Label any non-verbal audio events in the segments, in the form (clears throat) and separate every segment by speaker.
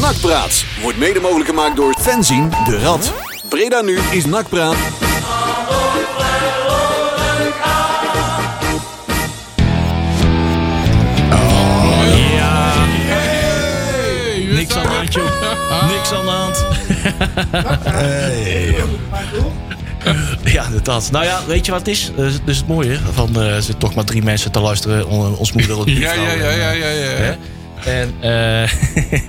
Speaker 1: Nakpraat wordt mede mogelijk gemaakt door Fenzien de Rad. Breda nu is Nakpraat.
Speaker 2: Niks aan de hand, joh. Niks aan de hand. Ja, inderdaad. Nou ja, weet je wat het is? Eh, Dat is het mooie. Van, eh, er zitten toch maar drie mensen te luisteren. On- eh, Ons moeder, (laughs) die
Speaker 3: Ja, ja,
Speaker 2: vrouw,
Speaker 3: ja, ja, ja.
Speaker 2: hè?
Speaker 3: ja.
Speaker 2: En, eh,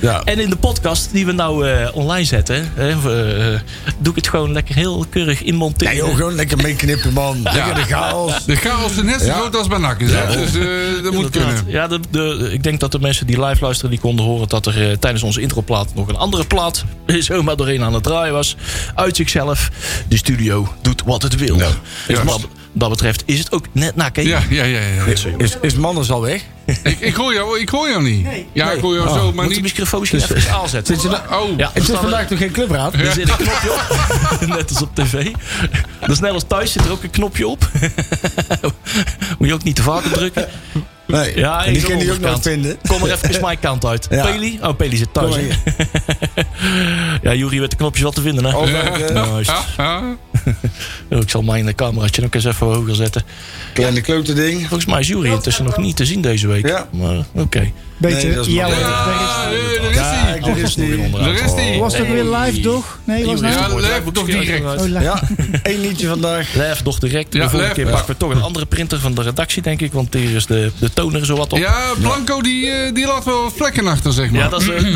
Speaker 3: ja.
Speaker 2: en in de podcast die we nou eh, online zetten, hè, eh, doe ik het gewoon lekker heel keurig inmonteren.
Speaker 4: Nee, joh, gewoon lekker meeknippen, man. Lekker de chaos.
Speaker 3: De chaos is net zo
Speaker 4: Ja.
Speaker 3: groot als bij NAC is, hè? Dus eh, dat moet
Speaker 2: Inderdaad.
Speaker 3: kunnen.
Speaker 2: Ja, de, de, ik denk dat de mensen die live luisteren, die konden horen dat er eh, tijdens onze introplaat nog een andere plaat (laughs) eh, zomaar doorheen aan het draaien was. Uit zichzelf. De studio doet wat het wil. Dus
Speaker 3: juist.
Speaker 2: wat dat betreft is het ook net nak. hè?
Speaker 3: Ja, ja, ja. ja.
Speaker 4: Is, is Manders al weg?
Speaker 3: Ik, ik, hoor jou, ik hoor jou niet. Ja, ik hoor jou
Speaker 4: Oh.
Speaker 3: zo, maar
Speaker 2: Moet de
Speaker 3: niet...
Speaker 2: microfoon misschien even aanzetten.
Speaker 4: Dus- Zit je nou-
Speaker 3: Oh,
Speaker 2: Ja,
Speaker 3: ja.
Speaker 2: er
Speaker 4: Het is
Speaker 2: staat een-
Speaker 4: vandaag toch geen clubraad?
Speaker 2: er zit een knopje op. (laughs) Net als op tv. Dus net als thuis zit er ook een knopje op. (laughs) Moet je ook niet te vaak op drukken.
Speaker 4: Nee,
Speaker 2: Ja,
Speaker 4: en
Speaker 2: is
Speaker 4: die
Speaker 2: aan
Speaker 4: kun
Speaker 2: de
Speaker 4: je ook nog
Speaker 2: onderkant.
Speaker 4: vinden.
Speaker 2: Kom er even mijn kant uit.
Speaker 4: (laughs) Ja.
Speaker 2: Peli? Oh, Peli zit thuis.
Speaker 4: Kom maar
Speaker 2: (laughs) ja, Juri weet de knopjes wel te vinden, hè? Juist.
Speaker 3: Ah,
Speaker 2: Oh, Ik zal mijn cameraatje ook eens even hoger zetten.
Speaker 4: Kleine klote ding.
Speaker 2: Volgens mij is Jury intussen nog niet te zien deze week.
Speaker 4: Ja.
Speaker 2: Maar oké. Oh,
Speaker 5: Beetje
Speaker 4: Nee, dat is
Speaker 5: jelle.
Speaker 4: makkelijk.
Speaker 3: Ah, eh, daar is hij.
Speaker 4: Kijk, er is die.
Speaker 3: Daar is hij.
Speaker 5: Oh. Was het ook weer live, toch? Nee, was het nou?
Speaker 3: Ja, live, toch direct.
Speaker 5: Oh, live.
Speaker 4: Ja, één liedje vandaag.
Speaker 2: Live, toch direct.
Speaker 3: Ja,
Speaker 2: de volgende
Speaker 3: live,
Speaker 2: keer
Speaker 3: ja.
Speaker 2: pakken we toch een andere printer van de redactie, denk ik. Want hier is de, de toner zo wat op.
Speaker 3: Ja, Blanco die, eh, die laat wel wat vlekken achter, zeg maar.
Speaker 2: Ja, dat is,
Speaker 4: (clears throat)
Speaker 2: eh,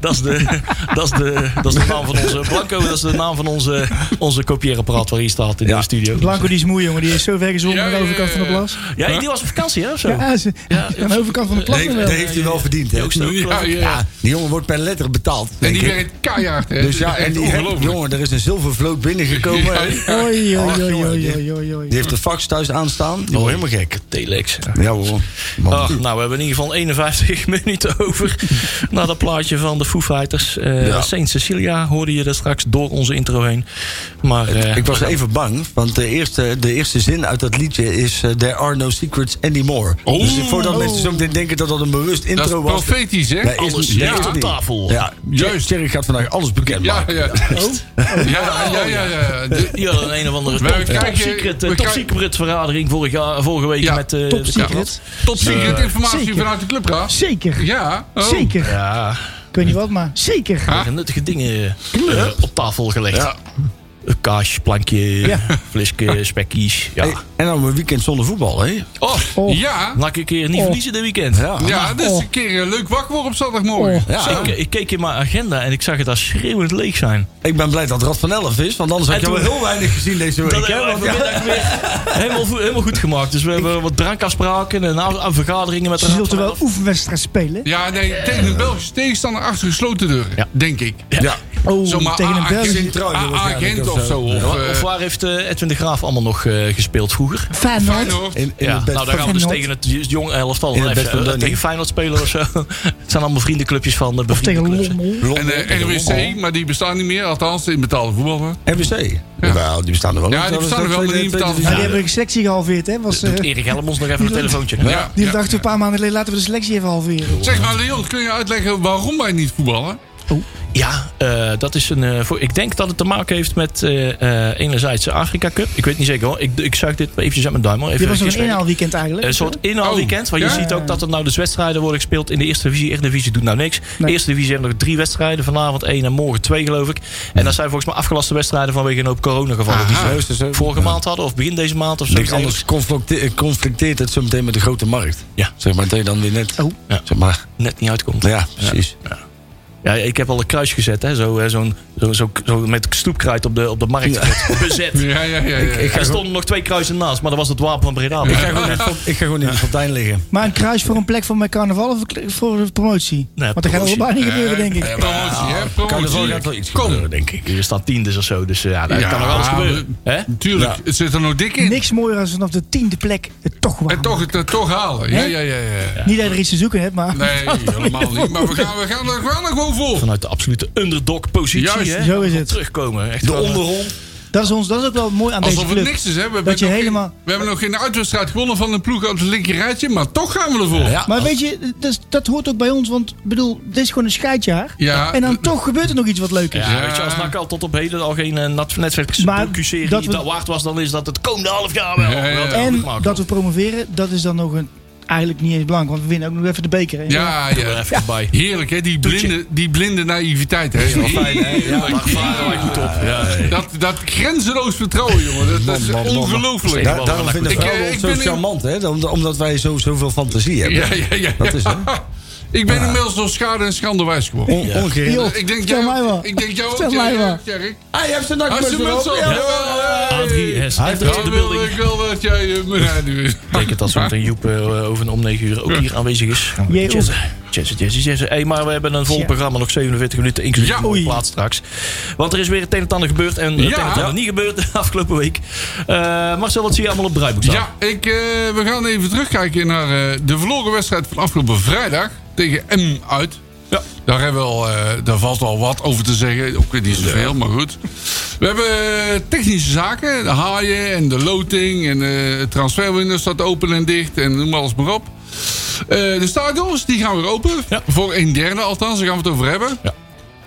Speaker 2: dat, is de, dat, is de, dat is de naam van onze... Blanco, dat is de naam van onze, onze kopieerapparaat waar hier staat in de studio.
Speaker 5: Blanco die is moe, jongen. Die is zo ver gezond
Speaker 3: Ja,
Speaker 5: aan de
Speaker 3: ja,
Speaker 5: overkant van de
Speaker 3: ja.
Speaker 5: plas.
Speaker 2: Ja, die was op vakantie, hè? Of zo?
Speaker 5: Ja, ze, aan de overkant van
Speaker 4: Dat
Speaker 5: de plas
Speaker 4: heeft,
Speaker 5: wel.
Speaker 4: dat heeft hij wel verdiend, hè?
Speaker 2: Joost ook,
Speaker 3: Ja,
Speaker 2: geloof ik.
Speaker 3: ja.
Speaker 4: Ja, die jongen wordt per letter betaald.
Speaker 3: En
Speaker 4: denk
Speaker 3: die
Speaker 4: ik.
Speaker 3: werkt keihard, hè?
Speaker 4: Dus ja, en die heeft,
Speaker 3: ongelooflijk.
Speaker 4: jongen, er is een zilvervloot binnengekomen.
Speaker 3: Ja,
Speaker 4: Die
Speaker 5: Oei,
Speaker 4: Ach,
Speaker 5: oei, oei,
Speaker 4: jongen,
Speaker 5: oei,
Speaker 4: dit-
Speaker 5: oei, oei, oei.
Speaker 4: heeft de fax thuis aanstaan.
Speaker 3: Oh,
Speaker 4: Die wordt Oh, helemaal gek.
Speaker 2: Telex.
Speaker 4: Ja hoor. Man.
Speaker 2: Ah, nou, we hebben in ieder geval 51 (laughs) minuten over. Na dat plaatje van de Foo Fighters. Eh, Saint Cecilia hoorde je daar straks door onze intro heen. Maar eh,
Speaker 4: Ik was even bang, want de eerste, de eerste zin uit dat liedje is... eh, There are no secrets anymore. Dus voordat mensen zo meteen denken dat dat een bewust
Speaker 3: Oh. Dat
Speaker 4: intro
Speaker 3: is
Speaker 4: was...
Speaker 3: profetisch, hè?
Speaker 4: Nee, is
Speaker 2: alles
Speaker 4: niet-
Speaker 2: ligt
Speaker 3: ja.
Speaker 2: op tafel.
Speaker 4: Ja,
Speaker 3: Juist.
Speaker 4: juist. Jerry gaat vandaag alles bekend
Speaker 3: Ja,
Speaker 4: maken.
Speaker 3: ja.
Speaker 4: (laughs)
Speaker 5: Oh.
Speaker 3: Ja, ja, ja. ja. De-
Speaker 2: Ja, een, een of andere
Speaker 3: We
Speaker 2: top, top,
Speaker 3: kijken-
Speaker 2: secret, eh, top
Speaker 3: we kijken-
Speaker 2: secret verradering vorig jaar, vorige week
Speaker 3: Ja,
Speaker 2: met eh,
Speaker 5: top
Speaker 2: de-
Speaker 5: secret.
Speaker 3: Top secret informatie
Speaker 5: zeker.
Speaker 3: vanuit de clubraad.
Speaker 5: Zeker,
Speaker 3: Ja. oh.
Speaker 5: zeker.
Speaker 2: Ja,
Speaker 5: Ik weet niet wat, maar zeker.
Speaker 2: er zijn nuttige dingen eh, op tafel gelegd. Een kaas, plankje, flesje, spekkies. Ja.
Speaker 4: Hey, en dan een weekend zonder voetbal, hè?
Speaker 3: Oh,
Speaker 5: Oh.
Speaker 3: ja.
Speaker 2: Laat ik een keer niet
Speaker 4: Oh.
Speaker 2: verliezen dit weekend.
Speaker 3: Ja, dus een keer eh, leuk wakker worden op
Speaker 5: Oh.
Speaker 3: zaterdagmorgen.
Speaker 4: Ja.
Speaker 2: Zeker, ik keek in mijn agenda en ik zag het daar schreeuwend leeg zijn.
Speaker 4: Ik ben blij dat Rad van Elf is, want anders had
Speaker 2: En
Speaker 4: je wel
Speaker 2: toen-
Speaker 4: heel weinig gezien deze week.
Speaker 2: Dat
Speaker 4: hè?
Speaker 2: hebben
Speaker 4: Want
Speaker 2: we vanmiddag weer helemaal, vo- helemaal goed gemaakt. Dus we hebben wat drankafspraken en af- af- vergaderingen met de
Speaker 5: Ze
Speaker 2: Raad
Speaker 5: zult er
Speaker 2: van
Speaker 5: wel
Speaker 2: Elf.
Speaker 5: oefenwedstrijd spelen.
Speaker 3: Ja, nee, tegen een Belgische tegenstander achter gesloten deuren,
Speaker 2: Ja.
Speaker 3: denk ik.
Speaker 4: Ja.
Speaker 5: Oh,
Speaker 3: Zomaar ah,
Speaker 5: tegen een
Speaker 3: A-
Speaker 5: België.
Speaker 3: agent,
Speaker 4: Sint-Truiden
Speaker 3: A-
Speaker 4: waarschijnlijk
Speaker 3: agent
Speaker 4: of
Speaker 3: of zo.
Speaker 4: zo.
Speaker 3: Of,
Speaker 2: Wa- Of
Speaker 3: eh,
Speaker 2: waar heeft eh, Edwin de Graaf allemaal nog eh, gespeeld vroeger?
Speaker 5: Feyenoord.
Speaker 3: Feyenoord.
Speaker 4: In, in
Speaker 2: ja,
Speaker 4: het bed
Speaker 2: nou, daar gaan we dus
Speaker 5: Feyenoord.
Speaker 2: tegen het j- jonge elftal
Speaker 4: In het
Speaker 2: even,
Speaker 4: bed van
Speaker 2: eh,
Speaker 4: Danny.
Speaker 2: tegen Feyenoord spelen of zo. (laughs) het zijn allemaal vriendenclubjes van eh, de
Speaker 5: Of tegen Lommel.
Speaker 3: En eh, RWC, maar die bestaan niet meer. Althans, in betaalde voetbal. hè.
Speaker 4: RBC. Nou, die bestaan er wel.
Speaker 3: Ja,
Speaker 4: niet,
Speaker 3: die
Speaker 4: dat is
Speaker 3: bestaan er wel,
Speaker 4: nog
Speaker 3: maar die
Speaker 4: tweede-
Speaker 3: betaalt-
Speaker 5: Ja,
Speaker 4: tweede-
Speaker 5: Nou, die hebben een selectie gehalveerd, hè? Was, eh,
Speaker 2: Doet Erik Helmons
Speaker 4: (laughs)
Speaker 2: nog even een telefoontje.
Speaker 3: Ja,
Speaker 5: die
Speaker 3: ja.
Speaker 5: dachten we een paar maanden geleden, laten we de selectie even halveren.
Speaker 3: Zeg maar, Leon, kun je uitleggen waarom wij niet voetballen?
Speaker 2: Ja, eh, dat is een. eh, voor, ik denk dat het te maken heeft met eh, eh, enerzijds de Afrika Cup. Ik weet niet zeker hoor. Ik, ik zuig dit eventjes uit mijn duim hoor. Even Eh,
Speaker 5: Dit was nog een
Speaker 2: even-
Speaker 5: inhaalweekend eigenlijk.
Speaker 2: Een soort inhaalweekend. Want je
Speaker 3: ja.
Speaker 2: ziet ook dat er nou dus wedstrijden worden gespeeld in de Eerste Divisie. Eerste Divisie doet nou niks.
Speaker 5: Nee.
Speaker 2: Eerste Divisie hebben nog drie wedstrijden. Vanavond één en morgen twee, geloof ik. En dat zijn volgens mij afgelaste wedstrijden vanwege een hoop coronagevallen. Die
Speaker 3: Aha.
Speaker 2: ze
Speaker 4: Juist, dus, eh,
Speaker 2: vorige maand hadden of begin deze maand of zo.
Speaker 4: Niks anders conflicte- eh, conflicteert het zo meteen met de grote markt.
Speaker 2: Ja.
Speaker 4: Zeg maar, dat je dan weer net.
Speaker 5: Oh.
Speaker 2: Ja.
Speaker 4: Zeg maar,
Speaker 2: Net niet uitkomt.
Speaker 4: ja, precies.
Speaker 2: Ja, ik heb al een kruis gezet. hè. Zo, hè, Zo'n zo, zo, zo met stoepkruid op de, op de markt bezet.
Speaker 3: Ja, ja, ja. ja.
Speaker 2: Er stonden nog twee kruisen naast, maar dat was het wapen van Breda.
Speaker 4: Ik ga gewoon in
Speaker 3: (laughs)
Speaker 4: het- Ik ga gewoon in de fontein liggen.
Speaker 5: Maar een kruis voor een plek voor mijn carnaval of voor de promotie?
Speaker 2: Nee,
Speaker 5: Want dat gaat
Speaker 2: promotie.
Speaker 5: allebei niet gebeuren, denk ik.
Speaker 3: Eh, Promotie, hè?
Speaker 4: Carnaval
Speaker 3: Promotie.
Speaker 4: gaat wel iets
Speaker 3: Kom.
Speaker 4: gebeuren, denk ik.
Speaker 2: Je staat tiendes of zo, dus ja, daar
Speaker 3: Ja,
Speaker 2: kan nog alles gebeuren.
Speaker 3: we-
Speaker 2: Hè?
Speaker 3: Tuurlijk,
Speaker 4: Ja.
Speaker 3: het zit er nog dik in.
Speaker 5: Niks mooier als vanaf de tiende plek het toch waar.
Speaker 3: En toch, het, het toch halen. Ja, ja, ja, ja.
Speaker 5: Niet dat je er iets te zoeken hebt, maar...
Speaker 3: Nee, helemaal niet. Maar we gaan, we gaan er we gaan er gewoon voor.
Speaker 2: Vanuit de absolute underdog-positie.
Speaker 3: Juist,
Speaker 2: hè?
Speaker 5: zo is het.
Speaker 2: Terugkomen. Echt
Speaker 4: De
Speaker 2: wel, eh,
Speaker 4: onderrol.
Speaker 5: Dat is, ons, dat is ook wel mooi aan
Speaker 3: Alsof
Speaker 5: deze
Speaker 3: het
Speaker 5: club.
Speaker 3: niks is, hè? We, hebben
Speaker 5: dat je
Speaker 3: nog geen-
Speaker 5: helemaal...
Speaker 3: we hebben nog geen uitwedstrijd gewonnen van een ploeg op het linker rijtje, maar toch gaan we ervoor.
Speaker 2: Ja,
Speaker 5: Maar weet je, dat, is- dat hoort ook bij ons. Want ik bedoel, dit is gewoon een scheidjaar.
Speaker 3: Ja.
Speaker 5: En dan toch gebeurt er nog iets wat leuk is.
Speaker 2: Ja, weet je, als NAC al tot op heden al geen eh, nat-
Speaker 5: Maar
Speaker 2: netwerkserie
Speaker 5: dat
Speaker 2: dat
Speaker 5: we-
Speaker 2: waard was, dan is dat het komende half jaar wel.
Speaker 3: Ja, ja, ja.
Speaker 2: Wel te
Speaker 5: En
Speaker 2: maken.
Speaker 5: dat we promoveren, dat is dan nog een, eigenlijk niet eens belangrijk. Want we winnen ook nog even de beker. hè.
Speaker 3: Ja,
Speaker 2: Doe er
Speaker 3: ja.
Speaker 2: even bij.
Speaker 3: Heerlijk, hè? Die
Speaker 2: Toetje.
Speaker 3: blinde, die blinde naïviteit, hè?
Speaker 2: Ja, daar varen wij goed op. Ja, ja, ja.
Speaker 3: Dat, dat grenzeloos vertrouwen, jongen. Dat, dat is
Speaker 4: Man, man, man.
Speaker 3: ongelooflijk.
Speaker 4: Daar- daarom vinden
Speaker 3: Ik, eh,
Speaker 4: vrouwen ons
Speaker 3: ik
Speaker 4: zo
Speaker 3: ben in-
Speaker 4: charmant, hè? Om- Omdat wij zo, zoveel fantasie hebben.
Speaker 3: Ja, ja, ja.
Speaker 4: Dat is het.
Speaker 3: (laughs) Ik ben inmiddels door schade en schande wijs geworden.
Speaker 4: On, ongericht.
Speaker 5: Joh,
Speaker 3: Ik denk
Speaker 5: vertel mij
Speaker 3: jou,
Speaker 5: maar.
Speaker 3: ik denk jou
Speaker 5: Vertel
Speaker 3: ook,
Speaker 5: mij
Speaker 3: Jerry,
Speaker 5: maar.
Speaker 3: Jerry.
Speaker 4: Hij heeft zijn
Speaker 3: Hij is
Speaker 4: nakmuts
Speaker 3: de muts op. Ja.
Speaker 2: A3S.
Speaker 4: Hij
Speaker 2: Echt
Speaker 4: heeft
Speaker 3: Ja,
Speaker 2: de
Speaker 3: ik wil-
Speaker 2: building.
Speaker 3: Ik wil dat jij eh, me rijden wil.
Speaker 2: Ik denk het dat zometeen Joep eh, over een om 9 uur ook hier aanwezig is. Gaan we
Speaker 5: Jee,
Speaker 2: jazzen. Jazzen, jazzen, jazzen. Hey, maar we hebben een vol
Speaker 5: Tja.
Speaker 2: programma, nog 47 minuten, inclusief
Speaker 3: Ja.
Speaker 2: de mooie
Speaker 5: Oei.
Speaker 2: plaat straks. Want er is weer het een en ander gebeurd en het
Speaker 3: Ja.
Speaker 2: een en ander niet gebeurd (laughs) de afgelopen week. Eh, Marcel, wat zie je allemaal op het draaiboek staan?
Speaker 3: Ja, ik, eh, we gaan even terugkijken naar eh, de verloren wedstrijd van afgelopen vrijdag tegen M uit.
Speaker 2: Ja.
Speaker 3: Daar, hebben we al, eh, daar valt al wat over te zeggen. Ook weer niet zoveel, maar goed. We hebben eh, technische zaken. De haaien en de loting en de transferwindow staat open en dicht. En noem alles maar op. Eh, de stadions, die gaan weer open.
Speaker 2: Ja.
Speaker 3: Voor een derde althans, daar gaan we het over hebben.
Speaker 2: Ja.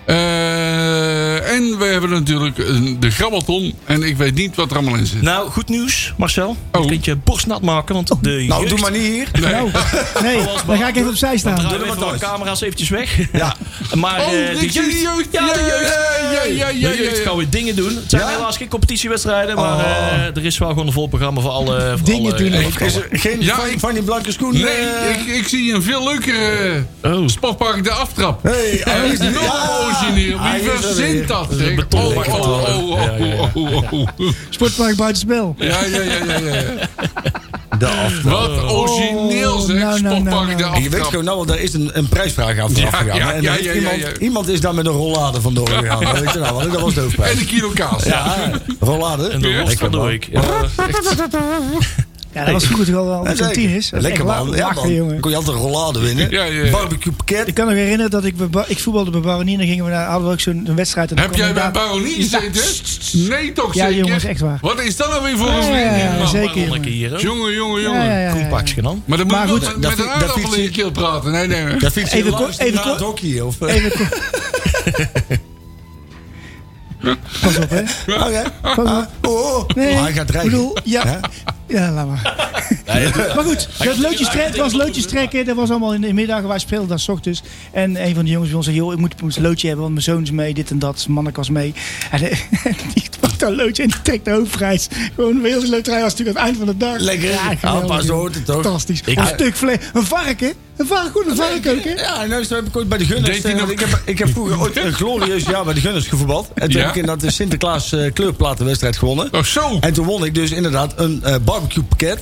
Speaker 3: Eh, en we hebben natuurlijk een- de grabbelton. En ik weet niet wat er allemaal in zit.
Speaker 2: Nou, goed nieuws, Marcel. Je
Speaker 3: Oh.
Speaker 2: kunt je borstnat maken, want de
Speaker 4: Nou,
Speaker 2: jeugd-
Speaker 4: doe maar niet hier.
Speaker 5: Nou, nee, dan ga ik even
Speaker 2: (laughs)
Speaker 5: opzij
Speaker 2: Dan
Speaker 5: staan.
Speaker 2: draaien we even de camera's eventjes weg.
Speaker 4: Ja.
Speaker 2: (laughs) maar
Speaker 3: Oh,
Speaker 2: eh,
Speaker 3: de
Speaker 2: de jeugd...
Speaker 3: jeugd.
Speaker 2: Ja, de
Speaker 3: Ja,
Speaker 2: jeugd.
Speaker 3: ja, ja, ja, ja,
Speaker 2: de jeugd
Speaker 3: ja.
Speaker 2: gaan weer dingen doen. Het zijn
Speaker 4: Ja?
Speaker 2: helaas geen competitiewedstrijden, maar eh, er is wel gewoon een vol programma voor alle... Voor
Speaker 5: Oh. Dingen
Speaker 2: alle-
Speaker 5: doen ook.
Speaker 4: Is er geen
Speaker 3: Ja,
Speaker 4: van,
Speaker 3: ik-
Speaker 4: van die blanke eh? schoen?
Speaker 3: Nee, ik, ik zie een veel leukere
Speaker 2: Oh.
Speaker 3: sportpark, de aftrap.
Speaker 4: Hey,
Speaker 3: Hij is nog
Speaker 4: Ja!
Speaker 3: origineel.
Speaker 4: Hij
Speaker 3: Wie
Speaker 4: is er weer.
Speaker 3: verzint dat?
Speaker 2: is een
Speaker 3: zeg? Oh,
Speaker 2: betonbak
Speaker 3: oh,
Speaker 2: geworden.
Speaker 3: oh, oh, oh, oh.
Speaker 5: Sportpark buitenspel.
Speaker 3: Ja, ja, ja, ja. ja.
Speaker 4: De aftrap.
Speaker 3: Wat origineel
Speaker 5: Oh,
Speaker 3: zeg,
Speaker 5: nou, nou, nou,
Speaker 3: sportpark, de
Speaker 5: nou.
Speaker 4: En Je weet
Speaker 3: aftrap.
Speaker 4: gewoon, nou, daar is een, een prijsvraag aan vooraf
Speaker 3: Ja,
Speaker 4: gegaan.
Speaker 3: ja,
Speaker 4: En
Speaker 3: ja,
Speaker 4: heeft
Speaker 3: ja, ja,
Speaker 4: iemand,
Speaker 3: ja.
Speaker 4: iemand is daar met een rollade
Speaker 3: (laughs)
Speaker 4: vandoor gegaan. Dat weet je nou, wel, dat was de hoofdprijs.
Speaker 3: En een kilo kaas.
Speaker 4: Ja, rollade.
Speaker 2: En de worst van de week. Ja.
Speaker 5: Ja, dat was vroeger toch al wel
Speaker 4: Ja,
Speaker 5: als het
Speaker 4: zeker.
Speaker 5: een tien is. Dat is
Speaker 4: Lekker
Speaker 5: echt
Speaker 4: man.
Speaker 5: la-
Speaker 4: Ja,
Speaker 5: lachen,
Speaker 4: man.
Speaker 5: jongen.
Speaker 4: Kon je altijd een rollade winnen.
Speaker 3: Ja, ja, ja.
Speaker 4: Barbecue pakket.
Speaker 5: Ik kan me herinneren dat ik, bij Bar- ik voetbalde bij Baronie. Dan gingen we naar, hadden we ook zo'n zo'n wedstrijd. En dan
Speaker 3: Heb
Speaker 5: kwam
Speaker 3: jij bij
Speaker 5: inderdaad-
Speaker 3: Baronie gezeten? Nee, toch
Speaker 5: Ja,
Speaker 3: zeker?
Speaker 5: jongens, echt waar.
Speaker 3: Wat is dat nou weer voor een
Speaker 5: Ja, ja, ja,
Speaker 3: vriendin? man?
Speaker 5: zeker,
Speaker 2: Lekker hier, hè?
Speaker 3: Jongen, jongen,
Speaker 5: Ja, ja, ja,
Speaker 3: jongen.
Speaker 5: ja,
Speaker 2: Groen
Speaker 5: ja.
Speaker 2: pakje dan.
Speaker 3: Maar dan
Speaker 5: Maar
Speaker 3: moet
Speaker 5: goed,
Speaker 3: je wel
Speaker 4: dat
Speaker 3: met een
Speaker 4: fiets- dat
Speaker 3: aardappel in je
Speaker 4: fiets-
Speaker 3: keel praten. Nee, nee, nee.
Speaker 4: Dat fiets je
Speaker 5: Even
Speaker 4: langs
Speaker 5: ko- even
Speaker 4: na
Speaker 5: ko-
Speaker 4: het hockey. Of, eh,
Speaker 5: Even ko- Pas op, hè.
Speaker 4: oké.
Speaker 5: Pas op.
Speaker 4: Oh, oh.
Speaker 5: Nee,
Speaker 4: Oh, hij gaat
Speaker 5: ik
Speaker 4: rijden.
Speaker 5: bedoel, ja. Ja, laat maar. (laughs) Maar goed, dat loodjes trek- was loodjes trekken. Dat was allemaal in de middag. Wij speelden daar 's ochtends. dus. En een van de jongens bij ons zei, joh, ik moet een loodje hebben. Want mijn zoon is mee, dit en dat. Zijn manneke was mee. En eh, (laughs) die pakt dat loodje en die trekt de hoofdprijs. Gewoon de hele loterij was natuurlijk aan het eind van de dag.
Speaker 4: Lekker.
Speaker 5: Ja,
Speaker 4: Ah,
Speaker 5: geweldig,
Speaker 4: pas, zo
Speaker 5: joh.
Speaker 4: hoort het toch?
Speaker 5: Fantastisch.
Speaker 2: Ik-
Speaker 5: een stuk vlees. Een varken. Een varken, goed, een varken ook, hè.
Speaker 4: Ja, en nou is- heb ik ooit bij de Gunners...
Speaker 3: Deed hij
Speaker 4: eh,
Speaker 3: nog-
Speaker 4: ik, heb, ik heb vroeger ooit een glorieus jaar bij de Gunners gevoetbald. En toen
Speaker 3: Ja?
Speaker 4: heb ik inderdaad de Sinterklaas eh, kleurplatenwedstrijd gewonnen.
Speaker 3: Oh, zo.
Speaker 4: En toen won ik dus inderdaad een eh barbecue
Speaker 3: (laughs)
Speaker 4: pakket.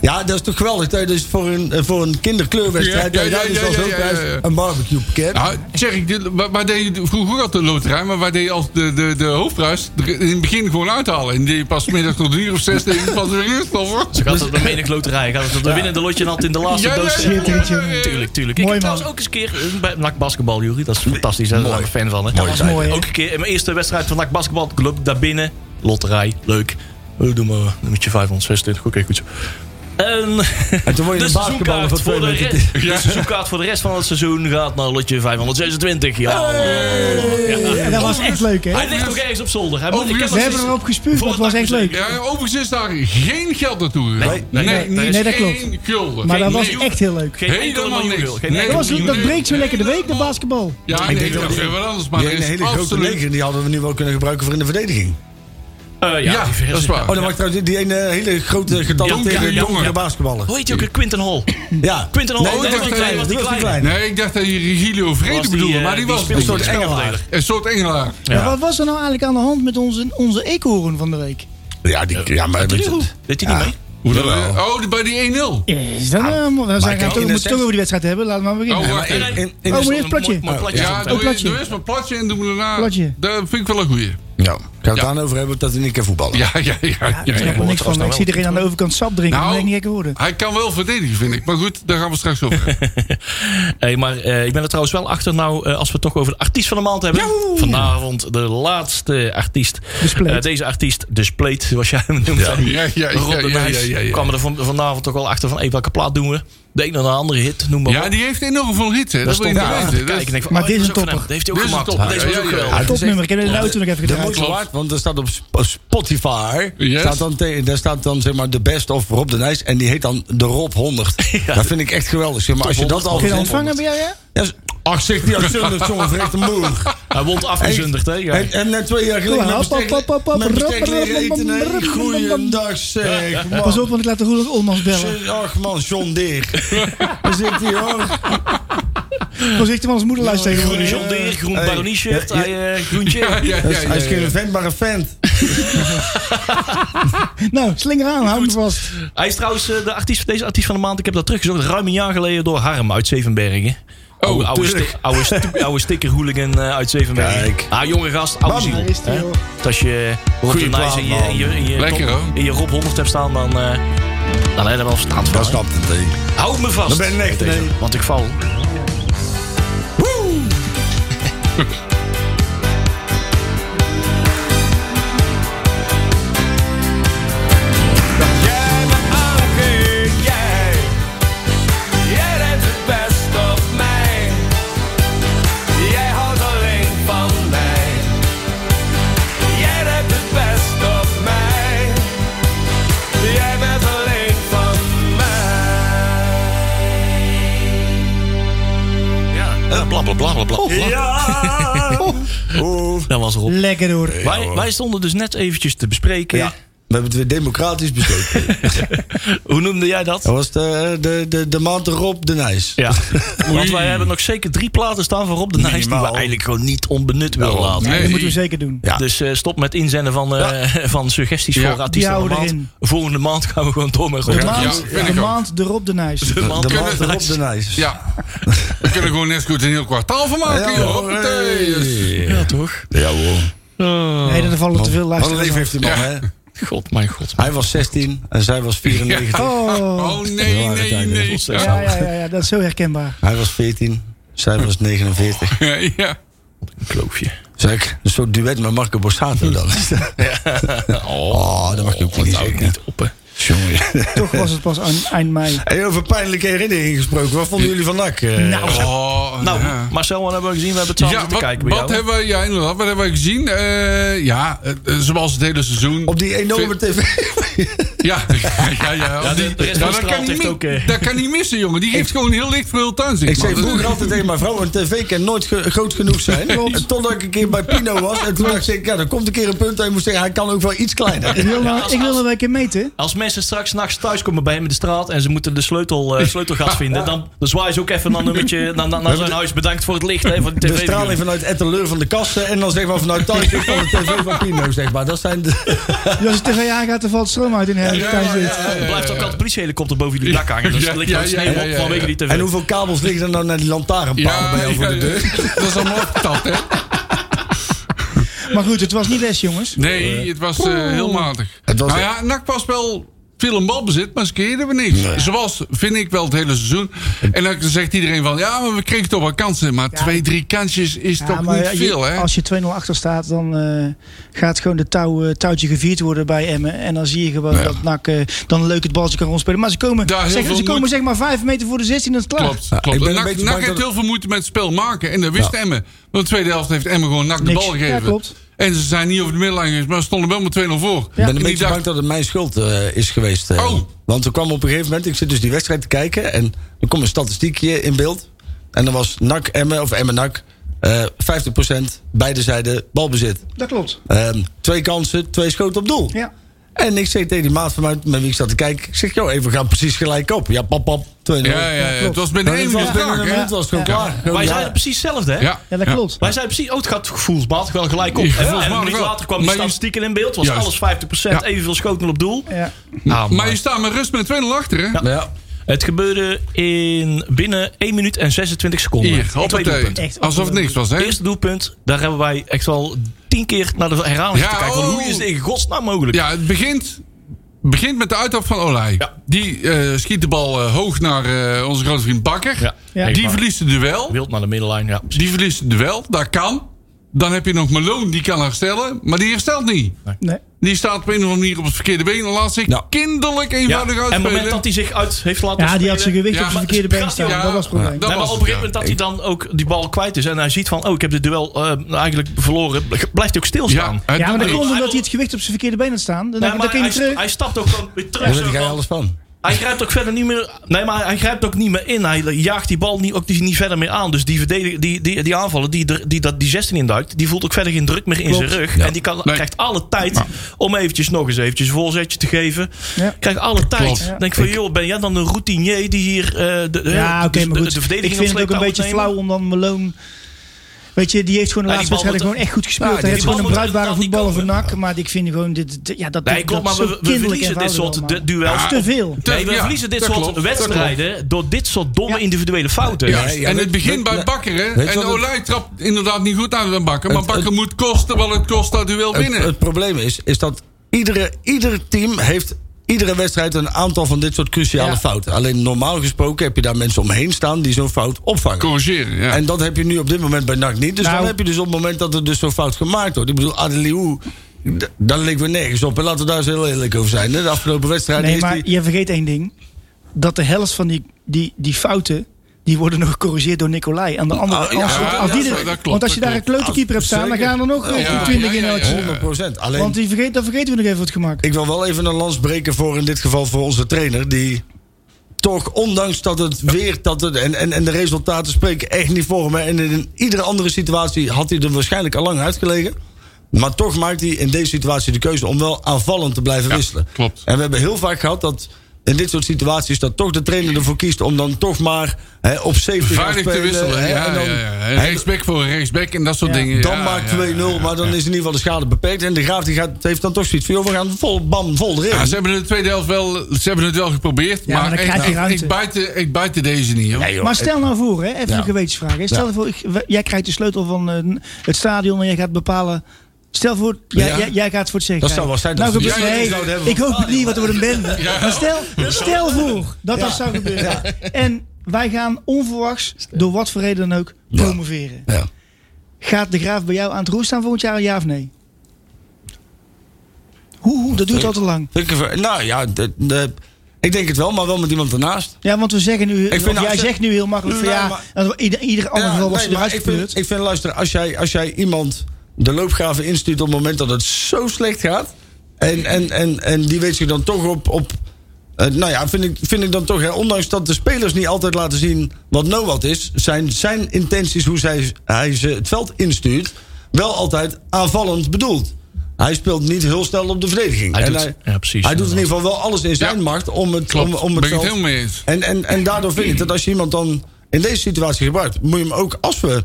Speaker 4: Ja, dat is toch geweldig dat je dus voor een, eh, voor een kinderkleurwedstrijd...
Speaker 3: Ja,
Speaker 4: Ja,
Speaker 3: ja, ja,
Speaker 4: dus
Speaker 3: ja,
Speaker 4: als
Speaker 3: ja,
Speaker 4: hoofdprijs
Speaker 3: ja, ja.
Speaker 4: een barbecue pakket.
Speaker 3: Nou, Tjerk, dit- waar, waar deed je vroeger had de loterij, maar waar deed je als de, de, de hoofdprijs er in het begin gewoon uithalen? En deed je pas middag tot drie of zes deed je pas de eerstoffer?
Speaker 2: Ze gaat het op de menig loterij. Gaat het op de winnende lotje en had in de laatste
Speaker 3: Ja, ja,
Speaker 2: doos.
Speaker 3: ja, ja, ja, ja, ja.
Speaker 2: Tuurlijk, tuurlijk. Ik
Speaker 5: Mooi,
Speaker 2: heb trouwens
Speaker 5: man.
Speaker 2: ook eens een keer eh, bij NAC Basketbal, Jury. Dat is fantastisch. hè. Daar ben ik fan van. Hè?
Speaker 5: Dat was mooi, hè.
Speaker 2: Ook een keer in mijn eerste wedstrijd van NAC Basketbal Club. Daarbinnen, lotterij, leuk. Oh, doe maar nummertje 526. Oké, goed zo. En
Speaker 4: En toen word je
Speaker 2: de
Speaker 4: een
Speaker 2: seizoenkaart
Speaker 4: basketballer van
Speaker 2: voor de,
Speaker 4: 2
Speaker 2: rest, de seizoenkaart voor de rest van het seizoen gaat naar lotje 526. Ja,
Speaker 5: En dat was echt leuk, hè.
Speaker 2: Hij ligt nog ergens op zolder. Hij moet, ik
Speaker 3: Overigens-
Speaker 2: heb
Speaker 5: We
Speaker 2: nog
Speaker 5: hebben
Speaker 2: steeds-
Speaker 5: erop gespuugd,
Speaker 2: Voor
Speaker 5: dat was
Speaker 2: het
Speaker 5: echt
Speaker 2: dak
Speaker 5: leuk.
Speaker 3: Ja, overigens is daar geen geld naartoe gegaan.
Speaker 2: Nee, nee, nee, nee,
Speaker 5: nee, dat
Speaker 3: geen
Speaker 5: klopt.
Speaker 3: gulden.
Speaker 5: Maar
Speaker 3: Geen
Speaker 5: dat was
Speaker 3: miljoen.
Speaker 5: echt heel leuk.
Speaker 2: Geen
Speaker 3: Helemaal
Speaker 2: enkele miljoen
Speaker 3: niks.
Speaker 2: wil. Geen
Speaker 3: Nee.
Speaker 5: Dat,
Speaker 2: enkele
Speaker 5: was, dat breekt zo lekker de week, de
Speaker 3: Helemaal.
Speaker 5: basketbal.
Speaker 3: Ja,
Speaker 4: Ik
Speaker 3: nee,
Speaker 4: denk
Speaker 3: dat
Speaker 4: dat
Speaker 3: is
Speaker 4: die-
Speaker 3: wel anders, maar
Speaker 4: Die
Speaker 3: er
Speaker 4: ene
Speaker 3: is
Speaker 4: hele grote
Speaker 3: absoluut...
Speaker 4: leger die hadden we nu wel kunnen gebruiken voor in de verdediging.
Speaker 2: Eh,
Speaker 3: Ja,
Speaker 2: die vergis
Speaker 3: dat is
Speaker 2: ik.
Speaker 3: waar.
Speaker 4: Oh, dan mag ik trouwens die ene hele grote
Speaker 2: Jonker,
Speaker 4: getalenteerde
Speaker 2: jonker.
Speaker 4: donkere basketballer.
Speaker 2: Hoe heet je ook? weer? Quinton Hall.
Speaker 4: Ja.
Speaker 2: Quinton Hall.
Speaker 4: Nee,
Speaker 2: dat was die
Speaker 3: dat
Speaker 2: kleine.
Speaker 3: was
Speaker 2: was die
Speaker 4: die
Speaker 2: kleine.
Speaker 4: kleine.
Speaker 3: Nee, ik dacht dat je Regilio
Speaker 2: Was
Speaker 3: Vrede
Speaker 2: die,
Speaker 3: bedoelde,
Speaker 2: eh,
Speaker 3: maar die was
Speaker 2: speelde
Speaker 4: een soort
Speaker 2: die
Speaker 4: engelaar.
Speaker 2: spelverdediger.
Speaker 3: een soort engelaar.
Speaker 5: Maar wat was er nou eigenlijk aan de hand met onze, onze eekhoorn van de week?
Speaker 4: Ja, die, ja maar...
Speaker 2: Driehoek. Deed hij niet mee?
Speaker 3: Hoe dat-
Speaker 4: Jawel.
Speaker 3: Oh, bij die 1-0.
Speaker 5: Is dat nou, we zijn
Speaker 4: kijk,
Speaker 5: gaan
Speaker 4: in
Speaker 5: toch,
Speaker 4: de
Speaker 5: we moeten
Speaker 4: zes-
Speaker 5: toch over die wedstrijd hebben. Laten we maar beginnen.
Speaker 3: Oh,
Speaker 4: Ja,
Speaker 3: wacht
Speaker 4: maar in,
Speaker 3: even.
Speaker 4: in, in
Speaker 5: Oh,
Speaker 4: de-
Speaker 5: meneer, het platje.
Speaker 2: Mijn
Speaker 4: Ja,
Speaker 2: platje.
Speaker 3: Ja,
Speaker 2: zometeen.
Speaker 3: doe,
Speaker 5: platje.
Speaker 3: doe eerst maar platje en doen we daarna.
Speaker 5: Platje.
Speaker 3: Dat vind ik wel een goeie.
Speaker 4: ja. Gaan we het daarover hebben dat hij niet kan voetballen?
Speaker 3: Ja, ja, ja.
Speaker 5: Ik
Speaker 3: ja,
Speaker 5: snap
Speaker 3: ja.
Speaker 5: er niks van. Ik zie iedereen aan de overkant sap drinken.
Speaker 3: Nou,
Speaker 5: dat ben ik niet gekke worden.
Speaker 3: Hij kan wel verdedigen, vind ik. Maar goed, daar gaan we
Speaker 2: (laughs)
Speaker 3: straks over hebben.
Speaker 2: Hey, maar eh, ik ben er trouwens wel achter nou, eh, als we het toch over de artiest van de maand hebben. Vanavond de laatste artiest.
Speaker 5: De Spleet.
Speaker 2: Eh, deze artiest, de Spleet, zoals jij hem noemt. Ja,
Speaker 3: ja, ja, ja, ja, ja, ja.
Speaker 2: kwamen er van, vanavond toch wel achter van hey, welke plaat doen we? De een of de andere hit, noem maar
Speaker 3: Ja,
Speaker 2: op.
Speaker 3: die heeft enorm veel hits, hè. Dat,
Speaker 2: Daar stond
Speaker 3: wil je
Speaker 2: ik
Speaker 3: niet
Speaker 2: aan te kijken.
Speaker 3: weten. Dat
Speaker 2: en ik
Speaker 3: is-
Speaker 2: denk van,
Speaker 5: Maar
Speaker 2: oh,
Speaker 5: dit is
Speaker 2: dat
Speaker 5: een
Speaker 2: ook van
Speaker 5: topper.
Speaker 2: hem. Deze heeft hij ook gemaakt.
Speaker 3: Dit is een topper.
Speaker 2: Deze was
Speaker 3: Ja,
Speaker 2: ook
Speaker 3: ja, ja.
Speaker 2: geweldig.
Speaker 4: het is
Speaker 5: Topnummer. Ik heb in de auto nog even
Speaker 4: Dat
Speaker 5: gedraaid.
Speaker 4: moet waard, want er staat op Sp- op Spotify.
Speaker 3: Yes.
Speaker 4: Staat dan te- daar staat dan zeg maar de best of Rob de Nijs. En die heet dan de Rob
Speaker 5: (laughs)
Speaker 4: 100. Dat vind ik echt geweldig. Zeg maar, als je dat al
Speaker 5: Kun je dat ontvangen bij jou, ja?
Speaker 4: Ja, is-
Speaker 3: dus-
Speaker 4: Ach,
Speaker 2: (laughs)
Speaker 4: zegt die uitzonderlijk jongen, verrekt een
Speaker 5: (laughs)
Speaker 4: moer.
Speaker 2: Hij wond afgezunderd, hè? Ja.
Speaker 4: En, en net twee jaar geleden met
Speaker 5: Hop, hop, hop, hop,
Speaker 4: bestek-
Speaker 5: hop,
Speaker 4: met bestek
Speaker 5: rop, rop,
Speaker 4: leren eten.
Speaker 5: rop, rop,
Speaker 4: hè.
Speaker 5: rop,
Speaker 4: Goeiedag zeg, man.
Speaker 5: Pas op, want ik laat de Roelof Olmans bellen.
Speaker 4: Zeg, Ach man, John
Speaker 5: (laughs)
Speaker 4: Deer. Daar zit hij hoor.
Speaker 5: Voorzichtig, want als moeder luistert
Speaker 2: Groene
Speaker 5: tegenwoordig.
Speaker 2: John Deere, groen
Speaker 4: Hey.
Speaker 2: baronieshirt,
Speaker 4: Ja, ja.
Speaker 2: hij, eh, groentje.
Speaker 3: Ja, ja, ja,
Speaker 4: Hij is
Speaker 3: ja,
Speaker 4: geen
Speaker 3: ja.
Speaker 4: vent, maar een vent.
Speaker 5: Nou, slinger aan, hou me vast.
Speaker 2: Hij is trouwens eh, de artiest, deze artiest van de maand. Ik heb dat teruggezocht. Ruim een jaar geleden door Harm uit Zevenbergen.
Speaker 3: Oh,
Speaker 2: Oude- oude,
Speaker 3: tuurlijk.
Speaker 2: sti- oude, sti- oude stickerhooligan eh, uit Zevenbergen.
Speaker 4: Kijk.
Speaker 2: Ah, jonge gast, oude ziel.
Speaker 5: Daar is die,
Speaker 2: hè?
Speaker 5: joh.
Speaker 2: Als je Rob de
Speaker 4: Goeie
Speaker 2: Nijs
Speaker 4: plaat,
Speaker 2: in je, in je, in je,
Speaker 3: Lekker,
Speaker 2: top-
Speaker 3: hoor.
Speaker 2: in je Rob 100 hebt staan, dan, eh dan heb je er wel verstand van.
Speaker 4: Dat
Speaker 2: hè?
Speaker 4: snapt het, hè.
Speaker 2: Houd me vast.
Speaker 4: Dan ben je echt, hè.
Speaker 2: Want ik val.
Speaker 6: Jij bent Anneke, jij. Jij bent het best op mij. Jij houdt alleen van mij. Jij bent het best op mij. Jij bent alleen van mij.
Speaker 2: Ja, bla bla bla bla bla. Dat was Rob.
Speaker 5: Lekker hoor.
Speaker 2: Wij, wij stonden dus net eventjes te bespreken.
Speaker 4: Ja. We hebben het weer democratisch besproken.
Speaker 5: (laughs)
Speaker 2: Hoe noemde jij dat?
Speaker 4: Dat was de, de, de, de maand erop de Nijs.
Speaker 2: Ja, (laughs) want wij hebben nog zeker drie platen staan van Rob de Nijs... die we
Speaker 4: Minimaal.
Speaker 2: eigenlijk gewoon niet onbenut willen laten.
Speaker 5: Dat
Speaker 3: Nee,
Speaker 5: moeten we zeker doen.
Speaker 4: Ja.
Speaker 2: Dus eh, stop met inzenden van, eh, (laughs) van suggesties
Speaker 3: Ja.
Speaker 2: voor artiesten
Speaker 5: Die
Speaker 2: van de
Speaker 5: houden
Speaker 2: maand. Volgende maand gaan we gewoon door met Rob.
Speaker 5: De maand,
Speaker 3: vind ik
Speaker 5: de
Speaker 3: ook.
Speaker 5: maand erop de
Speaker 3: (laughs)
Speaker 5: Nijs.
Speaker 2: De maand
Speaker 4: De
Speaker 2: van
Speaker 4: maand
Speaker 2: de
Speaker 4: erop
Speaker 2: Nijs.
Speaker 4: de Nijs.
Speaker 3: ja. We kunnen gewoon net zo goed een heel kwartaal van maken,
Speaker 4: Ja,
Speaker 3: joh.
Speaker 4: hoor.
Speaker 3: Hoppatee.
Speaker 2: Ja, toch?
Speaker 4: Ja hoor.
Speaker 3: Oh.
Speaker 5: Nee, dan vallen te veel
Speaker 4: Wat een leven
Speaker 5: luisteren.
Speaker 4: heeft die man, hè?
Speaker 2: God, mijn god.
Speaker 4: Hij was 16 en zij was 94.
Speaker 5: Oh,
Speaker 3: Oh, nee,
Speaker 4: waren
Speaker 3: nee,
Speaker 4: tijden,
Speaker 3: nee.
Speaker 4: dat
Speaker 5: ja, ja, ja, ja, dat is zo
Speaker 3: (laughs)
Speaker 5: herkenbaar.
Speaker 4: Hij was 14, zij was 49.
Speaker 3: Ja, ja.
Speaker 2: Een kloofje.
Speaker 4: Zeg, een soort duet met Marco Borsato dan. Oh, dat mag je ook niet
Speaker 2: Hou ik
Speaker 4: zeggen.
Speaker 2: niet op, hè.
Speaker 4: Jongen.
Speaker 5: Toch was het pas aan- eind mei.
Speaker 4: Hey, over pijnlijke herinneringen gesproken. Wat vonden jullie van NAC? eh?
Speaker 3: Oh,
Speaker 2: Nou,
Speaker 3: ja.
Speaker 2: Marcel, wat hebben we gezien? We hebben het samen
Speaker 3: Ja,
Speaker 2: te
Speaker 3: wat,
Speaker 2: kijken bij
Speaker 3: wat
Speaker 2: jou.
Speaker 3: hebben we, ja, inderdaad, wat hebben we gezien? Eh, ja, eh, eh, zoals het hele seizoen.
Speaker 4: Op die enorme tv.
Speaker 3: Ja, (laughs) ja, ja. ja, op
Speaker 2: de- de
Speaker 3: die-
Speaker 2: rest van
Speaker 3: Nou, dat,
Speaker 2: de straat
Speaker 3: kan niet,
Speaker 2: heeft
Speaker 3: mi-
Speaker 2: ook, eh,
Speaker 3: dat kan niet missen, jongen. Die geeft gewoon heel licht voor heel tuin, zeg
Speaker 4: Ik
Speaker 3: maar.
Speaker 4: zei
Speaker 3: Dat-
Speaker 4: vroeger altijd tegen mijn vrouw, een tv kan nooit ge- groot genoeg
Speaker 3: (laughs)
Speaker 4: zijn. En Totdat ik een keer bij Pino was. En toen dacht ik, ja, er komt een keer een punt dat je moet zeggen, hij kan ook wel iets kleiner.
Speaker 5: Ik wil, nou- ik wil er wel een keer meten.
Speaker 2: Als mensen straks nachts thuis komen bij hem in de straat... en ze moeten de sleutel,
Speaker 3: (laughs)
Speaker 2: eh, sleutelgat vinden... dan, dan zwaaien ze ook even naar, nummertje, naar, naar, naar zijn huis. Bedankt voor het licht, hè, van de
Speaker 4: De
Speaker 2: tv.
Speaker 4: straling vanuit Etteleur van de kasten. En dan zeg maar vanuit thuis van de tv van Pino, zeg maar. Dat zijn de...
Speaker 5: Dus als de tv aangaat, dan valt stroom uit in de
Speaker 3: ja,
Speaker 5: tijd.
Speaker 3: ja, ja,
Speaker 2: Er Oh, blijft ook altijd een politiehelikopter boven jullie dak hangen. Dus
Speaker 3: Ja,
Speaker 2: er ligt
Speaker 3: ja,
Speaker 2: ook sneeuw
Speaker 3: ja, ja,
Speaker 2: op
Speaker 3: ja,
Speaker 2: vanwege
Speaker 3: ja.
Speaker 4: (laughs)
Speaker 2: die tv.
Speaker 4: En hoeveel kabels liggen er nou naar die lantaarnpalen bij jou voor de deur?
Speaker 3: (laughs) Dat is allemaal opgetapt, hè?
Speaker 5: Maar goed, het was niet best, jongens.
Speaker 3: Nee, het was eh, heel matig.
Speaker 4: Het was-
Speaker 3: nou ja, NAC was wel veel een balbezit, maar ze creëerden we niks. Zoals, vind ik wel, het hele seizoen. En dan zegt iedereen van, ja, maar we kregen toch wel kansen. Maar twee, drie kansjes is
Speaker 5: Ja,
Speaker 3: toch
Speaker 5: maar
Speaker 3: niet
Speaker 5: je-
Speaker 3: veel, hè?
Speaker 5: Als je 2-0 achter staat, dan eh, gaat gewoon de touw, eh, touwtje gevierd worden bij Emmen. En dan zie je gewoon dat NAC eh, dan leuk het balje kan rondspelen. Maar ze komen,
Speaker 3: Daar heel
Speaker 5: zeg,
Speaker 3: veel
Speaker 5: ze komen
Speaker 3: moeite-
Speaker 5: zeg maar 5 meter voor de 16 en het is klaar.
Speaker 3: Klopt, klopt.
Speaker 4: ik ben een
Speaker 3: NAC,
Speaker 4: beetje
Speaker 3: NAC
Speaker 4: bang
Speaker 3: heeft
Speaker 4: dat-
Speaker 3: heel veel moeite met het spel maken. En dat wist Emmen. Want de tweede helft heeft Emmen gewoon NAC de
Speaker 5: Niks.
Speaker 3: bal
Speaker 5: Ja,
Speaker 3: gegeven.
Speaker 5: klopt.
Speaker 3: En ze zijn niet over de middenlijn geweest, maar ze stonden wel met 2-0 voor.
Speaker 4: Ik
Speaker 3: En
Speaker 4: ben een
Speaker 3: die
Speaker 4: beetje
Speaker 3: dacht-
Speaker 4: bang dat het mijn schuld eh, is geweest. eh.
Speaker 3: Oh.
Speaker 4: Want er kwam op een gegeven moment, ik zit dus die wedstrijd te kijken. En er komt een statistiekje in beeld. En dan was NAC Emmen, of Emmen NAC, eh 50% beide zijden balbezit.
Speaker 5: Dat klopt.
Speaker 4: Ehm, twee kansen, twee schoten op doel.
Speaker 5: Ja.
Speaker 4: En ik zeg tegen die maat van mij, met wie ik zat te kijken. Ik zeg, joh, even gaan precies gelijk op. Ja, pap, pap, 2-0.
Speaker 3: Ja, ja, ja. Het was binnen
Speaker 4: Maar
Speaker 3: één
Speaker 4: dit was
Speaker 3: minuut
Speaker 4: binnen een
Speaker 3: raak, hè?
Speaker 4: minuut was het gewoon
Speaker 5: Ja.
Speaker 4: klaar. Gewoon,
Speaker 2: Wij
Speaker 4: ja.
Speaker 2: zeiden precies hetzelfde, hè?
Speaker 3: Ja.
Speaker 5: Ja, dat klopt.
Speaker 2: Wij zeiden precies, oh, het gaat gevoelsmatig wel gelijk op.
Speaker 3: Ja,
Speaker 2: hè? en
Speaker 3: gevoelsmatig
Speaker 2: een minuut
Speaker 3: wel.
Speaker 2: later kwam die
Speaker 3: Maar je-
Speaker 2: statistieken in beeld. Was
Speaker 3: Juist. Nou,
Speaker 2: alles 50%, evenveel schoten op doel.
Speaker 5: Ja.
Speaker 2: Ah,
Speaker 3: Maar je staat met rust met 2-0 achter, hè?
Speaker 4: Ja.
Speaker 2: Het gebeurde in binnen 1 minuut en 26 seconden.
Speaker 3: Hier,
Speaker 2: Twee doelpunten.
Speaker 3: hoppatee.
Speaker 5: Echt
Speaker 3: Alsof het niks was, hè?
Speaker 2: Eerste doelpunt, daar hebben wij echt wel tien keer naar de herhaling
Speaker 3: Ja,
Speaker 2: te kijken. Want
Speaker 3: oh.
Speaker 2: hoe is dit in godsnaam mogelijk?
Speaker 3: Ja, het begint, begint met de uittrap van Olij.
Speaker 2: Ja.
Speaker 3: Die eh, schiet de bal eh, hoog naar eh, onze grote vriend Bakker.
Speaker 2: Ja.
Speaker 5: Ja.
Speaker 3: Die verliest het duel.
Speaker 2: Wild naar de middenlijn, ja.
Speaker 3: Die verliest het duel. Dat kan. Dan heb je nog Malone, die kan herstellen. Maar die herstelt niet.
Speaker 5: Nee.
Speaker 3: Die staat op een of andere manier op het verkeerde been. En laat zich
Speaker 4: Ja.
Speaker 3: kinderlijk
Speaker 2: Ja,
Speaker 3: eenvoudig
Speaker 2: en op het
Speaker 3: uitspelen.
Speaker 2: moment dat hij zich uit heeft laten
Speaker 5: Ja, die had zijn
Speaker 2: spelen-
Speaker 5: gewicht
Speaker 3: Ja,
Speaker 5: op zijn
Speaker 3: maar
Speaker 5: verkeerde been
Speaker 2: gaat
Speaker 5: staan.
Speaker 2: hij-
Speaker 5: Dat was het probleem.
Speaker 2: Nee,
Speaker 3: Dat
Speaker 2: maar
Speaker 3: was
Speaker 2: op een
Speaker 3: het,
Speaker 2: gegeven moment dat hij dan ook die bal kwijt is. En hij ziet van, oh, ik heb dit duel eh, eigenlijk verloren. Blijft hij ook stilstaan.
Speaker 3: ja, hij
Speaker 5: Ja, maar
Speaker 3: doet
Speaker 5: dat
Speaker 3: het.
Speaker 5: komt omdat hij het gewicht op zijn verkeerde been had staan. Dan,
Speaker 2: Nee,
Speaker 5: dan
Speaker 2: maar
Speaker 5: kun je
Speaker 2: hij,
Speaker 5: niet terug.
Speaker 2: hij stapt ook gewoon weer terug.
Speaker 4: Daar
Speaker 2: zo
Speaker 4: weet ik
Speaker 2: van-
Speaker 4: alles van.
Speaker 2: Hij grijpt ook verder niet meer. Nee, maar hij grijpt ook niet meer in. Hij jaagt die bal niet, ook die- niet verder meer aan. Dus die, verdedig- die, die, die aanvaller die, er- die, dat die 16 induikt, die voelt ook verder geen druk meer in zijn rug. En die kan,
Speaker 3: Nee.
Speaker 2: krijgt alle tijd om eventjes nog eens eventjes een voorzetje te geven.
Speaker 5: Ja.
Speaker 2: Krijgt alle tijd.
Speaker 3: Klopt.
Speaker 2: Dan Denk ik van, joh, ben jij dan een routinier die hier eh, de,
Speaker 5: Ja,
Speaker 2: de,
Speaker 5: oké, maar
Speaker 2: dus de-
Speaker 5: goed.
Speaker 2: de verdediging
Speaker 5: ik vind
Speaker 2: op
Speaker 5: het ook een
Speaker 2: sleeptouw
Speaker 5: beetje
Speaker 2: nemen?
Speaker 5: flauw om dan Malone... Weet je, die heeft gewoon de
Speaker 2: Ja, die
Speaker 5: laatste
Speaker 2: bal
Speaker 5: wedstrijd gewoon
Speaker 2: moet-
Speaker 5: echt goed gespeeld.
Speaker 4: Ja,
Speaker 5: hij heeft
Speaker 2: die bal
Speaker 5: gewoon een
Speaker 2: moet er
Speaker 5: bruikbare
Speaker 2: dan niet
Speaker 5: voetballer voor
Speaker 2: komen.
Speaker 5: NAK. Maar ik vind gewoon... Dit, dit- ja, dat,
Speaker 2: Nee, klopt,
Speaker 5: dat
Speaker 2: maar
Speaker 5: is
Speaker 2: we,
Speaker 5: zo
Speaker 2: we
Speaker 5: kinderlijk
Speaker 2: verliezen dit
Speaker 5: eenvoudig
Speaker 2: soort
Speaker 5: allemaal.
Speaker 2: du- duels.
Speaker 5: Dat is te veel.
Speaker 2: Nee, we
Speaker 3: Ja,
Speaker 2: verliezen dit
Speaker 3: dat
Speaker 2: soort
Speaker 3: klopt, dat
Speaker 2: wedstrijden door dit soort domme individuele fouten.
Speaker 3: Ja,
Speaker 4: Nee, ja,
Speaker 3: en
Speaker 4: weet-
Speaker 3: het begint
Speaker 4: weet-
Speaker 3: bij
Speaker 4: nee.
Speaker 3: Bakker, hè?
Speaker 4: Weet je
Speaker 3: En
Speaker 4: wat het-
Speaker 3: Olij trapt inderdaad niet goed aan dan Bakker. Maar
Speaker 4: Het- het-
Speaker 3: Bakker moet kosten wat het kost dat duel
Speaker 4: Het,
Speaker 3: winnen.
Speaker 4: het probleem is, is dat iedere, ieder team heeft iedere wedstrijd een aantal van dit soort cruciale
Speaker 5: Ja.
Speaker 4: fouten. Alleen normaal gesproken heb je daar mensen omheen staan die zo'n fout opvangen.
Speaker 3: Corrigeren, ja.
Speaker 4: En dat heb je nu op dit moment bij NAC niet. Dus
Speaker 5: Nou.
Speaker 4: dan heb je dus op het moment dat er dus zo'n fout gemaakt wordt. Ik bedoel, Adeliou, d- daar leek weer nergens op. En laten we daar eens heel eerlijk over zijn. hè. De afgelopen wedstrijd
Speaker 5: Nee,
Speaker 4: is
Speaker 5: maar
Speaker 4: die...
Speaker 5: je vergeet één ding. Dat de helft van die, die, die fouten... die worden nog gecorrigeerd door Nicolai. Aan de andere
Speaker 4: Ah, ja,
Speaker 5: als,
Speaker 3: ja,
Speaker 5: als die
Speaker 3: dat- dat
Speaker 5: er-
Speaker 3: klopt,
Speaker 5: Want als je
Speaker 3: dat
Speaker 5: daar een kleuterkeeper hebt staan... dan
Speaker 4: Zeker.
Speaker 5: gaan er nog
Speaker 4: Ja,
Speaker 5: eh,
Speaker 3: ja,
Speaker 5: 20 in
Speaker 3: ja,
Speaker 5: uit.
Speaker 3: ja, ja.
Speaker 4: 100%. Alleen,
Speaker 5: Want die vergeet, dat vergeten we nog even wat gemaakt.
Speaker 4: ik wil wel even een lans breken voor in dit geval voor onze trainer. Die toch, ondanks dat het weer dat het, en, en, en de resultaten spreken echt niet voor me. En in iedere andere situatie had hij er waarschijnlijk al lang uitgelegen. Maar toch maakt hij in deze situatie de keuze om wel aanvallend te blijven
Speaker 3: Ja,
Speaker 4: wisselen.
Speaker 3: klopt.
Speaker 4: En we hebben heel vaak gehad dat in dit soort situaties... dat toch de trainer ervoor kiest om dan toch maar hè, op safety te gaan
Speaker 3: Veilig te
Speaker 4: spelen,
Speaker 3: wisselen.
Speaker 4: hè,
Speaker 3: Ja,
Speaker 4: en dan,
Speaker 3: ja, ja.
Speaker 4: hè,
Speaker 3: Rechtsback voor een rechtsback en dat soort
Speaker 5: Ja.
Speaker 3: dingen.
Speaker 4: dan
Speaker 3: Ja,
Speaker 4: maakt
Speaker 3: ja,
Speaker 4: 2-0, maar dan is in ieder geval de schade beperkt. En de Graaf die gaat, heeft dan toch zoiets van... joh, we gaan vol, bam, vol erin.
Speaker 3: Ja, ze hebben de tweede helft wel, ze hebben het wel geprobeerd.
Speaker 5: Ja, maar
Speaker 3: maar
Speaker 5: dan
Speaker 3: ik-
Speaker 5: krijg je
Speaker 3: ik-
Speaker 5: ruimte.
Speaker 3: ik buiten- ik buiten deze niet. hoor.
Speaker 4: Eh,
Speaker 5: Maar stel nou voor, hè, even
Speaker 4: Ja.
Speaker 5: een gewetensvraag. hè. Stel
Speaker 4: Ja.
Speaker 5: voor, ik- w- jij krijgt de sleutel van eh, het stadion en jij gaat bepalen. Stel voor, jij,
Speaker 4: Ja.
Speaker 5: jij, jij gaat het voor het zeggen.
Speaker 4: Dat zou wel zijn dat
Speaker 5: Nou,
Speaker 4: ze die
Speaker 5: gebeurt-
Speaker 3: sleutel
Speaker 5: nee,
Speaker 4: zouden hebben
Speaker 5: ik
Speaker 4: van
Speaker 5: hoop het niet, want er wordt een bende. Maar stel, stel voor dat dat zou gebeuren. En wij gaan onverwachts, door wat voor reden dan ook, promoveren.
Speaker 4: Ja.
Speaker 5: Gaat de graaf bij jou aan het roer staan volgend jaar, ja of nee? Hoe, hoe, dat duurt al te lang.
Speaker 4: Vind ik even- nou ja, de- de- ik denk het wel, maar wel met iemand ernaast.
Speaker 5: Ja, want we zeggen nu,
Speaker 4: vind nou-
Speaker 5: want
Speaker 4: als
Speaker 5: jij
Speaker 4: je-
Speaker 5: zegt nu heel makkelijk van
Speaker 4: Nee,
Speaker 5: ja, dat ieder, ieder ander geval Oh, was
Speaker 4: nee, maar
Speaker 5: eruit
Speaker 4: ik,
Speaker 5: gekleurd.
Speaker 4: vind, ik vind, luister, als jij, als jij iemand de loopgraven instuurt op het moment dat het zo slecht gaat... en, en, en, en die weet zich dan toch op... op eh, nou ja, vind ik, vind ik dan toch, hè, ondanks dat de spelers niet altijd laten zien wat no wat is... zijn zijn intenties, hoe zij, hij ze het veld instuurt, wel altijd aanvallend bedoeld. Hij speelt niet heel snel op de verdediging.
Speaker 2: Hij
Speaker 4: En
Speaker 2: doet- ja, precies,
Speaker 4: hij
Speaker 2: inderdaad.
Speaker 4: doet in ieder geval wel alles in zijn
Speaker 3: Ja,
Speaker 4: macht om het, om,
Speaker 3: Klopt,
Speaker 4: om
Speaker 3: ben
Speaker 4: het
Speaker 3: ik het
Speaker 4: veld
Speaker 3: helemaal mee eens.
Speaker 4: En, en, en daardoor vind ik dat als je iemand dan in deze situatie gebruikt, moet je hem ook als we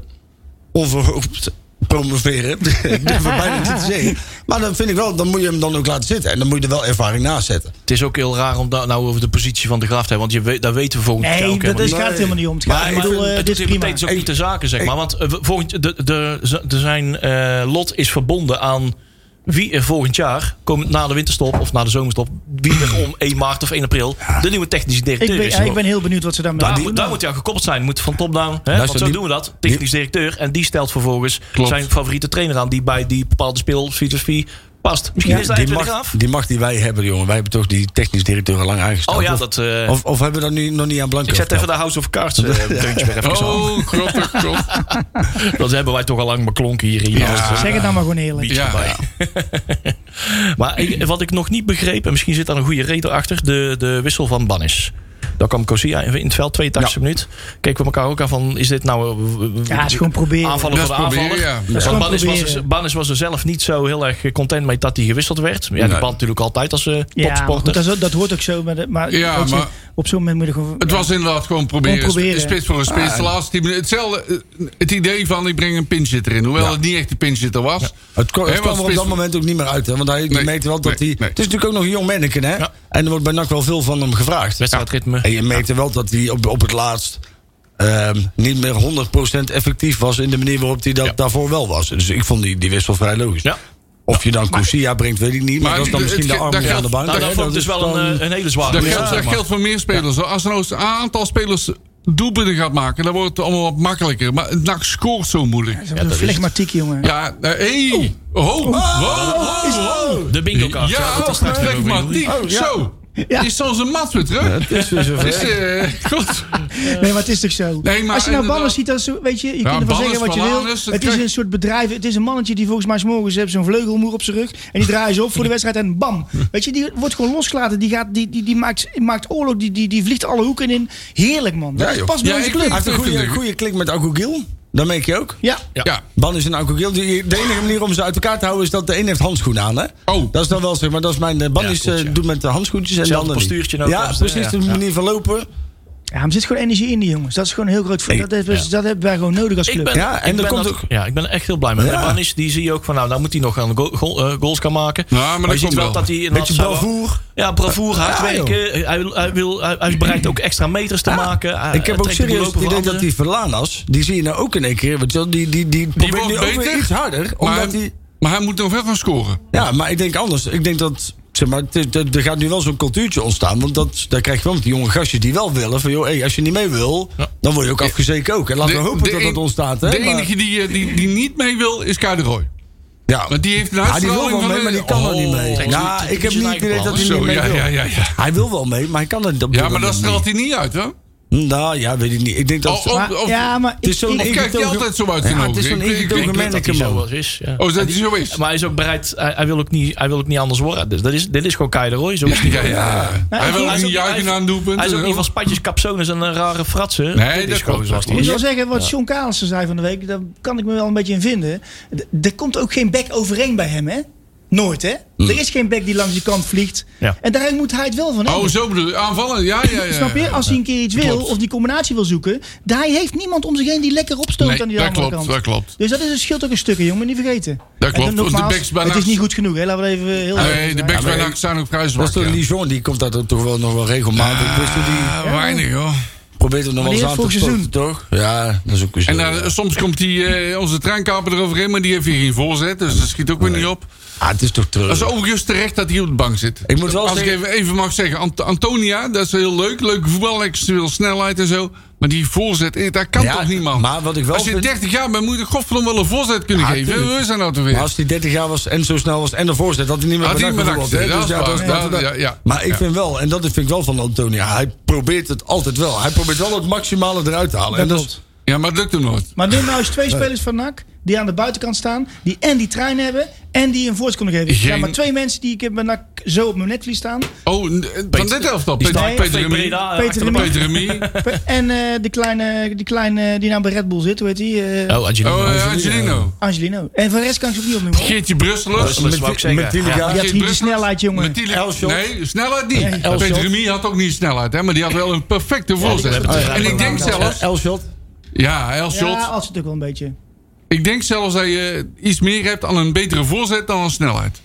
Speaker 4: onverhoopt promoveren. (laughs) ik durf het bijna niet te zeggen. Maar dan vind ik wel, dan moet je hem dan ook laten zitten. En dan moet je er wel ervaring naast zetten.
Speaker 2: Het is ook heel raar om daar nou over de positie van de graaf te hebben. Want je weet, daar weten we volgend jaar
Speaker 5: Nee,
Speaker 2: ook
Speaker 5: dat
Speaker 2: helemaal
Speaker 5: is,
Speaker 2: niet.
Speaker 5: gaat het helemaal niet om. Het gaat,
Speaker 2: Maar
Speaker 5: ik bedoel,
Speaker 2: het
Speaker 5: eh, dit
Speaker 2: doet
Speaker 5: is prima.
Speaker 2: meteen ook niet de zaken, zeg maar. Want eh, we- volgend, de, de, ze- de zijn eh, lot is verbonden aan wie er volgend jaar, komend na de winterstop of na de zomerstop, wie er om 1 maart of 1 april de nieuwe technische
Speaker 5: Ik
Speaker 2: directeur
Speaker 5: ben,
Speaker 2: is.
Speaker 5: ja, ik ben heel benieuwd wat ze daarmee
Speaker 2: daar,
Speaker 5: gaan
Speaker 2: moet-
Speaker 5: doen.
Speaker 2: daar moet hij aan gekoppeld zijn. Moet van top-down. hè,
Speaker 4: Luister,
Speaker 2: Want zo
Speaker 4: die-
Speaker 2: doen we dat. Technisch directeur. En die stelt vervolgens
Speaker 3: Klopt.
Speaker 2: zijn favoriete trainer aan. Die bij die bepaalde speelfilosofie past. Misschien is dat
Speaker 4: die,
Speaker 2: even de
Speaker 4: macht,
Speaker 2: graaf.
Speaker 4: die macht die wij hebben, jongen. Wij hebben toch die technisch directeur al lang aangesteld.
Speaker 2: Oh ja,
Speaker 4: of,
Speaker 2: dat... eh,
Speaker 4: of, of hebben we dat nu nog niet aan Blanco
Speaker 2: ik zet even
Speaker 4: verteld?
Speaker 2: de House of Cards
Speaker 5: (laughs)
Speaker 2: eh, deuntje weer even zo.
Speaker 3: Oh, grappig, god.
Speaker 2: Dat hebben wij toch al lang beklonken hier in Joost.
Speaker 3: Ja.
Speaker 5: Zeg het nou maar gewoon eerlijk.
Speaker 3: Ja,
Speaker 2: erbij.
Speaker 5: (laughs)
Speaker 2: Maar ik- wat ik nog niet begreep, en misschien zit daar een goede reden achter, de, de wissel van Bannis. Daar kwam Cosia in het veld, 82 e minuut. Keken we elkaar ook aan van, is dit nou... eh,
Speaker 5: Ja, het is gewoon proberen.
Speaker 2: Aanvallen
Speaker 3: Dat
Speaker 2: voor de
Speaker 3: is proberen,
Speaker 2: aanvaller.
Speaker 3: ja. Dat is
Speaker 2: Want
Speaker 5: gewoon
Speaker 2: Bannis was,
Speaker 5: proberen.
Speaker 2: Bannis was er zelf niet zo heel erg content mee dat hij gewisseld werd. Ja,
Speaker 3: Nee.
Speaker 2: die band natuurlijk altijd als eh,
Speaker 5: Ja, maar
Speaker 2: topsporter.
Speaker 5: goed, dat, is- dat hoort ook zo. Maar, de- maar,
Speaker 3: Ja,
Speaker 5: weet je,
Speaker 3: maar-
Speaker 5: op zo'n moment moet je gewoon...
Speaker 3: Het was inderdaad gewoon proberen.
Speaker 5: Gewoon proberen.
Speaker 3: Spits voor een
Speaker 4: Ah.
Speaker 3: spits. De laatste tien minuten. Hetzelfde. eh, Het idee van ik breng een pinchitter in. Hoewel het niet echt een pinchitter was.
Speaker 4: Het, ko- het
Speaker 3: Hè, want
Speaker 4: kwam er op
Speaker 3: spits-
Speaker 4: dat moment ook niet meer uit. Hè, want hij die
Speaker 3: Nee,
Speaker 4: merkte wel dat
Speaker 3: nee,
Speaker 4: hij...
Speaker 3: nee.
Speaker 4: Het is natuurlijk ook nog een jong manneken, hè?
Speaker 2: Ja.
Speaker 4: En er wordt bij NAC wel veel van hem gevraagd.
Speaker 2: Wedstrijdritme.
Speaker 4: En je merkte wel dat hij op, op het laatst ehm, niet meer 100% effectief was in de manier waarop hij dat daarvoor wel was. Dus ik vond die, die wissel vrij logisch.
Speaker 2: Ja.
Speaker 4: Of je dan Cousia brengt, weet ik niet. Maar,
Speaker 3: Maar
Speaker 4: dat is dan
Speaker 3: het-
Speaker 4: misschien
Speaker 3: het-
Speaker 4: de arm
Speaker 3: daar
Speaker 4: aan de
Speaker 3: geldt-
Speaker 4: bank.
Speaker 2: Nou, dat
Speaker 4: Hè,
Speaker 2: vond ik dus
Speaker 4: is
Speaker 2: wel een,
Speaker 4: dan-
Speaker 2: eh, een hele zware.
Speaker 3: Dat,
Speaker 2: Ja,
Speaker 3: geldt, dat
Speaker 2: zeg maar.
Speaker 3: geldt voor meer spelers. Als er nou eens een aantal spelers doelpunten gaat maken, dan wordt het allemaal wat makkelijker. Maar NAC scoort zo moeilijk.
Speaker 5: Dat is een flegmatiek, jongen.
Speaker 3: Ja, Oh, hé! Hey. Ho, ho,
Speaker 5: Oh.
Speaker 3: ho, ho.
Speaker 2: De bingo kaart.
Speaker 3: Ja,
Speaker 2: dat is straks weer over, jongen.
Speaker 3: flegmatiek. Zo.
Speaker 5: Ja.
Speaker 3: Is soms een mat weer terug.
Speaker 4: Het is
Speaker 2: (laughs)
Speaker 4: weer zover.
Speaker 3: Dus, eh, goed.
Speaker 5: Nee, maar het is toch zo?
Speaker 3: Nee, maar
Speaker 5: Als je nou
Speaker 3: inderdaad-
Speaker 5: ballen ziet, dat is, zo- weet je, je kunt
Speaker 3: ballen,
Speaker 5: ervan zeggen wat je wil.
Speaker 3: bananen, dat
Speaker 5: Het is
Speaker 3: krijg-
Speaker 5: een soort bedrijf. Het is een mannetje die volgens mij s'morgens heeft zo'n vleugelmoer op zijn rug. En die draaien ze op voor de wedstrijd en bam. Weet je, die wordt gewoon losgelaten. Die, gaat, die, die, die maakt, maakt oorlog, die, die, die vliegt alle hoeken in. Heerlijk, man. Dat
Speaker 4: Ja,
Speaker 5: is
Speaker 4: joh.
Speaker 5: pas bij
Speaker 3: Ja,
Speaker 5: onze
Speaker 3: ik
Speaker 5: club.
Speaker 4: Hij heeft een goede,
Speaker 3: Tuurlijk.
Speaker 4: goede klik met Akugil. Dat merk je ook.
Speaker 5: Ja,
Speaker 3: Ja.
Speaker 4: Ban is een Akugil. Die- De enige manier om ze uit elkaar te houden is dat de een heeft handschoenen aan. Hè?
Speaker 3: Oh.
Speaker 4: Dat is dan wel zeg maar. Dat is mijn. eh, Ban
Speaker 2: Ja,
Speaker 4: is,
Speaker 2: klopt,
Speaker 4: eh,
Speaker 2: ja.
Speaker 4: doet met de handschoentjes en de
Speaker 2: Hetzelfde
Speaker 4: ander niet.
Speaker 2: postuurtje ook,
Speaker 4: Ja,
Speaker 2: eh,
Speaker 4: precies.
Speaker 2: ja.
Speaker 4: De manier van lopen.
Speaker 5: ja maar er zit gewoon energie in die jongens. Dat is gewoon een heel groot... vo- Dat, hebben we- dat hebben wij gewoon nodig als
Speaker 2: Ik
Speaker 5: club.
Speaker 2: ben,
Speaker 4: Ja, en
Speaker 2: ik
Speaker 4: er
Speaker 2: ben
Speaker 4: komt
Speaker 2: dat-
Speaker 4: ook-
Speaker 2: ja, ik ben er echt heel blij mee.
Speaker 4: Ja.
Speaker 2: En Banis, die zie je ook van, nou, nou moet hij nog gaan go- goal- eh, goals gaan maken.
Speaker 3: Ja, maar
Speaker 2: je
Speaker 3: dat
Speaker 2: ziet
Speaker 3: komt
Speaker 2: wel,
Speaker 3: wel.
Speaker 2: dat hij... inderdaad
Speaker 4: Beetje
Speaker 2: zou-
Speaker 4: bravoer.
Speaker 2: Ja, bravoer, hard werken. Hij, wil- hij, wil, hij, hij is bereid ook extra meters te maken. Hij- Ah,
Speaker 4: ik heb
Speaker 2: hij
Speaker 4: ook
Speaker 2: trekt de
Speaker 4: serieus het
Speaker 2: doellopen
Speaker 4: idee
Speaker 2: voor
Speaker 4: dat die
Speaker 2: anderen.
Speaker 4: Verlanas, die zie je nou ook in één keer. Want die, die, die, die probeert
Speaker 3: wordt
Speaker 4: nu ook weer
Speaker 3: beter,
Speaker 4: iets harder.
Speaker 3: Maar,
Speaker 4: Omdat die,
Speaker 3: maar hij moet nog wel gaan scoren.
Speaker 4: ja, maar ik denk anders. Ik denk dat, zeg maar, het is- dat- er gaat nu wel zo'n cultuurtje ontstaan. Want dat, daar krijg je wel met die jonge gastjes die wel willen. Van joh, hey, als je niet mee wil, dan word je ook afgezeken ook. En laten we hopen dat
Speaker 3: en-
Speaker 4: dat ontstaat. Hè?
Speaker 3: de
Speaker 4: Maar-
Speaker 3: enige die, eh, die, die niet mee wil, is Kai de Roy.
Speaker 4: ja,
Speaker 3: Want die heeft een
Speaker 4: Ja, die wil
Speaker 3: uitstraling
Speaker 4: wel
Speaker 3: van
Speaker 4: mee,
Speaker 3: een-
Speaker 4: maar die kan er niet mee.
Speaker 2: Oh,
Speaker 4: Ja,
Speaker 2: die-
Speaker 4: ik heb
Speaker 2: die
Speaker 4: niet
Speaker 2: zijn
Speaker 4: het idee dat hij
Speaker 3: Zo,
Speaker 4: niet mee
Speaker 3: ja,
Speaker 4: wil.
Speaker 3: ja, ja, ja.
Speaker 4: Hij wil wel mee, maar hij kan er niet op
Speaker 3: Ja,
Speaker 4: dit
Speaker 3: maar dat
Speaker 4: moment
Speaker 3: straalt hij niet uit, hè?
Speaker 4: niet. Nou ja, weet ik niet. Ik denk dat...
Speaker 3: Oh, oh,
Speaker 5: Maar-
Speaker 3: of-
Speaker 5: ja, maar
Speaker 4: het is zo'n
Speaker 5: ik-
Speaker 3: Of kijkt hij
Speaker 4: ingetogen-
Speaker 3: altijd zo uit zijn
Speaker 4: Ja,
Speaker 3: ogen?
Speaker 4: het is zo'n
Speaker 3: Ik- ik- ik-
Speaker 4: ingetogen
Speaker 2: Dat hij
Speaker 4: manneke,
Speaker 2: zo
Speaker 4: man.
Speaker 2: wel is. Ja.
Speaker 3: Oh, dat hij zo is.
Speaker 2: Maar hij is ook bereid, hij, hij wil ook niet, hij wil ook niet anders worden. Dus dat is, dit is gewoon Kai de Roy. Zo is hij.
Speaker 3: Ja, ja. Hij wil ook niet juichen aan doelpunten.
Speaker 2: Hij is ook niet van spatjes, capsones en eh, rare fratsen.
Speaker 3: eh, oh. Nee,
Speaker 2: Dit
Speaker 3: dat
Speaker 2: is gewoon
Speaker 3: klopt.
Speaker 2: zoals hij
Speaker 5: Ik moet
Speaker 2: is.
Speaker 5: wel zeggen, wat John Carlsen zei van de week, daar kan ik me wel een beetje in vinden. D- Er komt ook geen back overeen bij hem, hè? Nooit, hè?
Speaker 4: Hm.
Speaker 5: Er is geen back die langs die kant vliegt.
Speaker 2: Ja.
Speaker 5: En daarin moet hij het wel van
Speaker 3: Oh,
Speaker 5: hebben.
Speaker 3: zo bedoel je. Aanvallen, ja, ja, ja.
Speaker 5: Snap je? Als hij een keer iets wil,
Speaker 3: Klopt.
Speaker 5: of die combinatie wil zoeken, daar heeft niemand om zich heen die lekker opstoot
Speaker 3: Nee,
Speaker 5: aan die
Speaker 3: dat
Speaker 5: andere
Speaker 3: klopt,
Speaker 5: kant.
Speaker 3: dat klopt.
Speaker 5: Dus dat is het scheelt ook een stukje, jongen, niet vergeten.
Speaker 3: Dat klopt.
Speaker 5: En dan
Speaker 3: Of de
Speaker 5: nogmaals,
Speaker 3: backs bij
Speaker 5: het is
Speaker 3: NAC-
Speaker 5: niet goed genoeg, hè? Laten we even eh, heel
Speaker 3: Nee, de backs bij NAC zijn ook vrij
Speaker 4: Dat is
Speaker 3: zwak.
Speaker 4: toch
Speaker 3: ja.
Speaker 4: Lijon, die komt daar toch wel nog wel regelmatig. dus die
Speaker 3: Ah, Weinig, hoor.
Speaker 4: probeert hem nog wel eens
Speaker 5: Maar
Speaker 4: aan
Speaker 5: die
Speaker 4: te
Speaker 5: heeft vorig
Speaker 4: stoten, toch? Ja, dat is ook weer zo.
Speaker 3: En dan, eh, soms komt die, eh, onze treinkaper eroverheen, maar die heeft hier geen voorzet. Dus dat schiet ook weer niet op.
Speaker 4: Ah, het is toch
Speaker 3: Dat is
Speaker 4: terug.
Speaker 3: overigens terecht dat hij op de bank zit.
Speaker 4: Ik moet wel
Speaker 3: Als
Speaker 4: zeggen-
Speaker 3: ik even, even mag zeggen, Ant- Antonia, dat is heel leuk. Leuke voetbal, veel snelheid en zo. Maar die voorzet, eh, daar kan
Speaker 4: Ja,
Speaker 3: toch niemand?
Speaker 4: maar wat ik wel
Speaker 3: Als je
Speaker 4: vind-
Speaker 3: 30 jaar bent, moet je godverdomme wel een voorzet kunnen
Speaker 4: Ja,
Speaker 3: geven.
Speaker 4: tuurlijk.
Speaker 3: We zijn nou te weer.
Speaker 4: Maar als hij 30 jaar was en zo snel was en de voorzet, had hij niet meer
Speaker 3: Had hij
Speaker 4: bedacht
Speaker 3: niet meer
Speaker 4: bijvoorbeeld, hè?
Speaker 3: bedacht,
Speaker 4: Dus ja,
Speaker 3: dat
Speaker 4: dat
Speaker 3: is
Speaker 4: is
Speaker 3: waar.
Speaker 4: dat-
Speaker 3: Ja, ja.
Speaker 4: Maar ik
Speaker 3: Ja.
Speaker 4: vind wel, en dat vind ik wel van Antonia, hij probeert het altijd wel. Hij probeert wel het maximale eruit te halen. en
Speaker 5: Dat
Speaker 4: dat is-
Speaker 5: klopt.
Speaker 3: Ja, maar dat lukt hem nooit.
Speaker 5: Maar neem nou eens twee spelers van NAC die aan de buitenkant staan, die en die trein hebben en die een voorst kunnen geven. Er
Speaker 3: Geen-
Speaker 5: zijn maar twee mensen die ik heb bij NAC zo op mijn netvlies staan. (laughs)
Speaker 3: Oh, n- van dit elftal.
Speaker 2: Die
Speaker 3: Peter,
Speaker 2: staat
Speaker 3: Peter
Speaker 2: twee
Speaker 3: Remy.
Speaker 2: Breda eh,
Speaker 5: Peter
Speaker 2: achter de
Speaker 5: Remy.
Speaker 2: bank.
Speaker 3: Peter Remy.
Speaker 5: Pe- En eh, die kleine, die kleine die nou bij Red Bull zit, hoe heet die? Eh,
Speaker 2: Oh, Angelino.
Speaker 3: Oh, eh, Angelino.
Speaker 5: Angelino. En van de rest kan ik ze ook niet opnoemen. hoor.
Speaker 3: Geertje Brusselers.
Speaker 2: Brusselers, wou ik zeggen.
Speaker 4: met die-
Speaker 2: Ja.
Speaker 5: Die had
Speaker 3: Geert
Speaker 5: niet de
Speaker 3: Brusselers.
Speaker 5: snelheid, jongen.
Speaker 3: Met die-
Speaker 4: Elshot.
Speaker 3: Nee, snelheid niet.
Speaker 5: Elshot.
Speaker 3: Peter Remy had ook niet snelheid, hè, maar die had wel een perfecte voorzet.
Speaker 2: hebben het er
Speaker 3: en ik
Speaker 2: eigenlijk
Speaker 3: denk
Speaker 2: over.
Speaker 3: zelfs...
Speaker 4: Elshot.
Speaker 3: Ja, Elshot.
Speaker 5: Ja, oh. als het ook wel een beetje.
Speaker 3: Ik denk zelfs dat je iets meer hebt aan een betere voorzet dan aan snelheid.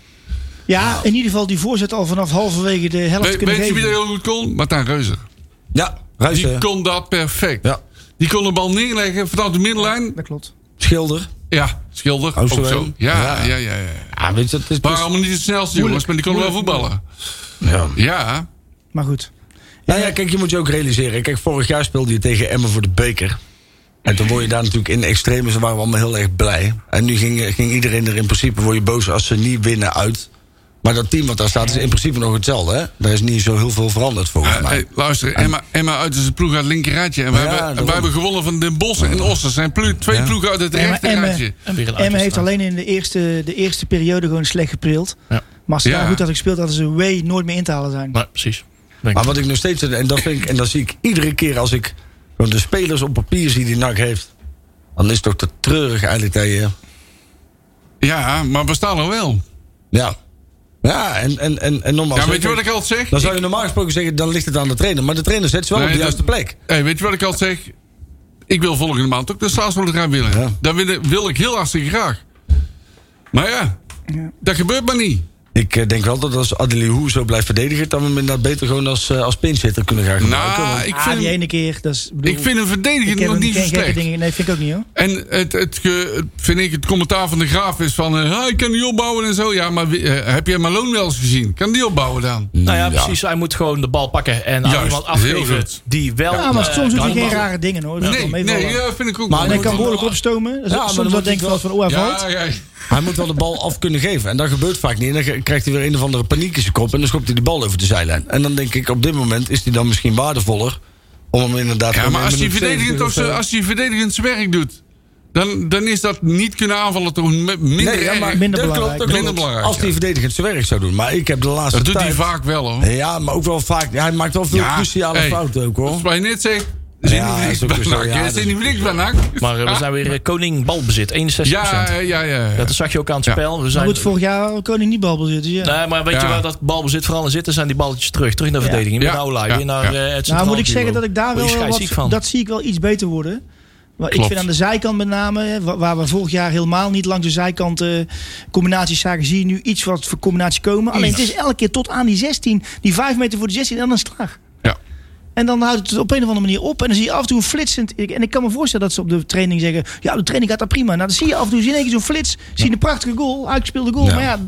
Speaker 5: Ja, in ieder geval die voorzet al vanaf halverwege de helft
Speaker 3: Nou. We-
Speaker 5: kunnen
Speaker 3: weet je wie dat
Speaker 5: geven.
Speaker 3: heel goed kon? Martijn Reuzer.
Speaker 4: Ja,
Speaker 3: Die
Speaker 4: Ruijsen.
Speaker 3: kon dat perfect.
Speaker 4: eh, Ja.
Speaker 3: Die kon de bal neerleggen vanaf de middenlijn.
Speaker 5: Dat klopt.
Speaker 4: Schilder.
Speaker 3: Ja, schilder. Ook
Speaker 4: Oosterwijn.
Speaker 3: zo. Ja, ja, ja. ja,
Speaker 4: Ja, Dus weet je, dat is...
Speaker 3: Waren allemaal niet de snelste jongens, maar die konden wel voetballen. Ja. ja.
Speaker 5: Maar goed.
Speaker 4: Nou ja, kijk, je moet je ook realiseren. Kijk, vorig jaar speelde je tegen Emmen voor de beker. En toen word je daar natuurlijk in de extremes, dan waren we allemaal heel erg blij. En nu ging, ging iedereen er in principe, word je boos als ze niet winnen uit. Maar dat team wat daar staat is in principe nog hetzelfde, hè? Daar is niet zo heel veel veranderd volgens
Speaker 3: Eh,
Speaker 4: mij.
Speaker 3: eh, luister, Emma, Emma uit is een ploeg uit het linkerraadje. En wij,
Speaker 4: Ja,
Speaker 3: hebben,
Speaker 4: daarom.
Speaker 3: wij hebben gewonnen van Den Bosch en Ossen. zijn ploeg, twee ploegen uit het
Speaker 5: Ja, maar
Speaker 3: rechterraadje.
Speaker 2: En weer een
Speaker 5: Emmen heeft
Speaker 2: uitwedstrijd.
Speaker 5: alleen in de eerste, de eerste periode gewoon slecht geprild.
Speaker 2: Ja.
Speaker 5: Maar als ze daar
Speaker 3: Ja.
Speaker 5: goed had gespeeld, hadden ze way nooit meer in te halen zijn.
Speaker 2: Nee, precies. Denk
Speaker 4: Maar
Speaker 2: ik.
Speaker 4: wat ik nog steeds, en dat, vind ik, en dat zie ik iedere keer als ik gewoon de spelers op papier zie die NAC heeft. Dan is het toch te treurig eigenlijk dat je...
Speaker 3: Ja, maar we staan er wel.
Speaker 4: Ja, ja en, en, en, en normaal...
Speaker 3: Ja, weet je wat ik altijd zeg?
Speaker 4: Dan zou je normaal gesproken zeggen, dan ligt het aan de trainer. Maar de trainer zet ze wel
Speaker 3: Nee,
Speaker 4: op de
Speaker 3: dat-
Speaker 4: juiste plek.
Speaker 3: Hey, weet je wat ik altijd zeg? Ik wil volgende maand ook de staatsloterij winnen.
Speaker 4: Ja.
Speaker 3: Dat wil, wil ik heel hartstikke graag. Maar ja, dat gebeurt maar niet.
Speaker 4: Ik eh, denk wel dat als Adelie Hoe zo blijft verdedigen... dat we hem inderdaad beter gewoon als, eh, als pinchitter kunnen gaan gebruiken.
Speaker 3: Nou,
Speaker 4: want-
Speaker 3: ik
Speaker 5: ah, die
Speaker 3: vind,
Speaker 5: ene keer. Dat is, bedoel,
Speaker 3: ik vind hem
Speaker 5: ik
Speaker 3: verdedigend
Speaker 5: heb
Speaker 3: nog
Speaker 5: hem
Speaker 3: niet zo
Speaker 5: geen gekke
Speaker 3: slecht.
Speaker 5: dingen. Nee, vind ik ook niet hoor.
Speaker 3: En het, het, ge- het- vind ik, het commentaar van de graaf is van... eh, ah, ik kan niet opbouwen en zo. Ja, maar wie- eh, heb jij Malone wel eens gezien? Kan die opbouwen dan?
Speaker 2: Nou ja, precies. Hij moet gewoon de bal pakken en aan
Speaker 3: Juist,
Speaker 2: iemand
Speaker 3: heel
Speaker 2: afgeven
Speaker 3: goed.
Speaker 2: die wel...
Speaker 5: Ja, maar
Speaker 2: eh,
Speaker 5: soms doet
Speaker 2: kan
Speaker 5: hij geen
Speaker 2: ballen.
Speaker 5: rare dingen hoor. Dat
Speaker 3: nee,
Speaker 5: kan meevallen.
Speaker 3: nee, ja, vind ik ook
Speaker 4: Maar
Speaker 5: En hij kan
Speaker 3: Ja,
Speaker 5: behoorlijk opstomen. Dus
Speaker 4: Ja, maar dan
Speaker 5: soms
Speaker 4: moet
Speaker 5: dan
Speaker 4: hij
Speaker 5: denk je
Speaker 4: wel-
Speaker 5: wel van, oh hij valt.
Speaker 3: Ja, ja,
Speaker 4: Hij moet wel de bal af kunnen geven. En dat gebeurt vaak niet. En dan ge- krijgt hij weer een of andere paniek in zijn kop. En dan schopt hij de bal over de zijlijn. En dan denk ik, op dit moment is hij dan misschien waardevoller. Om hem inderdaad...
Speaker 3: ja
Speaker 4: gewoon
Speaker 3: maar
Speaker 4: in
Speaker 3: als hij
Speaker 4: minuut 70
Speaker 3: verdedigend,
Speaker 4: of
Speaker 3: of
Speaker 4: zo-
Speaker 3: zo- als hij verdedigend zijn werk doet... Dan, dan is dat niet kunnen aanvallen toch me- minder
Speaker 4: Nee, ja,
Speaker 3: erg.
Speaker 4: maar
Speaker 5: Minder
Speaker 4: dat
Speaker 5: belangrijk.
Speaker 4: klopt, dat
Speaker 3: Minder
Speaker 4: klopt.
Speaker 3: belangrijk,
Speaker 4: Als hij
Speaker 3: ja.
Speaker 4: verdedigend zijn werk zou doen. Maar ik heb de laatste
Speaker 3: Dat doet hij
Speaker 4: tijd-
Speaker 3: vaak wel, hoor.
Speaker 4: Ja, maar ook wel vaak. Hij maakt wel veel cruciale
Speaker 3: hey,
Speaker 4: fouten ook, hoor.
Speaker 3: Volgens mij net zegt... Zin
Speaker 4: Ja,
Speaker 3: ja,
Speaker 4: is ook
Speaker 3: bij
Speaker 4: zo,
Speaker 3: NAC.
Speaker 4: ja,
Speaker 3: hè?
Speaker 4: dat
Speaker 3: Zin
Speaker 4: is-
Speaker 3: niet niks bij NAC. Ah,
Speaker 2: Maar eh, we zijn weer eh, koning balbezit, 61%.
Speaker 3: Ja, eh, ja, ja. ja.
Speaker 2: Dat zag je ook aan het
Speaker 3: Ja.
Speaker 2: spel. We zijn,
Speaker 5: Maar goed, vorig jaar had koning niet balbel zitten. Dus ja.
Speaker 2: Nee, maar weet je
Speaker 3: Ja.
Speaker 2: waar dat balbezit vooral in zit? Dan zijn die balletjes terug. Terug naar
Speaker 5: Ja.
Speaker 2: verdediging.
Speaker 3: Ja.
Speaker 2: Weer naar Ola,
Speaker 3: Ja.
Speaker 2: weer naar
Speaker 3: Ja.
Speaker 2: eh, het
Speaker 5: nou
Speaker 2: centraal
Speaker 5: moet ik zeggen dat
Speaker 2: duo.
Speaker 5: ik daar
Speaker 2: Word je
Speaker 5: wel
Speaker 2: scheidsziek van.
Speaker 5: wat, dat zie ik wel iets beter worden. Maar ik
Speaker 3: Klopt.
Speaker 5: vind aan de zijkant met name, hè, wa- waar we vorig jaar helemaal niet langs de zijkant eh, combinaties zagen, zie je nu iets wat voor combinaties komen. Alleen het is elke keer tot aan die 16, die 5 meter voor de 16 en dan slaag.
Speaker 3: Ja.
Speaker 5: En dan houdt het dus op een of andere manier op. En dan zie je af en toe een flitsend. ik- En ik kan me voorstellen dat ze op de training zeggen: Ja, de training gaat daar prima. Nou, dan zie je af en toe zie je in één keer zo'n flits. Zie je een prachtige goal, uitgespeelde goal. Maar ja,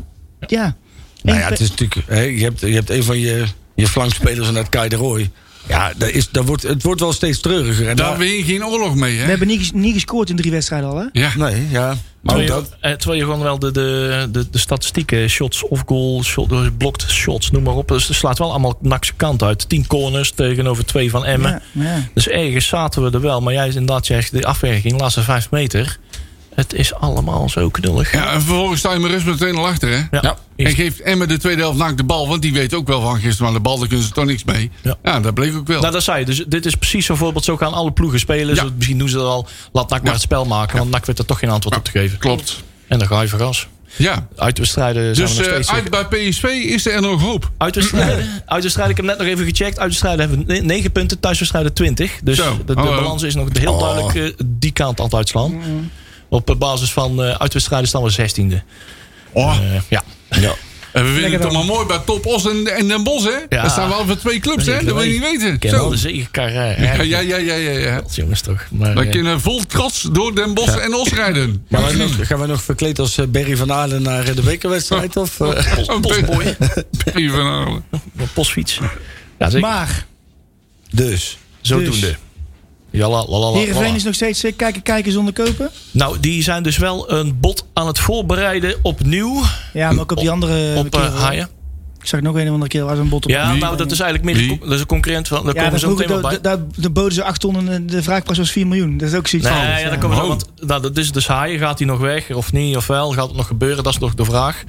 Speaker 5: ja.
Speaker 4: Nou
Speaker 5: Eén
Speaker 4: ja,
Speaker 5: pe-
Speaker 4: het is natuurlijk. Hè, je, hebt, je hebt een van je, je flankspelers en dat Kai de Roy. Ja, dat is, dat wordt, het wordt wel steeds treuriger. Nou, En
Speaker 3: Daar win je geen oorlog mee,
Speaker 5: We
Speaker 3: hè?
Speaker 5: hebben niet, ges- niet gescoord in drie wedstrijden al, hè?
Speaker 3: Ja.
Speaker 4: Nee, ja. Maar ook
Speaker 2: Terwijl,
Speaker 4: Oh, dat.
Speaker 2: je, eh, terwijl je gewoon wel de, de, de, de statistieken, shots of goal, shot, eh, blocked shots, noem maar op. Dus het slaat wel allemaal nakse kant uit. 10 corners tegenover twee van Emmen.
Speaker 5: Ja, ja.
Speaker 2: Dus ergens zaten we er wel. Maar jij is inderdaad zegt, de afwerking, de laatste vijf meter. Het is allemaal zo knullig.
Speaker 3: Ja, en vervolgens sta je met rust meteen al achter, hè?
Speaker 2: Ja.
Speaker 3: En geeft Emmen de tweede helft naakt de bal. Want die weet ook wel van gisteren. Maar de bal, daar kunnen ze toch niks mee. Ja,
Speaker 2: Ja.
Speaker 3: dat bleek ook wel.
Speaker 2: Nou, dat zei je. Dus dit is precies zo'n voorbeeld. Zo gaan alle ploegen spelen.
Speaker 3: Ja.
Speaker 2: Zo- misschien doen ze dat al. Laat NAC maar het spel maken. Want NAC werd er toch geen antwoord op te geven.
Speaker 3: Klopt.
Speaker 2: En dan ga je verras.
Speaker 3: Ja.
Speaker 2: Uitwedstrijden zijn
Speaker 3: Dus
Speaker 2: we nog
Speaker 3: eh,
Speaker 2: steeds...
Speaker 3: uit bij PSV is er nog hoop.
Speaker 2: Uitwedstrijden, uitwedstrijden, ik heb net nog even gecheckt. Uitwedstrijden hebben we 9 punten, thuiswedstrijden 20. Dus
Speaker 3: Zo, Oh,
Speaker 2: de, de
Speaker 3: hallo.
Speaker 2: balans is nog heel duidelijk eh, die kant aan het uitslaan. Op eh, basis van eh, uitwedstrijden staan we 16e.
Speaker 3: Oh.
Speaker 2: Eh, ja.
Speaker 4: Ja.
Speaker 3: En we winnen
Speaker 5: Lekker
Speaker 3: het
Speaker 5: dan.
Speaker 3: allemaal mooi bij Top Os en, en Den Bos, hè?
Speaker 2: Ja.
Speaker 3: Daar staan we al voor twee clubs, hè? Dat wil je niet weten.
Speaker 2: Ik ken
Speaker 3: Zo.
Speaker 2: wel de zegenkar.
Speaker 3: Ja, ja, ja, ja, ja. ja.
Speaker 2: Jongens toch. Maar,
Speaker 3: Wij
Speaker 2: eh,
Speaker 3: kunnen vol trots door Den Bos en Os rijden.
Speaker 4: Maar wij nog, gaan wij nog verkleed als eh, Barry van Aalen naar eh, de bekerwedstrijd? Of, eh?
Speaker 3: (laughs) Zo'n
Speaker 2: postboy.
Speaker 3: Barry van Aalen.
Speaker 2: Een postfiets. Ja, zeker.
Speaker 5: Maar
Speaker 4: dus.
Speaker 2: Zodoende. Ja, la, la, la, la, la.
Speaker 5: Heerenveen is nog steeds eh, kijken, kijken zonder kopen.
Speaker 2: Nou, die zijn dus wel een bot aan het voorbereiden opnieuw
Speaker 5: Ja, maar ook op die andere
Speaker 2: op
Speaker 5: keer,
Speaker 2: eh,
Speaker 5: hoor.
Speaker 2: haaien.
Speaker 5: Ik zag nog een of andere keer waar zo'n bot op.
Speaker 2: Ja, nou, dat is eigenlijk meer
Speaker 3: Wie?
Speaker 2: dat is een concurrent. Van, daar
Speaker 5: Ja,
Speaker 2: komen we
Speaker 5: dat
Speaker 2: zo meteen wel
Speaker 5: vroeger,
Speaker 2: bij.
Speaker 5: daar, daar, daar boden ze 8 ton en eh, de vraagprijs was 4 miljoen. Dat is ook zoiets
Speaker 2: Nee,
Speaker 5: van.
Speaker 2: ja, dan komen we zo,
Speaker 3: Oh.
Speaker 2: want nou, dat is dus haaien. Gaat hij nog weg of niet? Of wel? Gaat het nog gebeuren? Dat is nog de vraag.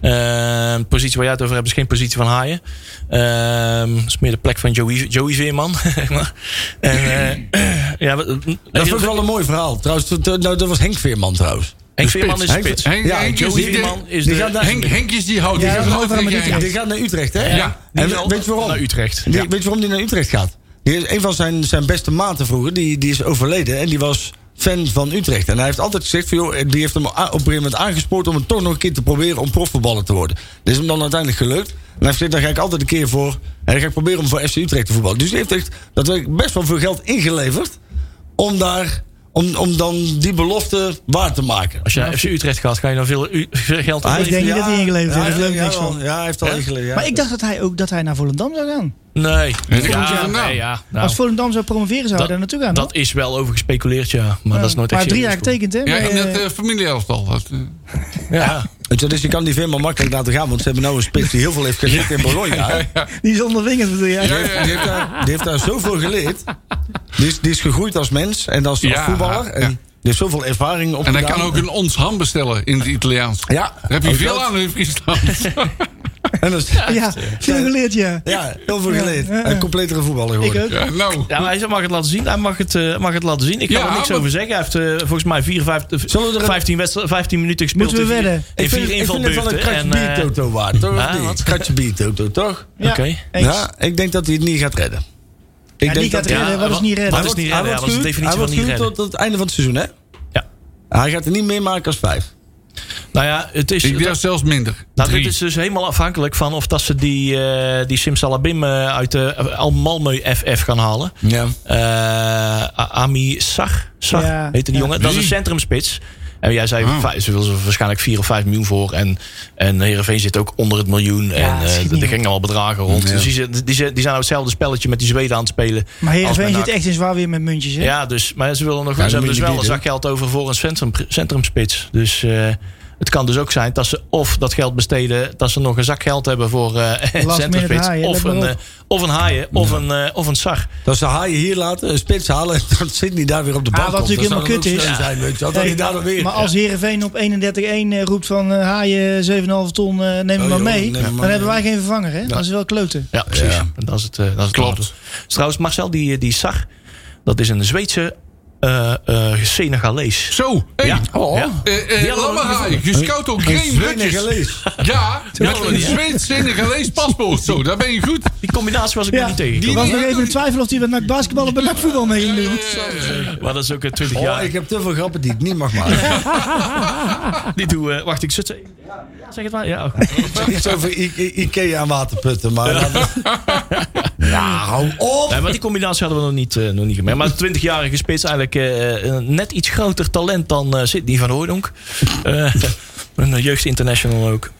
Speaker 2: Ehm, positie waar jij het over hebt is geen positie van haaien. Ehm, Het is meer de plek van Joey, Joey Veerman. (laughs) zeg maar. en, eh, (clears throat) ja, wat-
Speaker 4: Dat is ook wel een mooi verhaal. Trouwens, dat- dat- nou, dat was Henk Veerman trouwens.
Speaker 2: Henk
Speaker 4: De
Speaker 2: Veerman is de
Speaker 4: Henk-
Speaker 2: spits.
Speaker 3: Henk,
Speaker 4: Ja,
Speaker 3: Henk
Speaker 4: Joey
Speaker 3: is die-
Speaker 2: Veerman is
Speaker 4: die
Speaker 2: de-
Speaker 4: gaat naar-
Speaker 3: Henk, Henk is die hout.
Speaker 5: Ja,
Speaker 3: die
Speaker 5: dat
Speaker 3: gaat
Speaker 5: is overal
Speaker 3: nooit
Speaker 5: met
Speaker 3: tegen
Speaker 4: Die
Speaker 5: die-
Speaker 3: Henk.
Speaker 4: gaat naar Utrecht, hè?
Speaker 3: Ja. Ja.
Speaker 4: En
Speaker 2: Die
Speaker 4: we-
Speaker 2: zal
Speaker 4: weet je waarom?
Speaker 2: Naar Utrecht.
Speaker 4: Die- Weet je waarom die naar Utrecht gaat? Die is, een van zijn, zijn beste maten vroeger, die, die is overleden. En die was fan van Utrecht. En hij heeft altijd gezegd, van, joh, die heeft hem a- op een gegeven moment aangespoord... om het toch nog een keer te proberen om profvoetballer te worden. Dat is hem dan uiteindelijk gelukt. En hij heeft gezegd, daar ga ik altijd een keer voor... en dan ga ik proberen om voor FC Utrecht te voetballen. Dus die heeft echt dat heb ik best wel veel geld ingeleverd... om, daar, om, om dan die belofte waar te maken.
Speaker 2: Als je naar FC Utrecht gaat, ga je dan veel, u- veel geld
Speaker 5: Hij
Speaker 2: op.
Speaker 5: denk niet dat hij ingeleverd heeft,
Speaker 4: ja,
Speaker 5: daar geloof ik
Speaker 4: ja,
Speaker 5: niks
Speaker 4: wel.
Speaker 5: van.
Speaker 4: Ja, hij heeft al ingeleverd. ja.
Speaker 5: Maar ik dacht dat hij ook dat hij naar Volendam zou gaan.
Speaker 2: Nee.
Speaker 3: ik kom
Speaker 2: Ja,
Speaker 3: er vandaan.
Speaker 2: nee, ja. Nou,
Speaker 5: Als Volendam zou promoveren, zou hij
Speaker 2: dat-
Speaker 5: daar naartoe gaan.
Speaker 2: dat is wel over gespeculeerd, ja. Maar dat is nooit
Speaker 5: maar
Speaker 2: echt
Speaker 5: drie jaar
Speaker 2: serieus
Speaker 5: getekend, hè?
Speaker 3: Ja,
Speaker 5: bij,
Speaker 3: in
Speaker 5: eh,
Speaker 3: het eh, familieelftal. Dat, eh,
Speaker 5: (laughs)
Speaker 2: Ja.
Speaker 4: Weet je, dus je kan die Veerman makkelijk laten gaan... want ze hebben nou een spits die heel veel heeft geleerd in Bologna.
Speaker 5: die is onderwingend, bedoel jij?
Speaker 4: Die heeft, die heeft daar, die heeft daar zoveel geleerd. Die is, die is gegroeid als mens en als, als
Speaker 3: Ja,
Speaker 4: voetballer. En
Speaker 3: ja.
Speaker 4: die heeft zoveel ervaring op.
Speaker 3: En hij kan ook een ons ham bestellen in het Italiaans.
Speaker 4: Ja.
Speaker 3: Daar heb je
Speaker 4: Ook
Speaker 3: veel
Speaker 4: dat.
Speaker 3: aan in Friesland.
Speaker 4: En dat is-
Speaker 5: Ja, veel geleerd, ja.
Speaker 4: ja, heel veel
Speaker 5: Ja,
Speaker 4: geleerd.
Speaker 5: ja, ja.
Speaker 4: Een completere voetballer
Speaker 5: (laughs) Ik
Speaker 4: geworden.
Speaker 5: ook.
Speaker 3: Ja, nou.
Speaker 2: Ja, maar hij mag het laten zien. Hij mag het, eh, mag het laten zien. Ik kan
Speaker 3: Ja,
Speaker 2: er niks
Speaker 3: maar-
Speaker 2: over zeggen. Hij heeft eh, volgens mij vier, vijf,
Speaker 4: Zullen we er een-
Speaker 2: 15, wedstrijden- 15 minuten gespeeld.
Speaker 5: Moeten we
Speaker 2: in vier-
Speaker 5: wedden?
Speaker 2: In
Speaker 4: Ik vind,
Speaker 2: vier
Speaker 4: ik vind het wel een
Speaker 2: invalbeurten.
Speaker 4: kratje
Speaker 2: En, eh,
Speaker 4: bier Toto waard, toch?
Speaker 2: Ah,
Speaker 4: Of niet?
Speaker 2: wat?
Speaker 4: Kratje bier Toto, toch?
Speaker 5: Ja,
Speaker 2: Oké.
Speaker 5: eens.
Speaker 4: Ja, ik denk dat hij het niet gaat redden. Ik
Speaker 5: niet gaat
Speaker 4: hij-
Speaker 5: redden. Wat is
Speaker 2: wa-
Speaker 5: niet redden?
Speaker 2: Wat
Speaker 4: hij
Speaker 2: is
Speaker 4: wordt- dus
Speaker 2: niet
Speaker 4: hij
Speaker 2: redden? Ja,
Speaker 4: wordt
Speaker 2: Dat is de
Speaker 4: gehuurd-
Speaker 2: definitie
Speaker 4: Hij
Speaker 2: van
Speaker 4: wordt
Speaker 2: niet
Speaker 4: gehuurd
Speaker 2: redden.
Speaker 4: tot het einde van het seizoen, hè?
Speaker 2: Ja.
Speaker 4: Hij gaat er niet meer maken als vijf.
Speaker 2: Nou ja, het is.
Speaker 3: Ik
Speaker 2: dat-
Speaker 3: durf zelfs minder.
Speaker 2: Nou,
Speaker 3: Drie.
Speaker 2: dit is dus helemaal afhankelijk van of dat ze die, eh, die Simsalabim eh, uit de Al Malmö FF gaan halen.
Speaker 4: Ja.
Speaker 2: Eh, A- Ami Sar, Sar
Speaker 5: Ja,
Speaker 2: heette die
Speaker 5: ja.
Speaker 2: jongen. Dat is een
Speaker 3: Wie?
Speaker 2: centrumspits. En jij zei,
Speaker 3: Ah.
Speaker 2: vij- ze willen er waarschijnlijk 4 of 5 miljoen voor. En, en Heerenveen zit ook onder het miljoen. en
Speaker 5: dat
Speaker 2: eh,
Speaker 5: schiet
Speaker 2: d-
Speaker 5: niet
Speaker 2: er
Speaker 5: op.
Speaker 2: gingen al bedragen rond.
Speaker 3: Ja.
Speaker 2: Dus die, zit- die, zit- die zijn nou hetzelfde spelletje met die Zweden aan het spelen.
Speaker 5: Maar Heerenveen
Speaker 2: Als bij
Speaker 5: zit echt in zwaar weer met muntjes. Hè?
Speaker 2: Ja, dus, maar ze, willen nog,
Speaker 4: Ja,
Speaker 2: ze
Speaker 4: dan
Speaker 2: hebben
Speaker 4: moet
Speaker 2: dus
Speaker 4: je
Speaker 2: wel een
Speaker 4: bieden.
Speaker 2: zak geld over voor een centrum, centrumspits. Dus eh, het kan dus ook zijn dat ze of dat geld besteden... dat ze nog een zak geld hebben voor eh, (laughs) een
Speaker 5: minute
Speaker 2: centrumspits.
Speaker 5: haaien,
Speaker 2: of,
Speaker 5: let maar
Speaker 2: een,
Speaker 5: op.
Speaker 2: eh, of een haaien, of, een, eh, of een sar.
Speaker 4: Dat ze haaien hier laten, een spits halen en dan zit niet daar weer op de bank.
Speaker 5: Ah, wat natuurlijk
Speaker 4: komt. Dat zou dan
Speaker 5: helemaal
Speaker 4: ook
Speaker 5: kut is.
Speaker 4: steun Zijn, weet je, wel, dat
Speaker 5: Hey,
Speaker 4: hij daar dan weer.
Speaker 5: Maar als Heerenveen op 31-1 eh, roept van eh haaien 7,5 ton, eh, neem hem
Speaker 4: Oh,
Speaker 5: maar
Speaker 4: joh,
Speaker 5: mee.
Speaker 4: neem hem maar
Speaker 5: Dan
Speaker 4: mee.
Speaker 5: hebben wij geen vervanger. Hè? Dat is wel kloten.
Speaker 2: Ja, precies. En Dat is het, eh, dat is het
Speaker 3: Klopt.
Speaker 2: nadeel. Dus trouwens, Marcel, die, eh, die Sar, dat is een Zweedse eh eh Senegalees.
Speaker 3: Zo, hey.
Speaker 2: Ja.
Speaker 3: Oh.
Speaker 2: Ja.
Speaker 3: Eh, eh,
Speaker 2: Die hadden we nog
Speaker 3: Lammerhaai,
Speaker 2: gevonden.
Speaker 3: gescout door Graham Hutjes.
Speaker 4: gelees.
Speaker 3: Ja, met
Speaker 2: hadden we
Speaker 3: een
Speaker 2: niet, hè?
Speaker 3: Zweeds-Senegalees paspoort. Zo, daar ben je goed.
Speaker 2: Die combinatie was ik nog
Speaker 5: Ja,
Speaker 2: niet tegen.
Speaker 5: Ik
Speaker 3: die-
Speaker 5: was nog even in twijfel of hij met NAC basketbal of met NAC voetbal mee ging doen.
Speaker 2: Maar dat is ook eh, 20
Speaker 4: Oh,
Speaker 2: jaar.
Speaker 4: ik heb te veel grappen die ik niet mag maken.
Speaker 2: Die doe, eh, wacht, ik zit... Zeg het maar. Ja, oké.
Speaker 4: Iets over I- I- Ikea en waterputten, maar... Ja, hou op!
Speaker 2: (laughs) Nee, maar die combinatie hadden we nog niet, eh nog niet gemerkt. Maar de 20-jarige spits eigenlijk eh, eh, net iets groter talent dan eh Sidney van Hooydonk. Eh, (laughs) een jeugdinternational ook.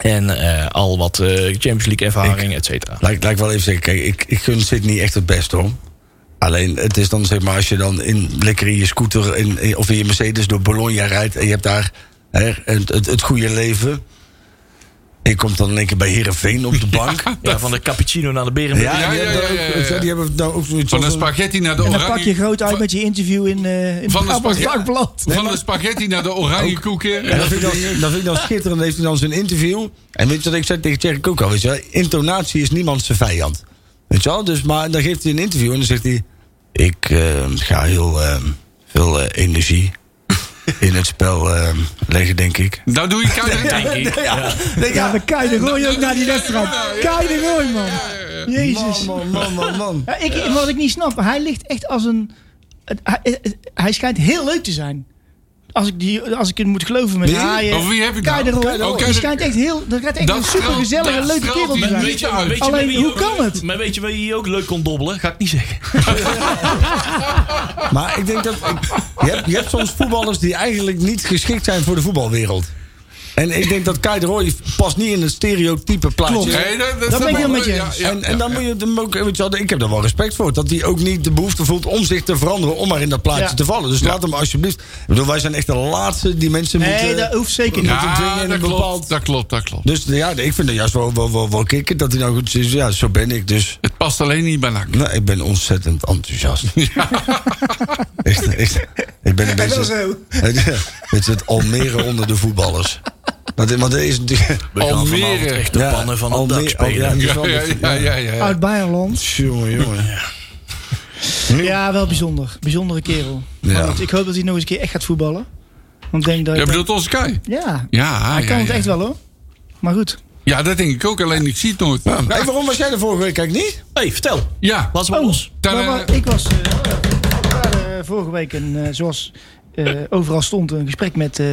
Speaker 2: En eh, al wat eh, Champions League ervaring, et cetera.
Speaker 4: Laat, ik- laat ik wel even zeggen, kijk, ik, ik gun Sydney echt het best hoor. Alleen, het is dan zeg maar, als je dan in, lekker in je scooter in, in- of in je Mercedes door Bologna rijdt en je hebt daar hè, het, het, het goede leven. En je komt dan in één keer bij Herenveen op de bank.
Speaker 2: Ja, van de cappuccino naar de beren.
Speaker 4: Ja,
Speaker 3: Ja,
Speaker 4: die,
Speaker 3: ja,
Speaker 4: hebben
Speaker 3: ja,
Speaker 4: ook-
Speaker 3: ja, ja.
Speaker 4: die hebben nou ook zoiets
Speaker 3: Van de
Speaker 4: als een-
Speaker 3: spaghetti naar de
Speaker 5: En
Speaker 3: oranje...
Speaker 5: dan pak je groot uit
Speaker 3: van-
Speaker 5: met je interview in,
Speaker 3: Van
Speaker 5: eh in het
Speaker 3: de
Speaker 5: Brabants
Speaker 3: spaghetti-
Speaker 5: Dagblad.
Speaker 3: Van de spaghetti naar de oranje koeken.
Speaker 4: En dat vind, ik dan, dat vind ik dan schitterend. Heeft hij dan zijn interview. En weet je wat ik zei tegen Tjerk ook al? Weet je, wel? intonatie is niemand zijn vijand. Weet je wel? Dus, maar dan geeft hij een interview en dan zegt hij... Ik eh, ga heel eh, veel eh, energie (laughs) in het spel eh, leggen, denk ik.
Speaker 3: Nou doe je
Speaker 5: (laughs)
Speaker 3: keizer denk ik.
Speaker 4: Ja, denk,
Speaker 5: Ja,
Speaker 4: ja,
Speaker 5: dan Kai de Roy ook naar die wedstrijd. Kai de Roy, man. Jezus.
Speaker 4: man, man, man, man.
Speaker 5: Ja, ik, wat ik niet snap, hij ligt echt als een... het- hij, het- hij schijnt heel leuk te zijn. Als ik, die, als ik het moet geloven met
Speaker 4: Wie?
Speaker 5: haaien.
Speaker 3: Of wie heb ik
Speaker 5: Kai de
Speaker 3: nou? Kai
Speaker 5: Roy.
Speaker 3: de Roy.
Speaker 5: Die schijnt echt heel... Dat gaat echt
Speaker 3: Dat
Speaker 5: een supergezellige,
Speaker 3: straalt- dat
Speaker 5: leuke kerel te
Speaker 3: straalt hij
Speaker 5: zijn.
Speaker 3: niet uit.
Speaker 2: weet
Speaker 5: Alleen,
Speaker 2: met wie-
Speaker 5: hoe kan het?
Speaker 2: Maar weet je wie je ook leuk kon dobbelen? Ga ik niet zeggen.
Speaker 4: Maar ik denk dat... ik- je, hebt, je hebt soms voetballers die eigenlijk niet geschikt zijn voor de voetbalwereld. En ik denk dat Kai de Roy past niet in het stereotype plaatje.
Speaker 5: Klopt.
Speaker 3: Nee, dat, dat
Speaker 5: Dat ben
Speaker 3: wel-
Speaker 5: ik heel met je
Speaker 3: ja,
Speaker 5: eens.
Speaker 3: ja,
Speaker 4: en
Speaker 3: ja,
Speaker 4: en dan
Speaker 3: ja.
Speaker 4: moet je hem ook, weet je wel, ik heb er wel respect voor. Dat hij ook niet de behoefte voelt om zich te veranderen. om maar in dat plaatje
Speaker 5: Ja.
Speaker 4: te vallen. Dus laat hem alsjeblieft. Ik bedoel, wij zijn echt de laatste die mensen
Speaker 5: Nee,
Speaker 4: moeten.
Speaker 5: dat hoeft zeker niet.
Speaker 4: moeten dwingen
Speaker 3: Ja,
Speaker 4: in
Speaker 3: dat
Speaker 4: een
Speaker 3: klopt,
Speaker 4: bepaald-
Speaker 3: dat klopt, dat klopt.
Speaker 4: Dus ja, ik vind het juist wel, wel, wel, wel kicken dat hij nou goed is. Ja, zo ben ik
Speaker 5: (laughs)
Speaker 4: dus.
Speaker 3: Het past alleen niet bij NAC.
Speaker 4: Nou, ik ben ontzettend enthousiast. Echt, echt. ik
Speaker 5: (laughs)
Speaker 4: ben een beetje.
Speaker 5: wel zo.
Speaker 4: (laughs) Het is het Almere onder de voetballers. Want, want er is natuurlijk.
Speaker 2: We gaan
Speaker 3: Almere.
Speaker 2: vanavond echt de
Speaker 4: Ja,
Speaker 2: pannen van het dak
Speaker 4: Almere-
Speaker 2: spelen.
Speaker 4: ja, die is
Speaker 3: Ja,
Speaker 4: wel-
Speaker 3: ja, ja, ja, ja.
Speaker 5: Uit Beierland.
Speaker 4: Jongen, jongen.
Speaker 5: Ja, wel bijzonder. Bijzondere kerel. Maar
Speaker 4: Ja.
Speaker 5: goed, ik hoop dat hij nog eens een keer echt gaat voetballen. Want ik denk dat...
Speaker 3: Je bedoelt onze Kai?
Speaker 5: Ja,
Speaker 3: Ja,
Speaker 5: hij
Speaker 3: ja,
Speaker 5: kan het
Speaker 3: ja.
Speaker 5: echt wel hoor. Maar goed.
Speaker 3: Ja, dat denk ik ook, alleen ik zie het nooit.
Speaker 4: Hey, waarom was jij de vorige week eigenlijk niet?
Speaker 2: hey, vertel.
Speaker 3: Ja,
Speaker 2: Laat ze
Speaker 5: Oh.
Speaker 2: maar los.
Speaker 3: daar,
Speaker 5: Maar, maar
Speaker 3: eh,
Speaker 5: ik was eh, daar, eh, vorige week, een, eh, zoals eh, overal stond, een gesprek met, eh,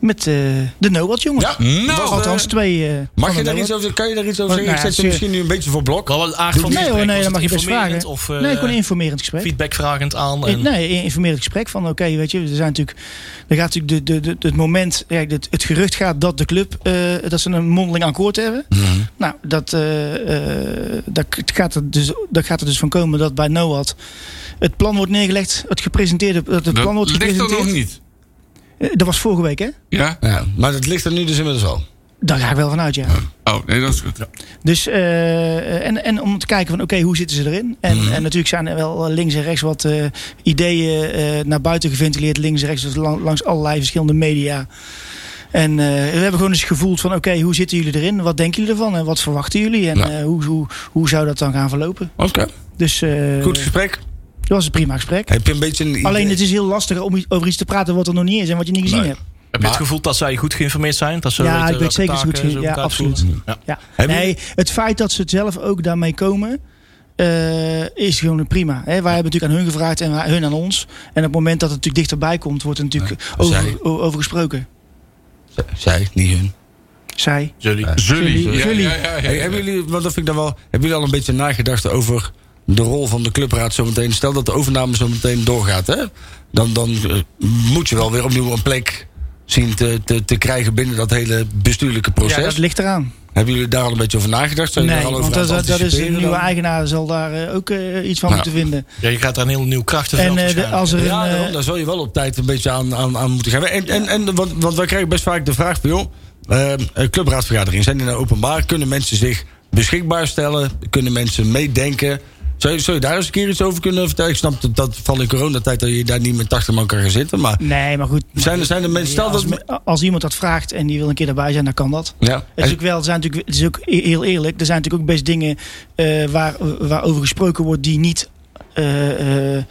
Speaker 5: met eh, de Noat jongens.
Speaker 4: Ja.
Speaker 3: nou,
Speaker 5: Althans, twee. eh,
Speaker 4: Mag
Speaker 5: van
Speaker 4: je
Speaker 5: de
Speaker 4: daar
Speaker 5: Noat.
Speaker 4: iets over, kan je daar iets over
Speaker 5: Want,
Speaker 4: zeggen? Ik
Speaker 5: nou ja,
Speaker 4: zet je
Speaker 5: ze-
Speaker 4: misschien nu een beetje voor blok.
Speaker 2: Wel wat aard van het
Speaker 5: Nee hoor,
Speaker 2: gesprek.
Speaker 5: nee,
Speaker 2: Was
Speaker 5: dat mag
Speaker 2: het
Speaker 5: je best
Speaker 2: informerend
Speaker 5: vragen.
Speaker 2: Of, eh,
Speaker 5: nee, gewoon een informerend gesprek.
Speaker 2: feedbackvragend aan.
Speaker 5: In,
Speaker 2: En,
Speaker 5: nee, een informerend gesprek van oké, weet je, er zijn natuurlijk, er gaat natuurlijk de, de, de, het moment, ja, het, het gerucht gaat dat de club, eh, dat ze een mondeling akkoord hebben. Nou, dat, eh, eh, dat, k- het gaat er dus, dat gaat er dus van komen dat bij NOAD het plan wordt neergelegd, het gepresenteerde, dat het
Speaker 3: dat
Speaker 5: plan wordt
Speaker 3: ligt er
Speaker 5: gepresenteerd.
Speaker 3: nog niet.
Speaker 5: Eh, Dat was vorige week, hè?
Speaker 3: Ja?
Speaker 4: Ja, maar dat ligt er nu dus inmiddels al.
Speaker 5: Daar ga ik wel vanuit, ja.
Speaker 3: Oh, nee, dat is goed.
Speaker 5: Dus, eh, en, en om te kijken van, oké, hoe zitten ze erin? En,
Speaker 4: Mhm.
Speaker 5: en natuurlijk zijn er wel links en rechts wat eh, ideeën eh, naar buiten geventileerd. Links en rechts, dus lang- langs allerlei verschillende media. En eh, we hebben gewoon eens gevoeld van, oké, hoe zitten jullie erin? Wat denken jullie ervan? En wat verwachten jullie? En
Speaker 4: Ja.
Speaker 5: eh, hoe, hoe, hoe zou dat dan gaan verlopen?
Speaker 4: Oké.
Speaker 5: Dus eh
Speaker 4: Goed gesprek.
Speaker 5: dat was een prima gesprek.
Speaker 4: Heb je een beetje een idee?
Speaker 5: Alleen het is heel lastig om i- over iets te praten wat er nog niet is en wat je niet gezien
Speaker 4: Nee.
Speaker 5: hebt.
Speaker 2: Heb je het gevoel dat zij goed geïnformeerd zijn? Dat ze
Speaker 5: Ja,
Speaker 2: weten
Speaker 5: ik weet
Speaker 2: welke
Speaker 5: zeker dat ze
Speaker 2: taken
Speaker 5: goed
Speaker 2: ze
Speaker 5: zijn. Ja,
Speaker 2: moeten
Speaker 5: absoluut.
Speaker 2: uitvoeren? Ja.
Speaker 5: Ja.
Speaker 4: Hebben
Speaker 5: Nee, het feit dat ze het zelf ook daarmee komen. eh, is gewoon prima. Hè? Wij hebben natuurlijk aan hun gevraagd en wij- hun aan ons. En op het moment dat het natuurlijk dichterbij komt, wordt er natuurlijk
Speaker 4: zij-
Speaker 5: over, o- over gesproken.
Speaker 4: Z- Zij, niet hun.
Speaker 5: Zij.
Speaker 2: Jullie.
Speaker 3: Zully. Ja,
Speaker 5: Zully.
Speaker 3: ja, ja, ja.
Speaker 4: Hey, hebben jullie, want dat vind ik dan wel, hebben jullie al een beetje nagedacht over de rol van de clubraad zometeen? Stel dat de overname zometeen doorgaat, hè? Dan, dan eh, moet je wel weer opnieuw een plek zien te, te, te krijgen binnen dat hele bestuurlijke
Speaker 5: Ja,
Speaker 4: proces.
Speaker 5: dat ligt eraan.
Speaker 4: Hebben jullie daar al een beetje over nagedacht? Zijn jullie
Speaker 5: nee,
Speaker 4: daar al over
Speaker 5: want
Speaker 4: aan
Speaker 5: dat,
Speaker 4: het
Speaker 5: dat dat is de
Speaker 4: anticiperen
Speaker 5: nieuwe
Speaker 4: dan?
Speaker 5: eigenaar zal daar eh, ook eh, iets van
Speaker 4: Ja.
Speaker 5: moeten vinden.
Speaker 2: Ja, je gaat daar een heel nieuw
Speaker 5: En
Speaker 2: krachtenveld
Speaker 5: eh, de-
Speaker 2: waarschijnlijk.
Speaker 5: als er een,
Speaker 4: Ja, daarom,
Speaker 5: eh,
Speaker 4: daar zal je wel op tijd een beetje aan, aan, aan moeten gaan. En, en, en, want, want wij krijgen best vaak de vraag van... joh, eh, eh, clubraadvergaderingen, zijn die nou openbaar? Kunnen mensen zich beschikbaar stellen? Kunnen mensen meedenken? Zou je, zou je daar eens een keer iets over kunnen vertellen? Ik snap dat, dat van in coronatijd dat je daar niet met 80 man kan gaan zitten. Maar
Speaker 5: nee, maar goed.
Speaker 4: zijn, er- zijn er mensen... Stel
Speaker 5: als,
Speaker 4: dat...
Speaker 5: me- als iemand dat vraagt en die wil een keer erbij zijn, dan kan dat.
Speaker 4: Ja,
Speaker 5: Het is ook wel, het zijn natuurlijk, het is ook e- heel eerlijk, er zijn natuurlijk ook best dingen eh, waar, waarover gesproken wordt die niet, eh, eh,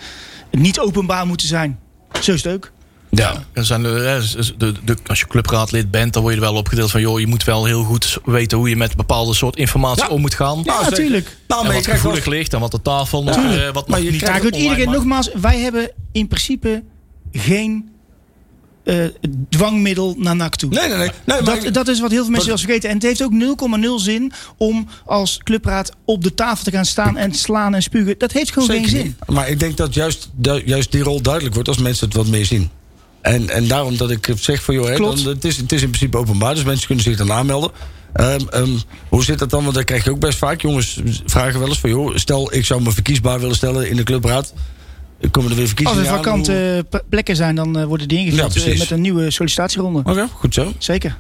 Speaker 5: niet openbaar moeten zijn. Zo is het ook.
Speaker 4: ja.
Speaker 2: Dan zijn er, hè, z- z- de, de, als je clubraadlid bent, dan word je er wel opgedeeld van... joh, je moet wel heel goed weten hoe je met bepaalde soort informatie
Speaker 4: Ja.
Speaker 2: om moet gaan.
Speaker 5: Ja,
Speaker 4: zeker.
Speaker 5: natuurlijk.
Speaker 4: Nou,
Speaker 2: en wat
Speaker 4: maar je krijgt wel...
Speaker 2: gevoelig ligt en wat de tafel nog,
Speaker 4: Tuurlijk.
Speaker 2: eh, wat
Speaker 4: Maar
Speaker 2: nog
Speaker 4: je
Speaker 2: niet
Speaker 5: Ja,
Speaker 4: krijgt-
Speaker 5: goed,
Speaker 2: online
Speaker 5: iedereen,
Speaker 2: mag.
Speaker 5: nogmaals, wij hebben in principe geen eh, dwangmiddel naar NAC toe.
Speaker 4: Nee, nee, nee. nee maar
Speaker 5: Dat, dat is wat heel veel mensen wel eens vergeten. En het heeft ook 0,0 zin om als clubraad op de tafel te gaan staan en slaan en spugen. Dat heeft gewoon geen zin.
Speaker 4: niet. Maar ik denk dat juist, du- juist die rol duidelijk wordt als mensen het wat meer zien. En, en daarom dat ik zeg van joh, hè,
Speaker 5: Klopt.
Speaker 4: dan, het, is, het is in principe openbaar, dus mensen kunnen zich dan aanmelden. Ehm, ehm, hoe zit dat dan? Want dat krijg je ook best vaak. Jongens vragen wel eens van joh, stel ik zou me verkiesbaar willen stellen in de clubraad. Komen er weer
Speaker 5: Als er
Speaker 4: verkiezingen aan?
Speaker 5: vakante
Speaker 4: Hoe-
Speaker 5: eh, p- plekken zijn, dan eh, worden die
Speaker 4: Ja,
Speaker 5: ingevuld eh,
Speaker 4: precies.
Speaker 5: met een nieuwe sollicitatieronde.
Speaker 4: Oké, goed zo.
Speaker 5: Zeker.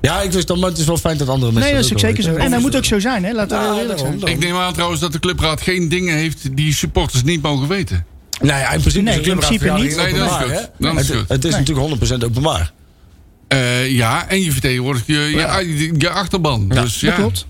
Speaker 4: Ja, ik wist dan, maar het is wel fijn dat andere mensen
Speaker 5: Nee, dat is ook
Speaker 4: wel
Speaker 5: zeker zo.
Speaker 4: weten.
Speaker 5: En dat moet ook zo zijn, hè? laten we
Speaker 4: Ja,
Speaker 5: heel eerlijk
Speaker 4: daarom,
Speaker 5: zijn.
Speaker 4: daarom.
Speaker 3: Ik neem aan trouwens dat de clubraad geen dingen heeft die supporters niet mogen weten.
Speaker 4: Nou ja, in principe
Speaker 5: Nee,
Speaker 4: is de
Speaker 5: in principe
Speaker 4: clubraadvergadering
Speaker 3: niet. Nee, dat is
Speaker 4: openbaar,
Speaker 3: goed.
Speaker 4: hè?
Speaker 3: Dat is
Speaker 4: Het-
Speaker 3: goed.
Speaker 4: Het is
Speaker 5: Nee.
Speaker 4: natuurlijk 100% openbaar.
Speaker 3: Eh, ja, en je vertegenwoordigt je, je, je, je achterban. dus, ja.
Speaker 5: Dat klopt.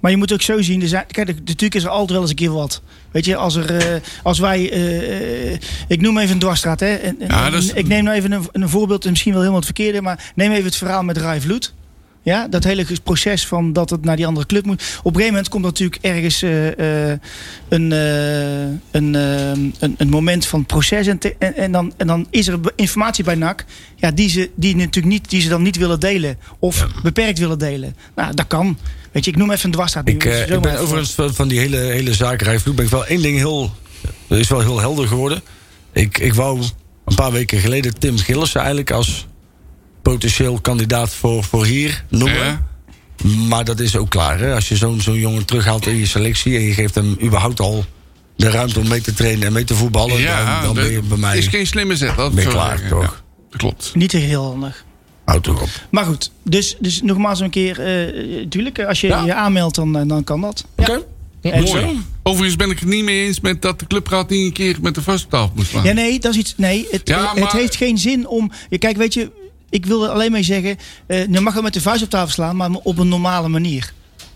Speaker 5: Maar je moet ook zo zien, er zijn, kijk, er- natuurlijk is er altijd wel eens een keer wat. Weet je, als, er, eh, als wij, eh, eh, ik noem even een dwarsstraat, hè. En, en-
Speaker 3: Ja, dat is-
Speaker 5: Ik neem nou even een, een voorbeeld, en misschien wel helemaal het verkeerde, maar neem even het verhaal met Rai Vloed. Ja, dat hele ges- proces van dat het naar die andere club moet. Op een gegeven moment komt natuurlijk ergens eh, eh, een, eh, een, eh, een, een moment van proces. En, te- en, en dan, en dan is er be- informatie bij NAC ja, die, ze, die, natuurlijk niet, die ze dan niet willen delen. Of beperkt willen delen. Nou, dat kan. Weet je, ik noem even een dwarsstaat. nu,
Speaker 4: Ik,
Speaker 5: dus
Speaker 4: eh,
Speaker 5: zomaar
Speaker 4: ik ben
Speaker 5: even-
Speaker 4: overigens van, van die hele, hele zaak Rijvloed ben ik wel één ding heel... Dat is wel heel helder geworden. Ik, ik wou een paar weken geleden Tim Gillissen eigenlijk als potentieel kandidaat voor, voor hier noemen.
Speaker 3: Ja.
Speaker 4: Maar dat is ook klaar. Hè? Als je zo'n zo'n jongen terughaalt in je selectie... en je geeft hem überhaupt al de ruimte om mee te trainen en mee te voetballen...
Speaker 3: Ja,
Speaker 4: dan, dan ben je
Speaker 3: dat
Speaker 4: bij mij...
Speaker 3: is geen slimme zet. Dat
Speaker 4: Ben je
Speaker 3: zou ik
Speaker 4: klaar,
Speaker 3: zeggen.
Speaker 4: toch?
Speaker 3: Ja, dat klopt.
Speaker 5: Niet heel handig.
Speaker 4: Houd toch op.
Speaker 5: Maar goed, dus, dus nogmaals een keer. eh, tuurlijk, als je
Speaker 4: Ja.
Speaker 5: je aanmeldt, dan, eh, dan kan dat.
Speaker 4: Oké.
Speaker 5: En-
Speaker 3: Mooi. Overigens ben ik het niet mee eens met dat de clubraad niet een keer met de vaste tafel moet slaan.
Speaker 5: Ja, nee, dat is iets. Nee, het,
Speaker 3: Ah. Ja,
Speaker 5: het
Speaker 3: maar-
Speaker 5: heeft geen zin om. ja, Kijk, weet je, ik wil er alleen mee zeggen. eh je mag wel met de vuist op tafel slaan, maar op een normale manier.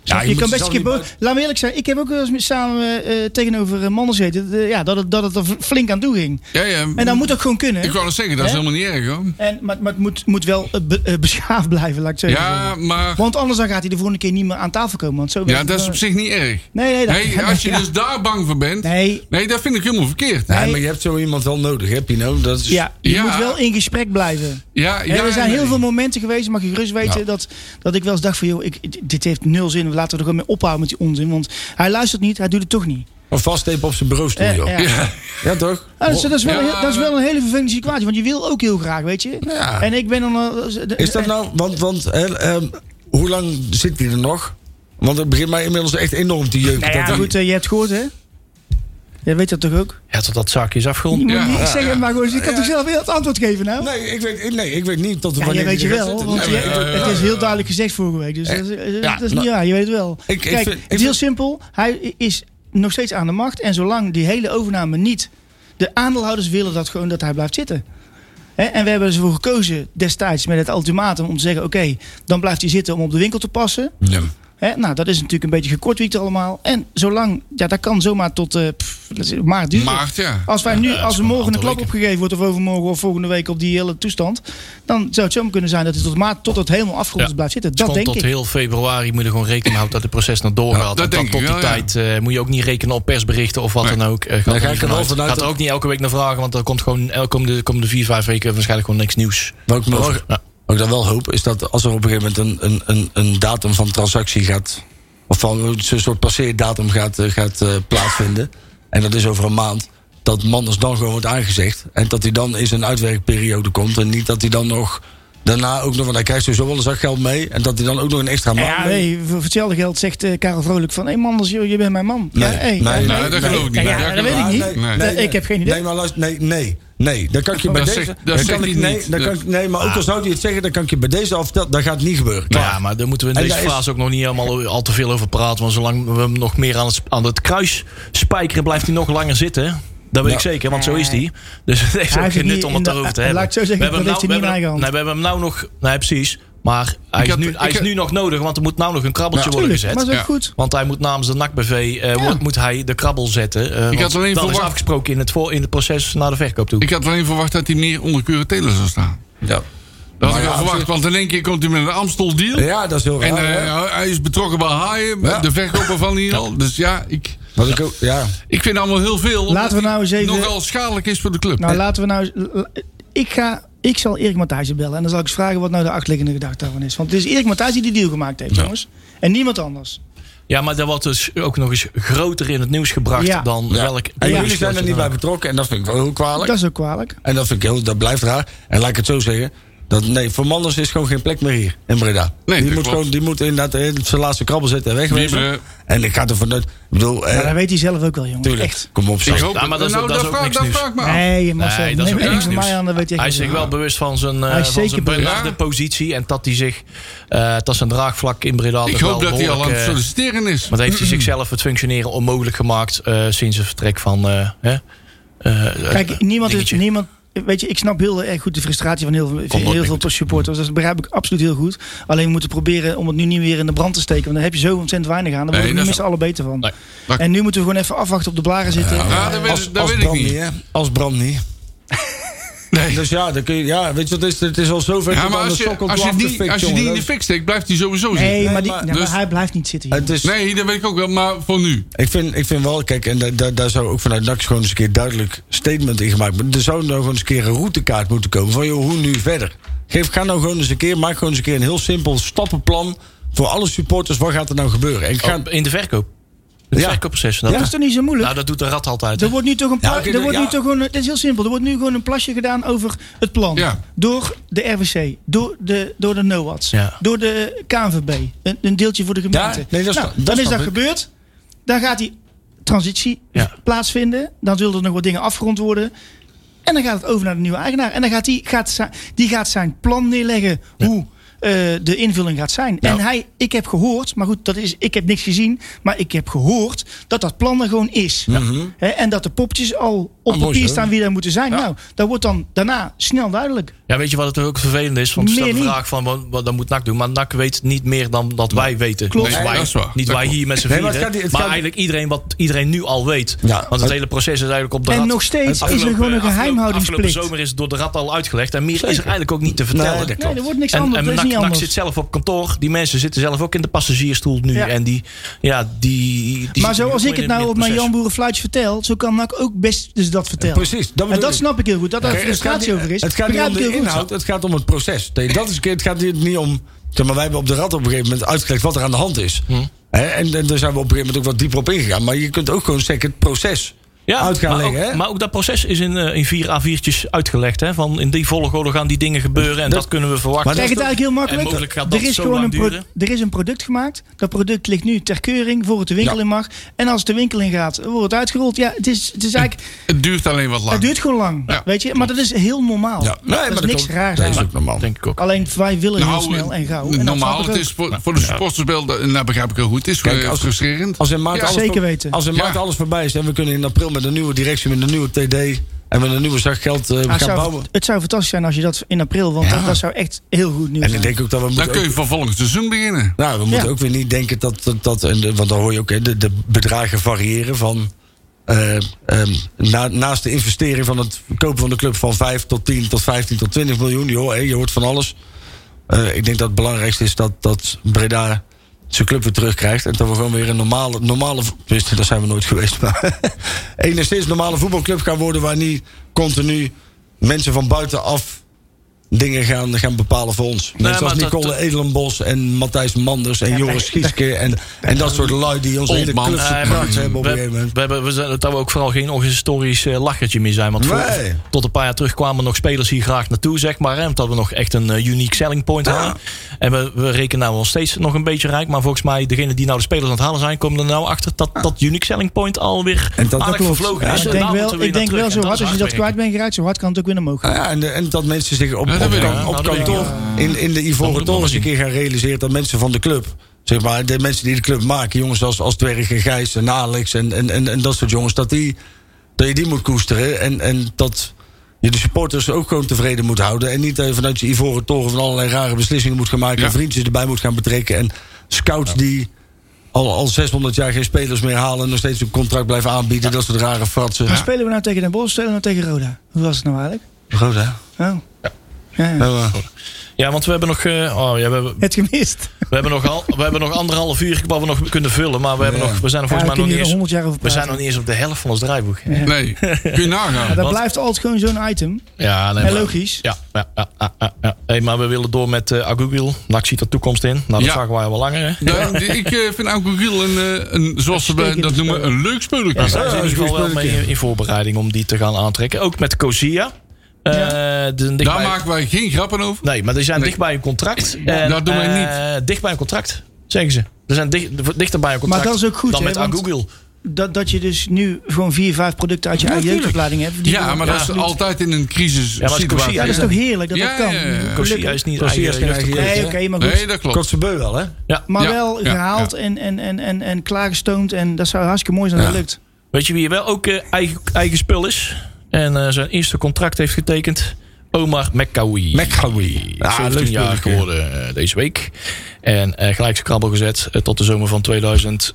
Speaker 5: Snap je
Speaker 4: je
Speaker 5: je
Speaker 4: moet
Speaker 5: kan best een
Speaker 4: zelf
Speaker 5: keer
Speaker 4: niet
Speaker 5: boos. Laat me eerlijk zijn, ik heb ook wel eens met- samen eh, tegenover eh, mannen gezeten. eh, ja, dat, het, dat het er v- flink aan toe ging.
Speaker 3: Ja, ja.
Speaker 5: En dat moet ook gewoon kunnen.
Speaker 3: Ik wou nog zeggen, dat is
Speaker 5: Hè?
Speaker 3: helemaal niet erg hoor.
Speaker 5: En, maar, maar het moet, moet wel eh, be- eh, beschaafd blijven, laat ik het zo
Speaker 3: Ja,
Speaker 5: zeggen.
Speaker 3: maar
Speaker 5: Want anders dan gaat hij de volgende keer niet meer aan tafel komen. Want zo
Speaker 3: ja,
Speaker 5: werkt het
Speaker 3: dat is op
Speaker 5: gewoon.
Speaker 3: zich niet erg.
Speaker 5: Nee, nee, dat (laughs)
Speaker 3: Nee, als je
Speaker 5: ja.
Speaker 3: dus daar bang voor bent.
Speaker 5: Nee,
Speaker 3: Nee, dat vind ik helemaal verkeerd.
Speaker 4: Nee,
Speaker 5: Nee.
Speaker 4: maar je hebt zo iemand wel nodig, hè, Pino? Dat is,
Speaker 5: ja, je
Speaker 3: Ja.
Speaker 5: moet wel in gesprek blijven.
Speaker 3: Ja,
Speaker 5: Ja,
Speaker 3: ja,
Speaker 5: er zijn
Speaker 3: nee.
Speaker 5: heel veel momenten geweest, mag je gerust weten, dat, dat ik wel eens dacht van... joh, ik, dit heeft nul zin, laten we er gewoon mee ophouden met die onzin. Want hij luistert niet, hij doet het toch niet.
Speaker 4: Een vasttepen op zijn bureaustoel,
Speaker 5: Eh,
Speaker 4: joh.
Speaker 5: ja.
Speaker 3: Ja,
Speaker 4: Ja, toch?
Speaker 5: Ah, dat, is, dat is wel
Speaker 3: Ja,
Speaker 5: een, heel- dat is wel een hele vervelende situatie, want je wil ook heel graag, weet je.
Speaker 4: Ja.
Speaker 5: En ik ben dan... eh, de-
Speaker 4: Is dat nou, want, want hè, ehm, hoe lang zit hij er nog? Want het begint mij inmiddels echt enorm te jeuken.
Speaker 5: Nou ja,
Speaker 4: dat hij-
Speaker 5: goed, eh, je hebt gehoord, hè? Jij weet dat toch ook?
Speaker 2: Ja, tot dat zakje is afgerond.
Speaker 5: Je moet
Speaker 3: Ja.
Speaker 5: niks zeggen,
Speaker 3: Ja.
Speaker 5: maar gewoon, dus ik kan toch zelf heel het antwoord geven, nou?
Speaker 4: nee, ik weet, nee, ik weet niet tot
Speaker 5: Ja,
Speaker 4: wanneer
Speaker 5: je weet je
Speaker 4: hij er gaat
Speaker 5: wel,
Speaker 4: zitten.
Speaker 5: want
Speaker 3: Nee,
Speaker 5: je-
Speaker 3: maar, eh,
Speaker 5: het is heel duidelijk gezegd vorige week. Dus dat is, eh, dat is niet
Speaker 4: nou-
Speaker 5: waar, je weet het wel.
Speaker 4: Ik- ik
Speaker 5: Kijk,
Speaker 4: vind- ik
Speaker 5: het is heel
Speaker 4: vind-
Speaker 5: simpel. Hij is nog steeds aan de macht. En zolang die hele overname niet... De aandeelhouders willen dat gewoon dat hij blijft zitten. Hè, en we hebben ervoor gekozen destijds met het ultimatum om te zeggen... oké, dan blijft hij zitten om op de winkel te passen.
Speaker 4: Ja.
Speaker 5: Hè, nou, dat is natuurlijk een beetje gekortwiekt allemaal. En zolang, ja, dat kan zomaar tot eh pff, maart duren.
Speaker 3: maart, ja.
Speaker 5: Als wij nu, als er
Speaker 2: gewoon
Speaker 5: morgen
Speaker 2: een
Speaker 5: een klap
Speaker 2: aantal
Speaker 5: opgegeven wordt, of overmorgen of volgende week op die hele toestand, dan zou het zo kunnen zijn dat het tot maart tot het helemaal afgerond
Speaker 2: Ja.
Speaker 5: blijft zitten.
Speaker 2: Dus
Speaker 5: Dat
Speaker 2: gewoon
Speaker 5: denk
Speaker 2: tot
Speaker 5: ik.
Speaker 2: heel februari moet je gewoon rekening houden dat het proces nog doorgaat.
Speaker 3: dat
Speaker 2: en dan
Speaker 3: denk
Speaker 2: tot
Speaker 3: ik
Speaker 2: die
Speaker 3: wel, ja.
Speaker 2: tijd eh, moet je ook niet rekenen op persberichten of wat
Speaker 3: Nee.
Speaker 2: dan ook. Eh,
Speaker 4: Dan
Speaker 2: er
Speaker 4: ga
Speaker 2: niet
Speaker 4: ik er wel
Speaker 2: vanuit.
Speaker 4: vanuit
Speaker 2: Gaat er
Speaker 4: dat-
Speaker 2: eh, ook niet elke week naar vragen, want er komt gewoon elke om de, komende vier, vijf weken waarschijnlijk gewoon niks nieuws.
Speaker 4: Wat ik me wel,
Speaker 2: Ja.
Speaker 4: Wat ik dan wel hoop, is dat als er op een gegeven moment een, een, een, een datum van transactie gaat... of van zo'n soort passeerdatum gaat, eh, gaat eh, plaatsvinden... en dat is over een maand, dat Manders dan gewoon wordt aangezegd... en dat hij dan in zijn uitwerkperiode komt... en niet dat hij dan nog daarna ook nog... want hij krijgt sowieso wel een zak geld mee... en dat hij dan ook nog een extra maand...
Speaker 5: Ja, nee, voor voor hetzelfde geld zegt eh, Karel Vrolijk van... Hé hey, Manders, joh, je bent mijn man.
Speaker 4: Nee,
Speaker 5: ja, hey.
Speaker 4: nee, nee,
Speaker 3: Nee, dat geloof ik niet.
Speaker 5: Ja, ja,
Speaker 3: Nee,
Speaker 5: dat weet ik niet.
Speaker 4: Nee, nee,
Speaker 5: Dat-
Speaker 4: nee.
Speaker 5: ik heb geen idee.
Speaker 4: Nee, maar luister, nee, nee. Nee, dan kan ik je
Speaker 3: (laughs)
Speaker 4: bij
Speaker 3: Dat
Speaker 4: deze.
Speaker 3: zegt- dat
Speaker 4: dan
Speaker 3: zegt
Speaker 4: kan ik,
Speaker 3: hij
Speaker 4: nee,
Speaker 3: niet.
Speaker 4: dan kan ik- nee, maar ook al zou hij het zeggen, dan kan ik je bij deze al vertellen. Dat gaat niet gebeuren.
Speaker 2: Nou ja, maar daar moeten we in
Speaker 4: En
Speaker 2: deze
Speaker 4: daar is-
Speaker 2: fase ook nog niet helemaal al te veel over praten. Want zolang we hem nog meer aan het, aan het kruis spijkeren, blijft hij nog langer zitten. Dat weet
Speaker 4: Ja.
Speaker 2: ik zeker, want zo is hij. Dus het heeft
Speaker 5: Hij
Speaker 2: ook
Speaker 5: heeft
Speaker 2: geen
Speaker 5: het
Speaker 2: nut
Speaker 5: niet
Speaker 2: om het
Speaker 5: in de-
Speaker 2: daarover te
Speaker 5: laat
Speaker 2: hebben.
Speaker 5: ik zo zeggen,
Speaker 2: we hebben
Speaker 5: dat
Speaker 2: hem
Speaker 5: heeft
Speaker 2: nou-
Speaker 5: hij
Speaker 2: we
Speaker 5: niet
Speaker 2: hebben-
Speaker 5: in eigen hand.
Speaker 2: Nee, we hebben hem nou nog... Nee, precies. Maar hij,
Speaker 3: Ik
Speaker 2: is,
Speaker 3: had-
Speaker 2: nu,
Speaker 3: ik
Speaker 2: hij is
Speaker 3: had-
Speaker 2: nu nog nodig, want er moet nou nog een krabbeltje worden
Speaker 5: Tuurlijk,
Speaker 2: gezet.
Speaker 5: maar zo
Speaker 3: Ja.
Speaker 5: goed.
Speaker 2: Want hij moet namens de NAC-BV eh,
Speaker 5: Ja.
Speaker 2: moet- moet hij de krabbel zetten. eh, want
Speaker 3: had alleen
Speaker 2: dat is
Speaker 3: verwacht-
Speaker 2: afgesproken in het, voor, in het proces naar de verkoop toe.
Speaker 3: Ik had alleen verwacht dat hij meer onder curatele zou staan.
Speaker 4: Ja.
Speaker 3: Dat had
Speaker 4: Maar
Speaker 3: ik wel
Speaker 4: ja,
Speaker 3: verwacht, want in één keer komt hij met een Amstel deal.
Speaker 4: ja, dat is heel
Speaker 3: En
Speaker 4: raar. hè?
Speaker 3: eh, hij is betrokken bij Haaien,
Speaker 4: Ja.
Speaker 3: de verkoper van hier al. Dus ja, ik,
Speaker 4: Wat ik ook, ja.
Speaker 3: ik vind allemaal heel veel. omdat
Speaker 5: Laten we nou eens
Speaker 3: hij
Speaker 5: even-
Speaker 3: Nogal schadelijk is voor de club.
Speaker 5: Nou, laten we nou... la- Ik, ga, ik zal Erik Matthijssen bellen. En dan zal ik eens vragen wat nou de achterliggende gedachte daarvan is. Want het is Erik Matthijssen die die deal gemaakt heeft, jongens. En niemand anders.
Speaker 2: Ja, maar dat wordt dus ook nog eens groter in het nieuws gebracht
Speaker 5: Ja.
Speaker 2: dan
Speaker 4: Ja.
Speaker 2: welk...
Speaker 4: En
Speaker 2: welk
Speaker 4: jullie zijn er
Speaker 2: speeltje
Speaker 4: niet
Speaker 2: dan
Speaker 4: bij
Speaker 2: ook.
Speaker 4: betrokken en dat vind ik wel heel kwalijk.
Speaker 5: Dat is ook kwalijk.
Speaker 4: En dat vind ik heel, dat blijft raar. En laat ik het zo zeggen. Dat, nee, voor Manders is gewoon geen plek meer hier in Breda.
Speaker 3: Nee,
Speaker 4: die,
Speaker 3: dat
Speaker 4: moet
Speaker 3: klopt.
Speaker 4: gewoon, die moet inderdaad in zijn laatste krabbel zitten en
Speaker 3: Wieberen.
Speaker 4: wegwezen.
Speaker 3: eh,
Speaker 4: En ik ga er vanuit. Ik bedoel, eh,
Speaker 5: Maar dat weet hij zelf ook wel, jongens.
Speaker 4: tuurlijk.
Speaker 5: Echt.
Speaker 4: Kom op,
Speaker 3: Ik
Speaker 4: zo.
Speaker 3: hoop,
Speaker 2: Ja, Ah, maar dat is-
Speaker 3: nou,
Speaker 2: dat is
Speaker 3: dat
Speaker 2: ook
Speaker 3: vraag,
Speaker 2: niks
Speaker 3: dat
Speaker 2: nieuws.
Speaker 3: vraag ik me af.
Speaker 5: Nee, Marcel,
Speaker 2: Nee, dat is
Speaker 5: neem
Speaker 2: ook
Speaker 5: er
Speaker 2: niks
Speaker 5: niks van
Speaker 2: nieuws.
Speaker 5: mij aan. Dat weet jij
Speaker 2: Hij is
Speaker 5: geen
Speaker 2: zich
Speaker 5: van.
Speaker 2: wel bewust van zijn, eh,
Speaker 5: Hij is
Speaker 2: van
Speaker 5: zeker
Speaker 2: zijn
Speaker 5: bewust.
Speaker 2: benarde positie. En dat hij zich, eh, dat zijn draagvlak in Breda
Speaker 3: Ik
Speaker 2: toch
Speaker 3: hoop
Speaker 2: wel
Speaker 3: dat hij al aan
Speaker 2: behoorlijk,
Speaker 3: het
Speaker 2: eh,
Speaker 3: solliciteren is.
Speaker 2: Want heeft hij zichzelf het functioneren onmogelijk gemaakt eh, sinds het vertrek van... eh, hè, eh,
Speaker 5: Kijk, niemand is,
Speaker 2: dingetje.
Speaker 5: niemand, weet je, ik snap heel erg goed de frustratie van heel, veel-
Speaker 2: nooit
Speaker 5: heel
Speaker 2: meer
Speaker 5: veel supporters. Dat begrijp ik absoluut heel goed. Alleen we moeten proberen om het nu niet weer in de brand te steken. Want dan heb je zo ontzettend weinig aan. Dan worden we
Speaker 3: dat
Speaker 5: niet
Speaker 3: is-
Speaker 5: met z'n allen beter van.
Speaker 2: Nee.
Speaker 3: Maar-
Speaker 5: En nu moeten we gewoon even afwachten op de blaren zitten.
Speaker 3: Ja, Ah, dat weet,
Speaker 4: Als,
Speaker 3: dat
Speaker 4: als
Speaker 3: weet ik
Speaker 4: Bram niet,
Speaker 3: niet.
Speaker 4: hè? Als Bram niet.
Speaker 3: (laughs) Nee.
Speaker 4: Dus ja, dan kun je, ja weet je wat het is? Het is al zover.
Speaker 3: Ja,
Speaker 4: tot
Speaker 3: maar
Speaker 4: aan
Speaker 3: als
Speaker 4: de
Speaker 3: je,
Speaker 4: sokkel
Speaker 3: als je,
Speaker 4: toe af te
Speaker 3: die,
Speaker 4: fikken,
Speaker 3: als je die
Speaker 4: jongen.
Speaker 3: in de fik steekt, blijft hij sowieso
Speaker 5: nee,
Speaker 3: zitten.
Speaker 5: maar, die,
Speaker 4: maar-
Speaker 5: ja, maar
Speaker 3: dus-
Speaker 5: hij blijft niet zitten hier.
Speaker 4: Het is,
Speaker 3: Nee, dat weet ik ook wel, maar voor nu.
Speaker 4: ik, vind, ik vind wel, kijk, en da- da- daar zou ook vanuit NAC gewoon eens een keer duidelijk statement in gemaakt moeten. Er zou nou gewoon eens een keer een routekaart moeten komen van, joh, hoe nu verder? Geef, ga nou gewoon eens een keer, maak gewoon eens een keer een heel simpel stappenplan voor alle supporters. Wat gaat er nou gebeuren? En ik ga,
Speaker 2: Oh, in de verkoop. In het
Speaker 4: Ja.
Speaker 2: verkoopproces. Dat
Speaker 5: Dat is
Speaker 2: is-
Speaker 5: toch niet zo moeilijk?
Speaker 2: nou, dat doet de rat altijd. hè.
Speaker 5: Er wordt nu toch een pla-
Speaker 4: Ja, oké,
Speaker 5: er wordt
Speaker 4: ja.
Speaker 5: nu toch gewoon, het is heel simpel. Er wordt nu gewoon een plasje gedaan over het plan.
Speaker 3: Ja.
Speaker 5: Door de RWC, door de, door de NOADS,
Speaker 2: Ja.
Speaker 5: door de KNVB. Een, een deeltje voor de gemeente.
Speaker 4: Ja, nee, dat is-
Speaker 5: nou,
Speaker 4: dat
Speaker 5: dan is
Speaker 4: snap
Speaker 5: dat
Speaker 4: ik.
Speaker 5: gebeurd. Dan gaat die transitie
Speaker 2: Ja.
Speaker 5: plaatsvinden. Dan zullen er nog wat dingen afgerond worden. En dan gaat het over naar de nieuwe eigenaar. En dan gaat die, gaat zijn, die gaat zijn plan neerleggen hoe eh, de invulling gaat zijn. En hij, ik heb gehoord, maar goed, dat is, ik heb niks gezien. Maar ik heb gehoord dat dat plan er gewoon is. Hè, en dat de popjes al
Speaker 4: Mhm.
Speaker 5: op
Speaker 4: Ah, mooi
Speaker 5: papier
Speaker 4: zo.
Speaker 5: staan wie er moeten zijn. Nou, dat wordt dan daarna snel duidelijk.
Speaker 2: Ja, weet je wat het ook vervelend is? Want er staat
Speaker 5: Meer
Speaker 2: de
Speaker 5: niet.
Speaker 2: vraag van, wat, wat dan moet NAC doen? Maar NAC weet niet meer dan dat wij weten.
Speaker 5: Klopt.
Speaker 2: Dus
Speaker 3: Nee,
Speaker 2: wij,
Speaker 3: dat is waar.
Speaker 2: Niet
Speaker 3: Dat
Speaker 2: wij
Speaker 3: klopt.
Speaker 2: hier met z'n
Speaker 4: Nee,
Speaker 2: vieren.
Speaker 4: maar
Speaker 2: maar
Speaker 4: het gaat niet- het gaat niet-
Speaker 2: eigenlijk iedereen wat iedereen nu al weet.
Speaker 4: Ja,
Speaker 2: Want het
Speaker 4: het-
Speaker 2: hele proces is eigenlijk op de
Speaker 5: En
Speaker 2: rat.
Speaker 5: nog steeds is er
Speaker 2: Afgelopen-
Speaker 5: gewoon een
Speaker 2: afgelopen-
Speaker 5: geheimhoudingsplicht.
Speaker 2: Afgelopen zomer is het door de rat al uitgelegd. En meer is er eigenlijk ook niet te vertellen.
Speaker 4: Nee, dat
Speaker 5: Nee, er wordt niks
Speaker 2: en,
Speaker 5: anders.
Speaker 2: en
Speaker 5: dat is
Speaker 2: NAC,
Speaker 5: niet
Speaker 2: NAC
Speaker 5: anders.
Speaker 2: zit zelf op kantoor. Die mensen zitten zelf ook in de passagiersstoel nu.
Speaker 5: Ja.
Speaker 2: En die, ja, die, die
Speaker 5: maar zoals ik het nou op mijn Jan
Speaker 2: jamboer.
Speaker 5: Boerenfluitje vertel, zo kan NAC ook best dus dat vertellen.
Speaker 4: Precies, dat
Speaker 5: en
Speaker 4: bedoel
Speaker 5: dat
Speaker 4: ik.
Speaker 5: snap ik heel goed. Dat daar
Speaker 4: Kijk, het gaat
Speaker 5: frustratie
Speaker 4: niet-
Speaker 5: over is.
Speaker 4: Het gaat niet
Speaker 5: begrijp
Speaker 4: om
Speaker 5: ik
Speaker 4: de
Speaker 5: heel goed.
Speaker 4: inhoud, het gaat om het proces. Nee, dat is, het gaat hier niet om... Zeg maar, wij hebben op de rad op een gegeven moment uitgelegd wat er aan de hand is.
Speaker 5: Hm.
Speaker 4: Hè, en, en daar zijn we op een gegeven moment ook wat dieper op ingegaan. Maar je kunt ook gewoon zeggen het proces uit gaan
Speaker 2: maar
Speaker 4: leggen.
Speaker 2: ook,
Speaker 4: hè?
Speaker 2: maar ook dat proces is in, eh, in vier A4'tjes uitgelegd. Hè? Van in die volgorde gaan die dingen gebeuren en dat,
Speaker 4: Dat-
Speaker 2: kunnen we verwachten.
Speaker 4: Maar
Speaker 5: Kijk, het
Speaker 4: dat-
Speaker 5: eigenlijk heel makkelijk.
Speaker 2: En mogelijk gaat dat
Speaker 5: er, is
Speaker 2: zo
Speaker 5: gewoon
Speaker 2: lang
Speaker 5: een pro-
Speaker 2: duren.
Speaker 5: er is een product gemaakt. Dat product ligt nu ter keuring voor het de winkel
Speaker 4: Ja.
Speaker 5: in mag. En als het de winkel in gaat, wordt het uitgerold. Ja, het is, het is eigenlijk,
Speaker 3: Het duurt alleen wat
Speaker 5: het
Speaker 3: lang.
Speaker 5: duurt gewoon lang.
Speaker 3: Ja.
Speaker 5: Weet je? Maar dat is heel normaal.
Speaker 4: Ja, nee, maar
Speaker 5: Oh. dat
Speaker 4: dat
Speaker 5: is niks
Speaker 4: komt-
Speaker 5: raars
Speaker 4: dat is
Speaker 5: aan.
Speaker 4: ook normaal.
Speaker 2: Denk ik ook.
Speaker 5: Alleen wij willen heel
Speaker 3: Nou,
Speaker 5: snel en gauw. En dat snap
Speaker 3: normaal,
Speaker 5: ik
Speaker 3: het
Speaker 5: ook.
Speaker 3: is voor, voor de supporters wel, dat nou, begrijp ik heel goed, het is
Speaker 4: Kijk,
Speaker 3: eh,
Speaker 4: als-
Speaker 3: frustrerend.
Speaker 4: Als in maart,
Speaker 3: Ja,
Speaker 4: alles,
Speaker 5: zeker
Speaker 4: voor-
Speaker 5: weten.
Speaker 4: Als in
Speaker 3: Ja.
Speaker 4: maart alles voorbij is en we kunnen in april met een nieuwe directie, met een nieuwe TD en met een nieuwe zak geld eh,
Speaker 5: Ah,
Speaker 4: gaan
Speaker 5: zou-
Speaker 4: bouwen.
Speaker 5: het zou fantastisch zijn als je dat in april, want dat, dat zou echt heel goed nieuws
Speaker 4: En
Speaker 5: zijn.
Speaker 4: ik denk ook dat we
Speaker 3: Dan
Speaker 4: moeten.
Speaker 3: kun je
Speaker 4: Ook,
Speaker 3: van volgend seizoen beginnen.
Speaker 4: nou, we moeten ook weer niet denken dat. dat, dat en de- want dan hoor je ook, hè, de, de bedragen variëren van. eh, ehm, na- naast de investering van het kopen van de club van 5 tot 10 tot 15 tot 20 miljoen. Joh, hè, je hoort van alles. Eh, ik denk dat het belangrijkste is dat, dat Breda zijn club weer terugkrijgt. En dat we gewoon weer een normale, normale vo- tenminste, dat zijn we nooit (laughs) geweest. Maar enigszins normale voetbalclub gaan worden waar niet continu mensen van buitenaf dingen gaan, gaan bepalen voor ons. Net
Speaker 2: maar
Speaker 4: zoals
Speaker 2: dat-
Speaker 4: Nicole
Speaker 2: dat-
Speaker 4: Edelenbos en Matthijs Manders en Joris Gieske... en, en dat soort lui die ons hele
Speaker 3: Oldman.
Speaker 4: club
Speaker 3: Nee,
Speaker 2: maar-
Speaker 4: gebracht hebben op een
Speaker 2: We,
Speaker 4: gegeven moment.
Speaker 2: we, hebben, we zijn, dat we ook vooral geen historisch eh, lachertje meer zijn. Want voor-
Speaker 4: Nee.
Speaker 2: tot een paar jaar terug kwamen nog spelers hier graag naartoe, zeg maar. Hè, omdat we nog echt een eh, unique selling point hadden. En we, we rekenen nou nog steeds nog een beetje rijk. Maar volgens mij, degene die nou de spelers aan het halen zijn... komen er nou achter dat dat unique selling point alweer
Speaker 4: En dat- dat
Speaker 2: aardig
Speaker 4: klopt.
Speaker 2: vervlogen
Speaker 4: Ja,
Speaker 2: is.
Speaker 5: ik
Speaker 2: En
Speaker 5: denk
Speaker 2: daar
Speaker 5: wel,
Speaker 2: moeten we
Speaker 5: ik
Speaker 2: weer
Speaker 5: denk
Speaker 2: naar
Speaker 5: wel zo
Speaker 2: terug. En
Speaker 5: hard als je dat
Speaker 2: is hard
Speaker 5: kwijt bent geraakt, zo hard kan het ook weer omhoog gaan.
Speaker 4: Nou ja, en, de- en dat mensen zich op,
Speaker 3: Ja, dat
Speaker 4: op,
Speaker 3: weet ik.
Speaker 4: kan- op
Speaker 2: Nou, dat weet ik
Speaker 4: kantoor in, in de Ivoren
Speaker 2: moet ik nog
Speaker 4: Toren eens een
Speaker 2: zien.
Speaker 4: keer gaan realiseren dat mensen van de club, zeg maar, de mensen die de club maken, jongens als, als Dwerg en Gijs en Alex en, en, en, en dat soort jongens, dat, die, dat je die moet koesteren en, en dat je de supporters ook gewoon tevreden moet houden. En niet dat je vanuit je Ivoren Toren van allerlei rare beslissingen moet gaan maken
Speaker 3: Ja.
Speaker 4: en vriendjes erbij moet gaan betrekken en scouts die. Al, al 600 jaar geen spelers meer halen en nog steeds een contract blijven aanbieden. Dat soort rare fratsen.
Speaker 5: Maar spelen we nou tegen Den Bosch of spelen we nou tegen Roda? Hoe was het nou eigenlijk?
Speaker 4: Goed, hè?
Speaker 5: Oh. Ja. ja.
Speaker 4: Ja, maar-
Speaker 2: Ja, want we hebben nog... eh, oh, ja, we, hebben,
Speaker 5: Het gemist. (laughs)
Speaker 2: we, hebben nog al, we hebben nog anderhalf uur waar we nog kunnen vullen. Maar we, hebben nog, we zijn er
Speaker 5: Ja,
Speaker 2: volgens
Speaker 5: daar
Speaker 2: mij
Speaker 5: kun
Speaker 2: nog
Speaker 5: je er
Speaker 2: niet eens...
Speaker 5: 100 jaar over
Speaker 2: We
Speaker 5: praten.
Speaker 2: zijn nog niet eens op de helft van ons draaiboek. Ja,
Speaker 3: Nee, kun je nagaan.
Speaker 5: Maar dat
Speaker 2: Want-
Speaker 5: blijft altijd gewoon zo'n item.
Speaker 2: nee,
Speaker 5: En
Speaker 2: maar-
Speaker 5: logisch.
Speaker 2: Ja, ja, ja, ja, ja, ja. Hey, maar we willen door met uh, Agugil. NAC ziet er toekomst in. Nou, dat
Speaker 3: Ja.
Speaker 2: zagen wij al wel langer. Hè?
Speaker 3: Ja, die- ik eh, vind Alcogiel een, eh, een, zoals ze bij- dat noemen, een leuk spelertje.
Speaker 2: Daar zijn ze in ieder geval wel mee
Speaker 4: spelertje.
Speaker 2: in, in voorbereiding om die te gaan aantrekken. Ook met Cosia. Eh, de-
Speaker 3: Daar
Speaker 2: dichtbij-
Speaker 3: maken wij geen grappen over.
Speaker 2: Nee, maar die zijn
Speaker 3: Nee.
Speaker 2: dicht bij een contract. En,
Speaker 3: dat doen wij
Speaker 2: eh, dicht bij een contract, zeggen ze. Ze zijn dicht, dichter bij een contract
Speaker 5: dat is ook goed,
Speaker 2: dan
Speaker 5: hè,
Speaker 2: met
Speaker 5: want-
Speaker 2: Agugil.
Speaker 5: Dat, dat je dus nu gewoon vier, vijf producten uit je eigen jeugdopleiding hebt. die
Speaker 3: Ja,
Speaker 5: je-
Speaker 3: maar dat is altijd in een crisis
Speaker 2: maar als ik
Speaker 3: situatie.
Speaker 2: zie,
Speaker 5: Ja, dat is toch heerlijk dat
Speaker 3: Ja,
Speaker 5: dat kan?
Speaker 3: ja, ja.
Speaker 5: Gelukkig.
Speaker 2: Cosia is niet
Speaker 4: Cosia is geen
Speaker 2: eigen
Speaker 4: eigen
Speaker 5: Nee,
Speaker 4: jeugd,
Speaker 5: oké,
Speaker 4: hè?
Speaker 5: maar goed.
Speaker 3: Nee, dat klopt.
Speaker 4: Kortse beu wel, hè?
Speaker 2: Ja.
Speaker 5: Maar
Speaker 3: Ja,
Speaker 5: wel
Speaker 3: ja,
Speaker 5: gehaald
Speaker 3: ja.
Speaker 5: En, en, en, en, en klaargestoomd. En dat zou hartstikke mooi zijn als dat lukt.
Speaker 2: Weet je wie wel ook eh, eigen, eigen spul is? En eh, zijn eerste contract heeft getekend. Omar McCawie.
Speaker 4: McCawie.
Speaker 2: Ja,
Speaker 3: Ah,
Speaker 4: Ja,
Speaker 2: 17
Speaker 4: leuk
Speaker 2: Ah, jaar
Speaker 4: spelletje.
Speaker 2: geworden eh, deze week. En eh, gelijk zijn krabbel gezet eh, tot de zomer van 2000.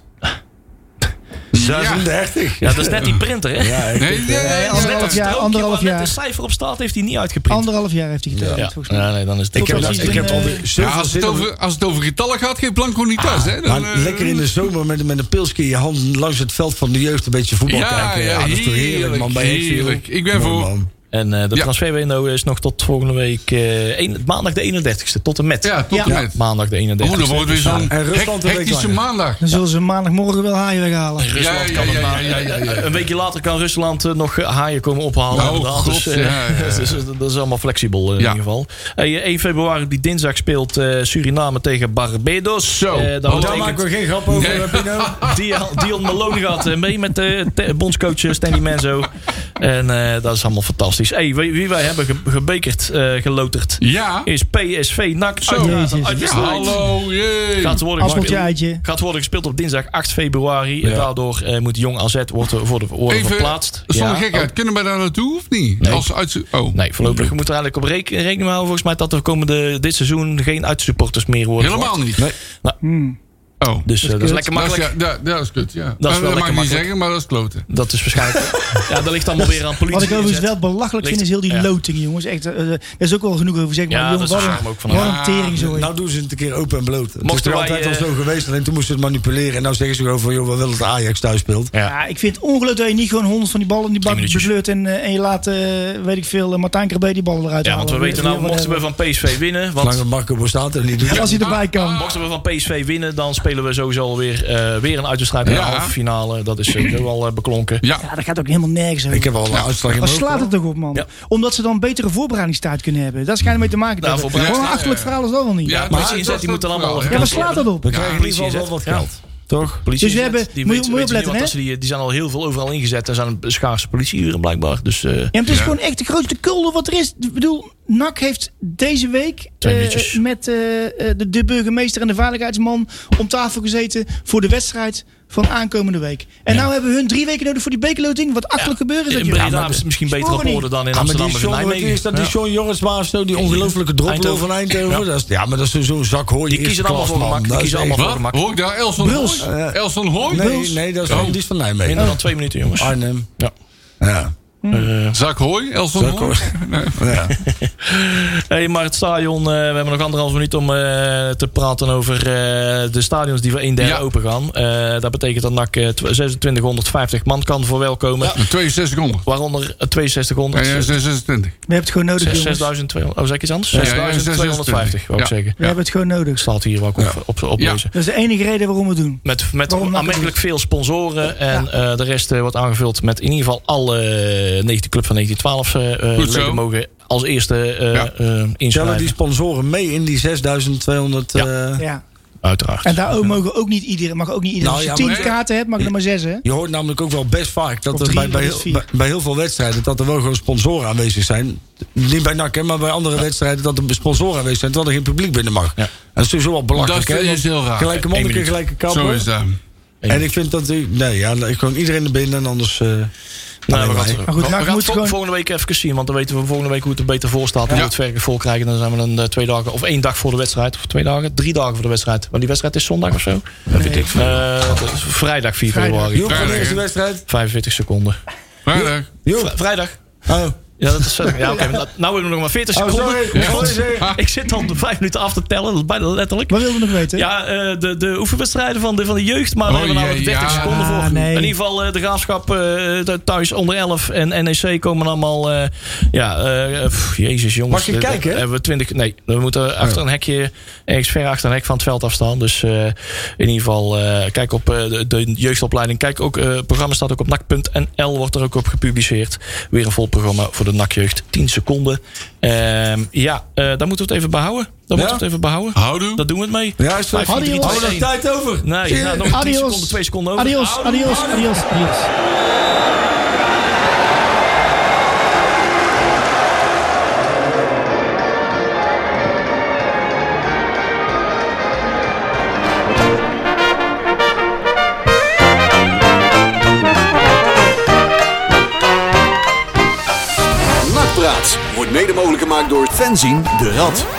Speaker 4: 36.
Speaker 2: Ja, dat is net die printer, hè?
Speaker 4: Ja, ik- eh,
Speaker 3: Nee, nee, nee,
Speaker 5: Anderhalf
Speaker 3: nee, dat-
Speaker 5: jaar,
Speaker 2: Strookje
Speaker 5: anderhalf
Speaker 2: waar net
Speaker 5: jaar.
Speaker 2: een cijfer op staat, heeft hij niet uitgeprint.
Speaker 5: Anderhalf jaar heeft hij getekend,
Speaker 2: ja.
Speaker 5: volgens mij.
Speaker 2: Ja, nee, dan is het
Speaker 4: Ik heb,
Speaker 5: Tot
Speaker 4: dat,
Speaker 5: precies
Speaker 4: ik heb
Speaker 5: een,
Speaker 4: al
Speaker 5: eh,
Speaker 4: die-
Speaker 3: Ja,
Speaker 4: zoveel
Speaker 3: als, het
Speaker 4: zin om-
Speaker 3: over, als het over getallen gaat, geeft Blanco niet thuis. Hè? Dan,
Speaker 4: Maar
Speaker 3: eh,
Speaker 4: nou, lekker in de zomer met, met een pilsje in je hand langs het veld van de jeugd een beetje voetbal
Speaker 3: Ja,
Speaker 4: kijken.
Speaker 3: ja,
Speaker 4: Ja, dat is toch heerlijk, man. Bij
Speaker 3: heerlijk,
Speaker 4: Hetfield.
Speaker 3: heerlijk. Ik ben
Speaker 4: Mooi,
Speaker 3: voor.
Speaker 4: man.
Speaker 2: En eh, de
Speaker 3: Ja.
Speaker 2: transferwindow is nog tot volgende week eh, een- maandag de 31ste. Tot en met.
Speaker 3: Ja, tot en
Speaker 5: Ja.
Speaker 3: met.
Speaker 2: Maandag de 31ste.
Speaker 3: Oh, dan wordt weer zo'n
Speaker 4: En Rusland
Speaker 3: hec-
Speaker 4: een week
Speaker 3: hectische
Speaker 4: langer.
Speaker 3: maandag.
Speaker 5: Dan zullen ze maandagmorgen wel haaien weghalen.
Speaker 2: Rusland
Speaker 3: Ja,
Speaker 2: kan
Speaker 3: ja,
Speaker 2: het
Speaker 3: ja,
Speaker 2: maar-
Speaker 3: ja, ja, ja, ja.
Speaker 2: Een weekje later kan Rusland eh, nog eh, haaien komen ophalen.
Speaker 3: Oh,
Speaker 2: inderdaad.
Speaker 3: god,
Speaker 2: eh, (laughs)
Speaker 3: ja, ja, ja.
Speaker 2: dus, eh, dat is allemaal flexibel eh, in
Speaker 3: Ja.
Speaker 2: ieder geval. Hey, eh, 1 februari, die dinsdag, speelt eh, Suriname tegen Barbados.
Speaker 3: Zo.
Speaker 2: Eh,
Speaker 3: Oh,
Speaker 2: dat
Speaker 4: Daar
Speaker 2: betekent
Speaker 4: maken we geen grap over, nou?
Speaker 3: Nee.
Speaker 4: hè, Pino.
Speaker 2: Dion, Dion Malone gaat eh, mee met de te- bondscoach eh, Stanley Menzo. En eh, dat is allemaal fantastisch. Hey, wie, wie wij hebben ge- gebekerd, eh, geloterd,
Speaker 3: Ja.
Speaker 2: is PSV NAC.
Speaker 3: Zo.
Speaker 2: Uiteraard een
Speaker 5: Jezus.
Speaker 3: Ja,
Speaker 2: uitwedstrijd.
Speaker 3: hallo. jee.
Speaker 2: Gaat worden
Speaker 5: Appeltje,
Speaker 2: gespeeld.
Speaker 5: eitje.
Speaker 2: Gaat worden gespeeld op dinsdag 8 februari. En daardoor eh, moet Jong AZ worden, worden, worden verplaatst.
Speaker 3: zonder
Speaker 2: Ja.
Speaker 3: gekheid. Kunnen wij daar naartoe of niet?
Speaker 2: Nee.
Speaker 3: Als uit, oh.
Speaker 2: Nee, voorlopig moeten we eigenlijk op reken- rekening houden volgens mij dat er komende dit seizoen geen uitsupporters meer worden.
Speaker 3: helemaal niet. Nou. Oh.
Speaker 2: Dus eh, dat is lekker
Speaker 3: Dat is,
Speaker 2: makkelijk.
Speaker 3: ja, dat, dat is kut, ja.
Speaker 2: wel
Speaker 3: Dat,
Speaker 2: lekker
Speaker 3: mag ik niet
Speaker 2: makkelijk.
Speaker 3: zeggen, maar dat is kloten.
Speaker 2: Dat is waarschijnlijk.
Speaker 3: (laughs)
Speaker 2: ja, dat ligt allemaal weer aan politie.
Speaker 5: Wat ik overigens
Speaker 2: inzet.
Speaker 5: wel belachelijk
Speaker 2: Ligt-
Speaker 5: vind is heel die
Speaker 2: ja.
Speaker 5: loting, jongens. Echt, eh, eh, daar is ook wel genoeg over gezegd.
Speaker 2: Ja,
Speaker 5: Maar jongen,
Speaker 2: dat is
Speaker 5: wat
Speaker 2: een
Speaker 5: een,
Speaker 2: schaam ook van
Speaker 5: wat
Speaker 2: hem.
Speaker 5: een tering zo.
Speaker 4: Nou doen ze het een keer open en bloot. Het is
Speaker 2: Mochten
Speaker 4: er
Speaker 2: wij,
Speaker 4: altijd al
Speaker 2: eh,
Speaker 4: zo geweest. Alleen toen moesten ze het manipuleren. En nou zeggen ze gewoon van... joh, we willen dat Ajax thuis speelt.
Speaker 2: Ja.
Speaker 5: Ja, ik vind het ongelooflijk dat je niet gewoon honderd van die ballen in die bak
Speaker 2: Tien minuutjes.
Speaker 5: besleurt. En, eh, en je laat, eh, weet ik veel, eh, Martijn Krabbe die ballen eruit
Speaker 2: Ja, want we
Speaker 5: halen.
Speaker 2: weten nou,
Speaker 5: Weer- weer
Speaker 2: mochten we Ah,
Speaker 5: whatever.
Speaker 2: van PSV winnen. Want
Speaker 4: Lange Marco bestaat er niet.
Speaker 5: eh, Als hij erbij kan.
Speaker 2: mochten we van PSV winnen, dan spelen we sowieso alweer eh, weer een uitwedstrijd in de
Speaker 3: Ja.
Speaker 2: halve finale. Dat is sowieso al eh, beklonken.
Speaker 5: Ja,
Speaker 3: Ja.
Speaker 5: dat gaat ook helemaal nergens over.
Speaker 4: Ik heb al een uitslag in
Speaker 5: Waar
Speaker 4: mijn hoofd.
Speaker 5: slaat het toch op, man?
Speaker 2: Ja.
Speaker 5: Omdat ze dan een betere voorbereidingstijd kunnen hebben. Daar schijnt mee te maken. te
Speaker 2: Nou,
Speaker 5: hebben.
Speaker 2: voorbereiding-
Speaker 5: Gewoon een achterlijk verhaal is dat wel niet.
Speaker 3: Ja,
Speaker 5: Ja,
Speaker 3: dat
Speaker 2: Maar
Speaker 3: is-
Speaker 2: die
Speaker 3: dat
Speaker 2: inzet
Speaker 3: is
Speaker 2: die moet dan
Speaker 3: het
Speaker 2: allemaal
Speaker 3: verhaal,
Speaker 5: waar
Speaker 3: hè.
Speaker 5: slaat dat op?
Speaker 4: We krijgen in ieder geval wel wat geld. Toch?
Speaker 2: Politie
Speaker 5: Dus we
Speaker 2: inzet,
Speaker 5: hebben-
Speaker 2: die
Speaker 5: moet je-
Speaker 2: weten-
Speaker 5: moet je
Speaker 2: weten niet,
Speaker 5: opletten,
Speaker 2: want
Speaker 5: hè?
Speaker 2: als ze die, die zijn al heel veel overal ingezet. Er zijn schaarse politieuren blijkbaar. Dus eh,
Speaker 5: Ja, maar het is gewoon echt de grootste kulde wat er is. Ik bedoel, NAC heeft deze week
Speaker 2: Twee
Speaker 5: eh,
Speaker 2: liedjes.
Speaker 5: met eh, eh, de, de burgemeester en de veiligheidsman om tafel gezeten voor de wedstrijd van aankomende week. En nou hebben hun drie weken nodig voor die bekerloting. Wat achterlijk gebeuren is dat,
Speaker 2: in
Speaker 5: joh.
Speaker 2: Breda is het misschien beter op
Speaker 5: Sporen
Speaker 2: orde dan in
Speaker 4: Ja, maar
Speaker 2: Amsterdam
Speaker 4: die
Speaker 2: of in
Speaker 4: John, wat
Speaker 2: Nijmegen.
Speaker 4: is dat die
Speaker 2: Ja.
Speaker 4: John Jorritsma of zo? Die ongelooflijke droplul
Speaker 2: Eindhoven.
Speaker 4: van Eindhoven.
Speaker 2: Ja.
Speaker 4: Dat is, ja, maar dat is zo'n zak hooi.
Speaker 2: Die kiezen allemaal voor gemak. Die kiezen allemaal voor
Speaker 3: Wat?
Speaker 2: gemak.
Speaker 3: Hoor ik daar Elson
Speaker 5: Bruls.
Speaker 3: Hooy? Elson Hooy?
Speaker 4: Nee, nee, dat is,
Speaker 3: Oh.
Speaker 4: die is van Nijmegen.
Speaker 2: Minder dan twee minuten, jongens.
Speaker 4: Arnhem.
Speaker 2: Ja.
Speaker 4: Ja.
Speaker 2: Eh,
Speaker 3: Zak Hooy?
Speaker 2: (laughs)
Speaker 3: Elson
Speaker 4: Zak
Speaker 3: Hooy?
Speaker 4: Hooy. ja.
Speaker 2: Hey, maar het stadion, eh, we hebben nog anderhalf minuut om eh, te praten over eh, de stadions die voor een derde
Speaker 3: Ja.
Speaker 2: open gaan. Eh, dat betekent dat NAC eh, tw- 2650 man kan verwelkomen.
Speaker 3: Ja. 6200.
Speaker 2: Waaronder eh, 6200.
Speaker 3: Ja, 26.
Speaker 5: We hebben het gewoon nodig,
Speaker 2: zes-
Speaker 5: jongens.
Speaker 2: 6200. Oh, zeg ik iets anders?
Speaker 3: Ja, ja,
Speaker 2: 6250, wou ik
Speaker 3: ja.
Speaker 2: zeggen.
Speaker 5: We hebben het gewoon nodig.
Speaker 2: Staat hier wat ik op, op, op
Speaker 3: Ja.
Speaker 2: lezen.
Speaker 5: Dat is de enige reden waarom we het doen.
Speaker 2: Met, met
Speaker 5: Waarom NAC
Speaker 2: aanmerkelijk veel sponsoren. En eh, de rest eh, wordt aangevuld met in ieder geval alle 19 club van 1912 eh, eh,
Speaker 3: Goed zo.
Speaker 2: leden mogen als eerste eh
Speaker 3: Ja.
Speaker 2: eh,
Speaker 4: Tellen
Speaker 2: inschrijven.
Speaker 4: die sponsoren mee in die 6200. eh,
Speaker 5: Ja.
Speaker 2: Uiteraard.
Speaker 5: En daar ook mogen ook niet iedereen, mag ook niet iedereen.
Speaker 4: Nou,
Speaker 5: Als je
Speaker 4: ja,
Speaker 5: tien
Speaker 3: maar-
Speaker 5: kaarten hebt, mag je er maar zes, hè?
Speaker 4: Je hoort namelijk ook wel best vaak dat
Speaker 5: Op
Speaker 4: er
Speaker 5: drie
Speaker 4: bij, bij,
Speaker 5: is
Speaker 4: heel-
Speaker 5: vier.
Speaker 4: bij, bij heel veel wedstrijden dat er wel gewoon sponsoren aanwezig zijn. Niet bij NAC, hè, maar bij andere wedstrijden dat er sponsoren aanwezig zijn terwijl er geen publiek binnen mag.
Speaker 2: Ja.
Speaker 4: En dat is sowieso wel belachelijk.
Speaker 3: Dat
Speaker 4: hè,
Speaker 3: is
Speaker 4: want
Speaker 3: heel raar.
Speaker 4: Gelijke
Speaker 2: Eén
Speaker 4: monniken,
Speaker 2: minuut.
Speaker 4: gelijke kappen.
Speaker 3: Zo is dat.
Speaker 4: En ik vind dat die- nee, ja, gewoon iedereen er binnen en anders. eh,
Speaker 2: Nou,
Speaker 4: alleen
Speaker 2: we gaan,
Speaker 4: maar-
Speaker 2: het-
Speaker 5: Maar goed,
Speaker 2: we
Speaker 5: NAC
Speaker 2: gaan het
Speaker 5: moet
Speaker 2: vol-
Speaker 5: gewoon-
Speaker 2: volgende week even zien. Want dan weten we volgende week hoe het er beter voor staat. En
Speaker 3: Ja.
Speaker 2: hoe het werkelijk vol krijgen. Dan zijn we dan eh, twee dagen of één dag voor de wedstrijd. Of twee dagen, drie dagen voor de wedstrijd. Want die wedstrijd is zondag of zo.
Speaker 5: weet ik veel.
Speaker 2: Eh, dat is vrijdag 4
Speaker 5: Vrijdag.
Speaker 2: februari.
Speaker 4: Joep, wanneer is de
Speaker 3: hè?
Speaker 4: wedstrijd?
Speaker 2: 45 seconden.
Speaker 3: Vrijdag.
Speaker 2: Vri-
Speaker 4: Joep.
Speaker 2: vrijdag.
Speaker 4: Oh,
Speaker 2: Ja, dat is
Speaker 5: (laughs)
Speaker 2: ja, oké, maar dat- Nou hebben we nog maar 40
Speaker 4: oh
Speaker 2: seconden.
Speaker 4: sorry.
Speaker 3: Ja.
Speaker 4: sorry zeg.
Speaker 2: Ik zit al de vijf minuten af te tellen. dat is Bijna letterlijk.
Speaker 5: Wat wilden we nog weten?
Speaker 2: Ja, eh, de, de oefenwedstrijden van de, van de jeugd. Maar
Speaker 3: Oh,
Speaker 2: daar hebben we nou
Speaker 3: jee,
Speaker 2: 30
Speaker 3: ja.
Speaker 2: seconden voor.
Speaker 5: Ah, nee.
Speaker 2: In ieder geval eh, de graafschap eh, thuis onder 11 en NEC komen allemaal. eh, ja, eh, pff, jezus jongens.
Speaker 4: Mag je
Speaker 2: Eh, daar
Speaker 4: kijken, hè?
Speaker 2: Hebben we 20, nee, we moeten achter een hekje. Ergens ver achter een hek van het veld afstaan. Dus eh, in ieder geval, eh, kijk op eh, de, de jeugdopleiding. Kijk ook, eh, het programma staat ook op nak.nl. Wordt er ook op gepubliceerd. Weer een vol programma voor de NAC-jeugd. 10 seconden. Ehm, ja, eh, daar moeten we het even behouden. Daar moeten we het even behouden.
Speaker 3: Houdoe.
Speaker 2: Dat doen we het mee.
Speaker 4: Ja, is
Speaker 2: Vijf,
Speaker 4: het.
Speaker 2: vier, drie,
Speaker 5: Adios.
Speaker 2: twee,
Speaker 4: Hadden we
Speaker 2: één.
Speaker 4: nog tijd over?
Speaker 2: Nee, ja, nog 10
Speaker 5: Adios.
Speaker 2: seconden, 2 seconden over.
Speaker 5: Adios, adios, adios, adios.
Speaker 1: Nakpraat wordt mede mogelijk gemaakt door Fenzin de Rad.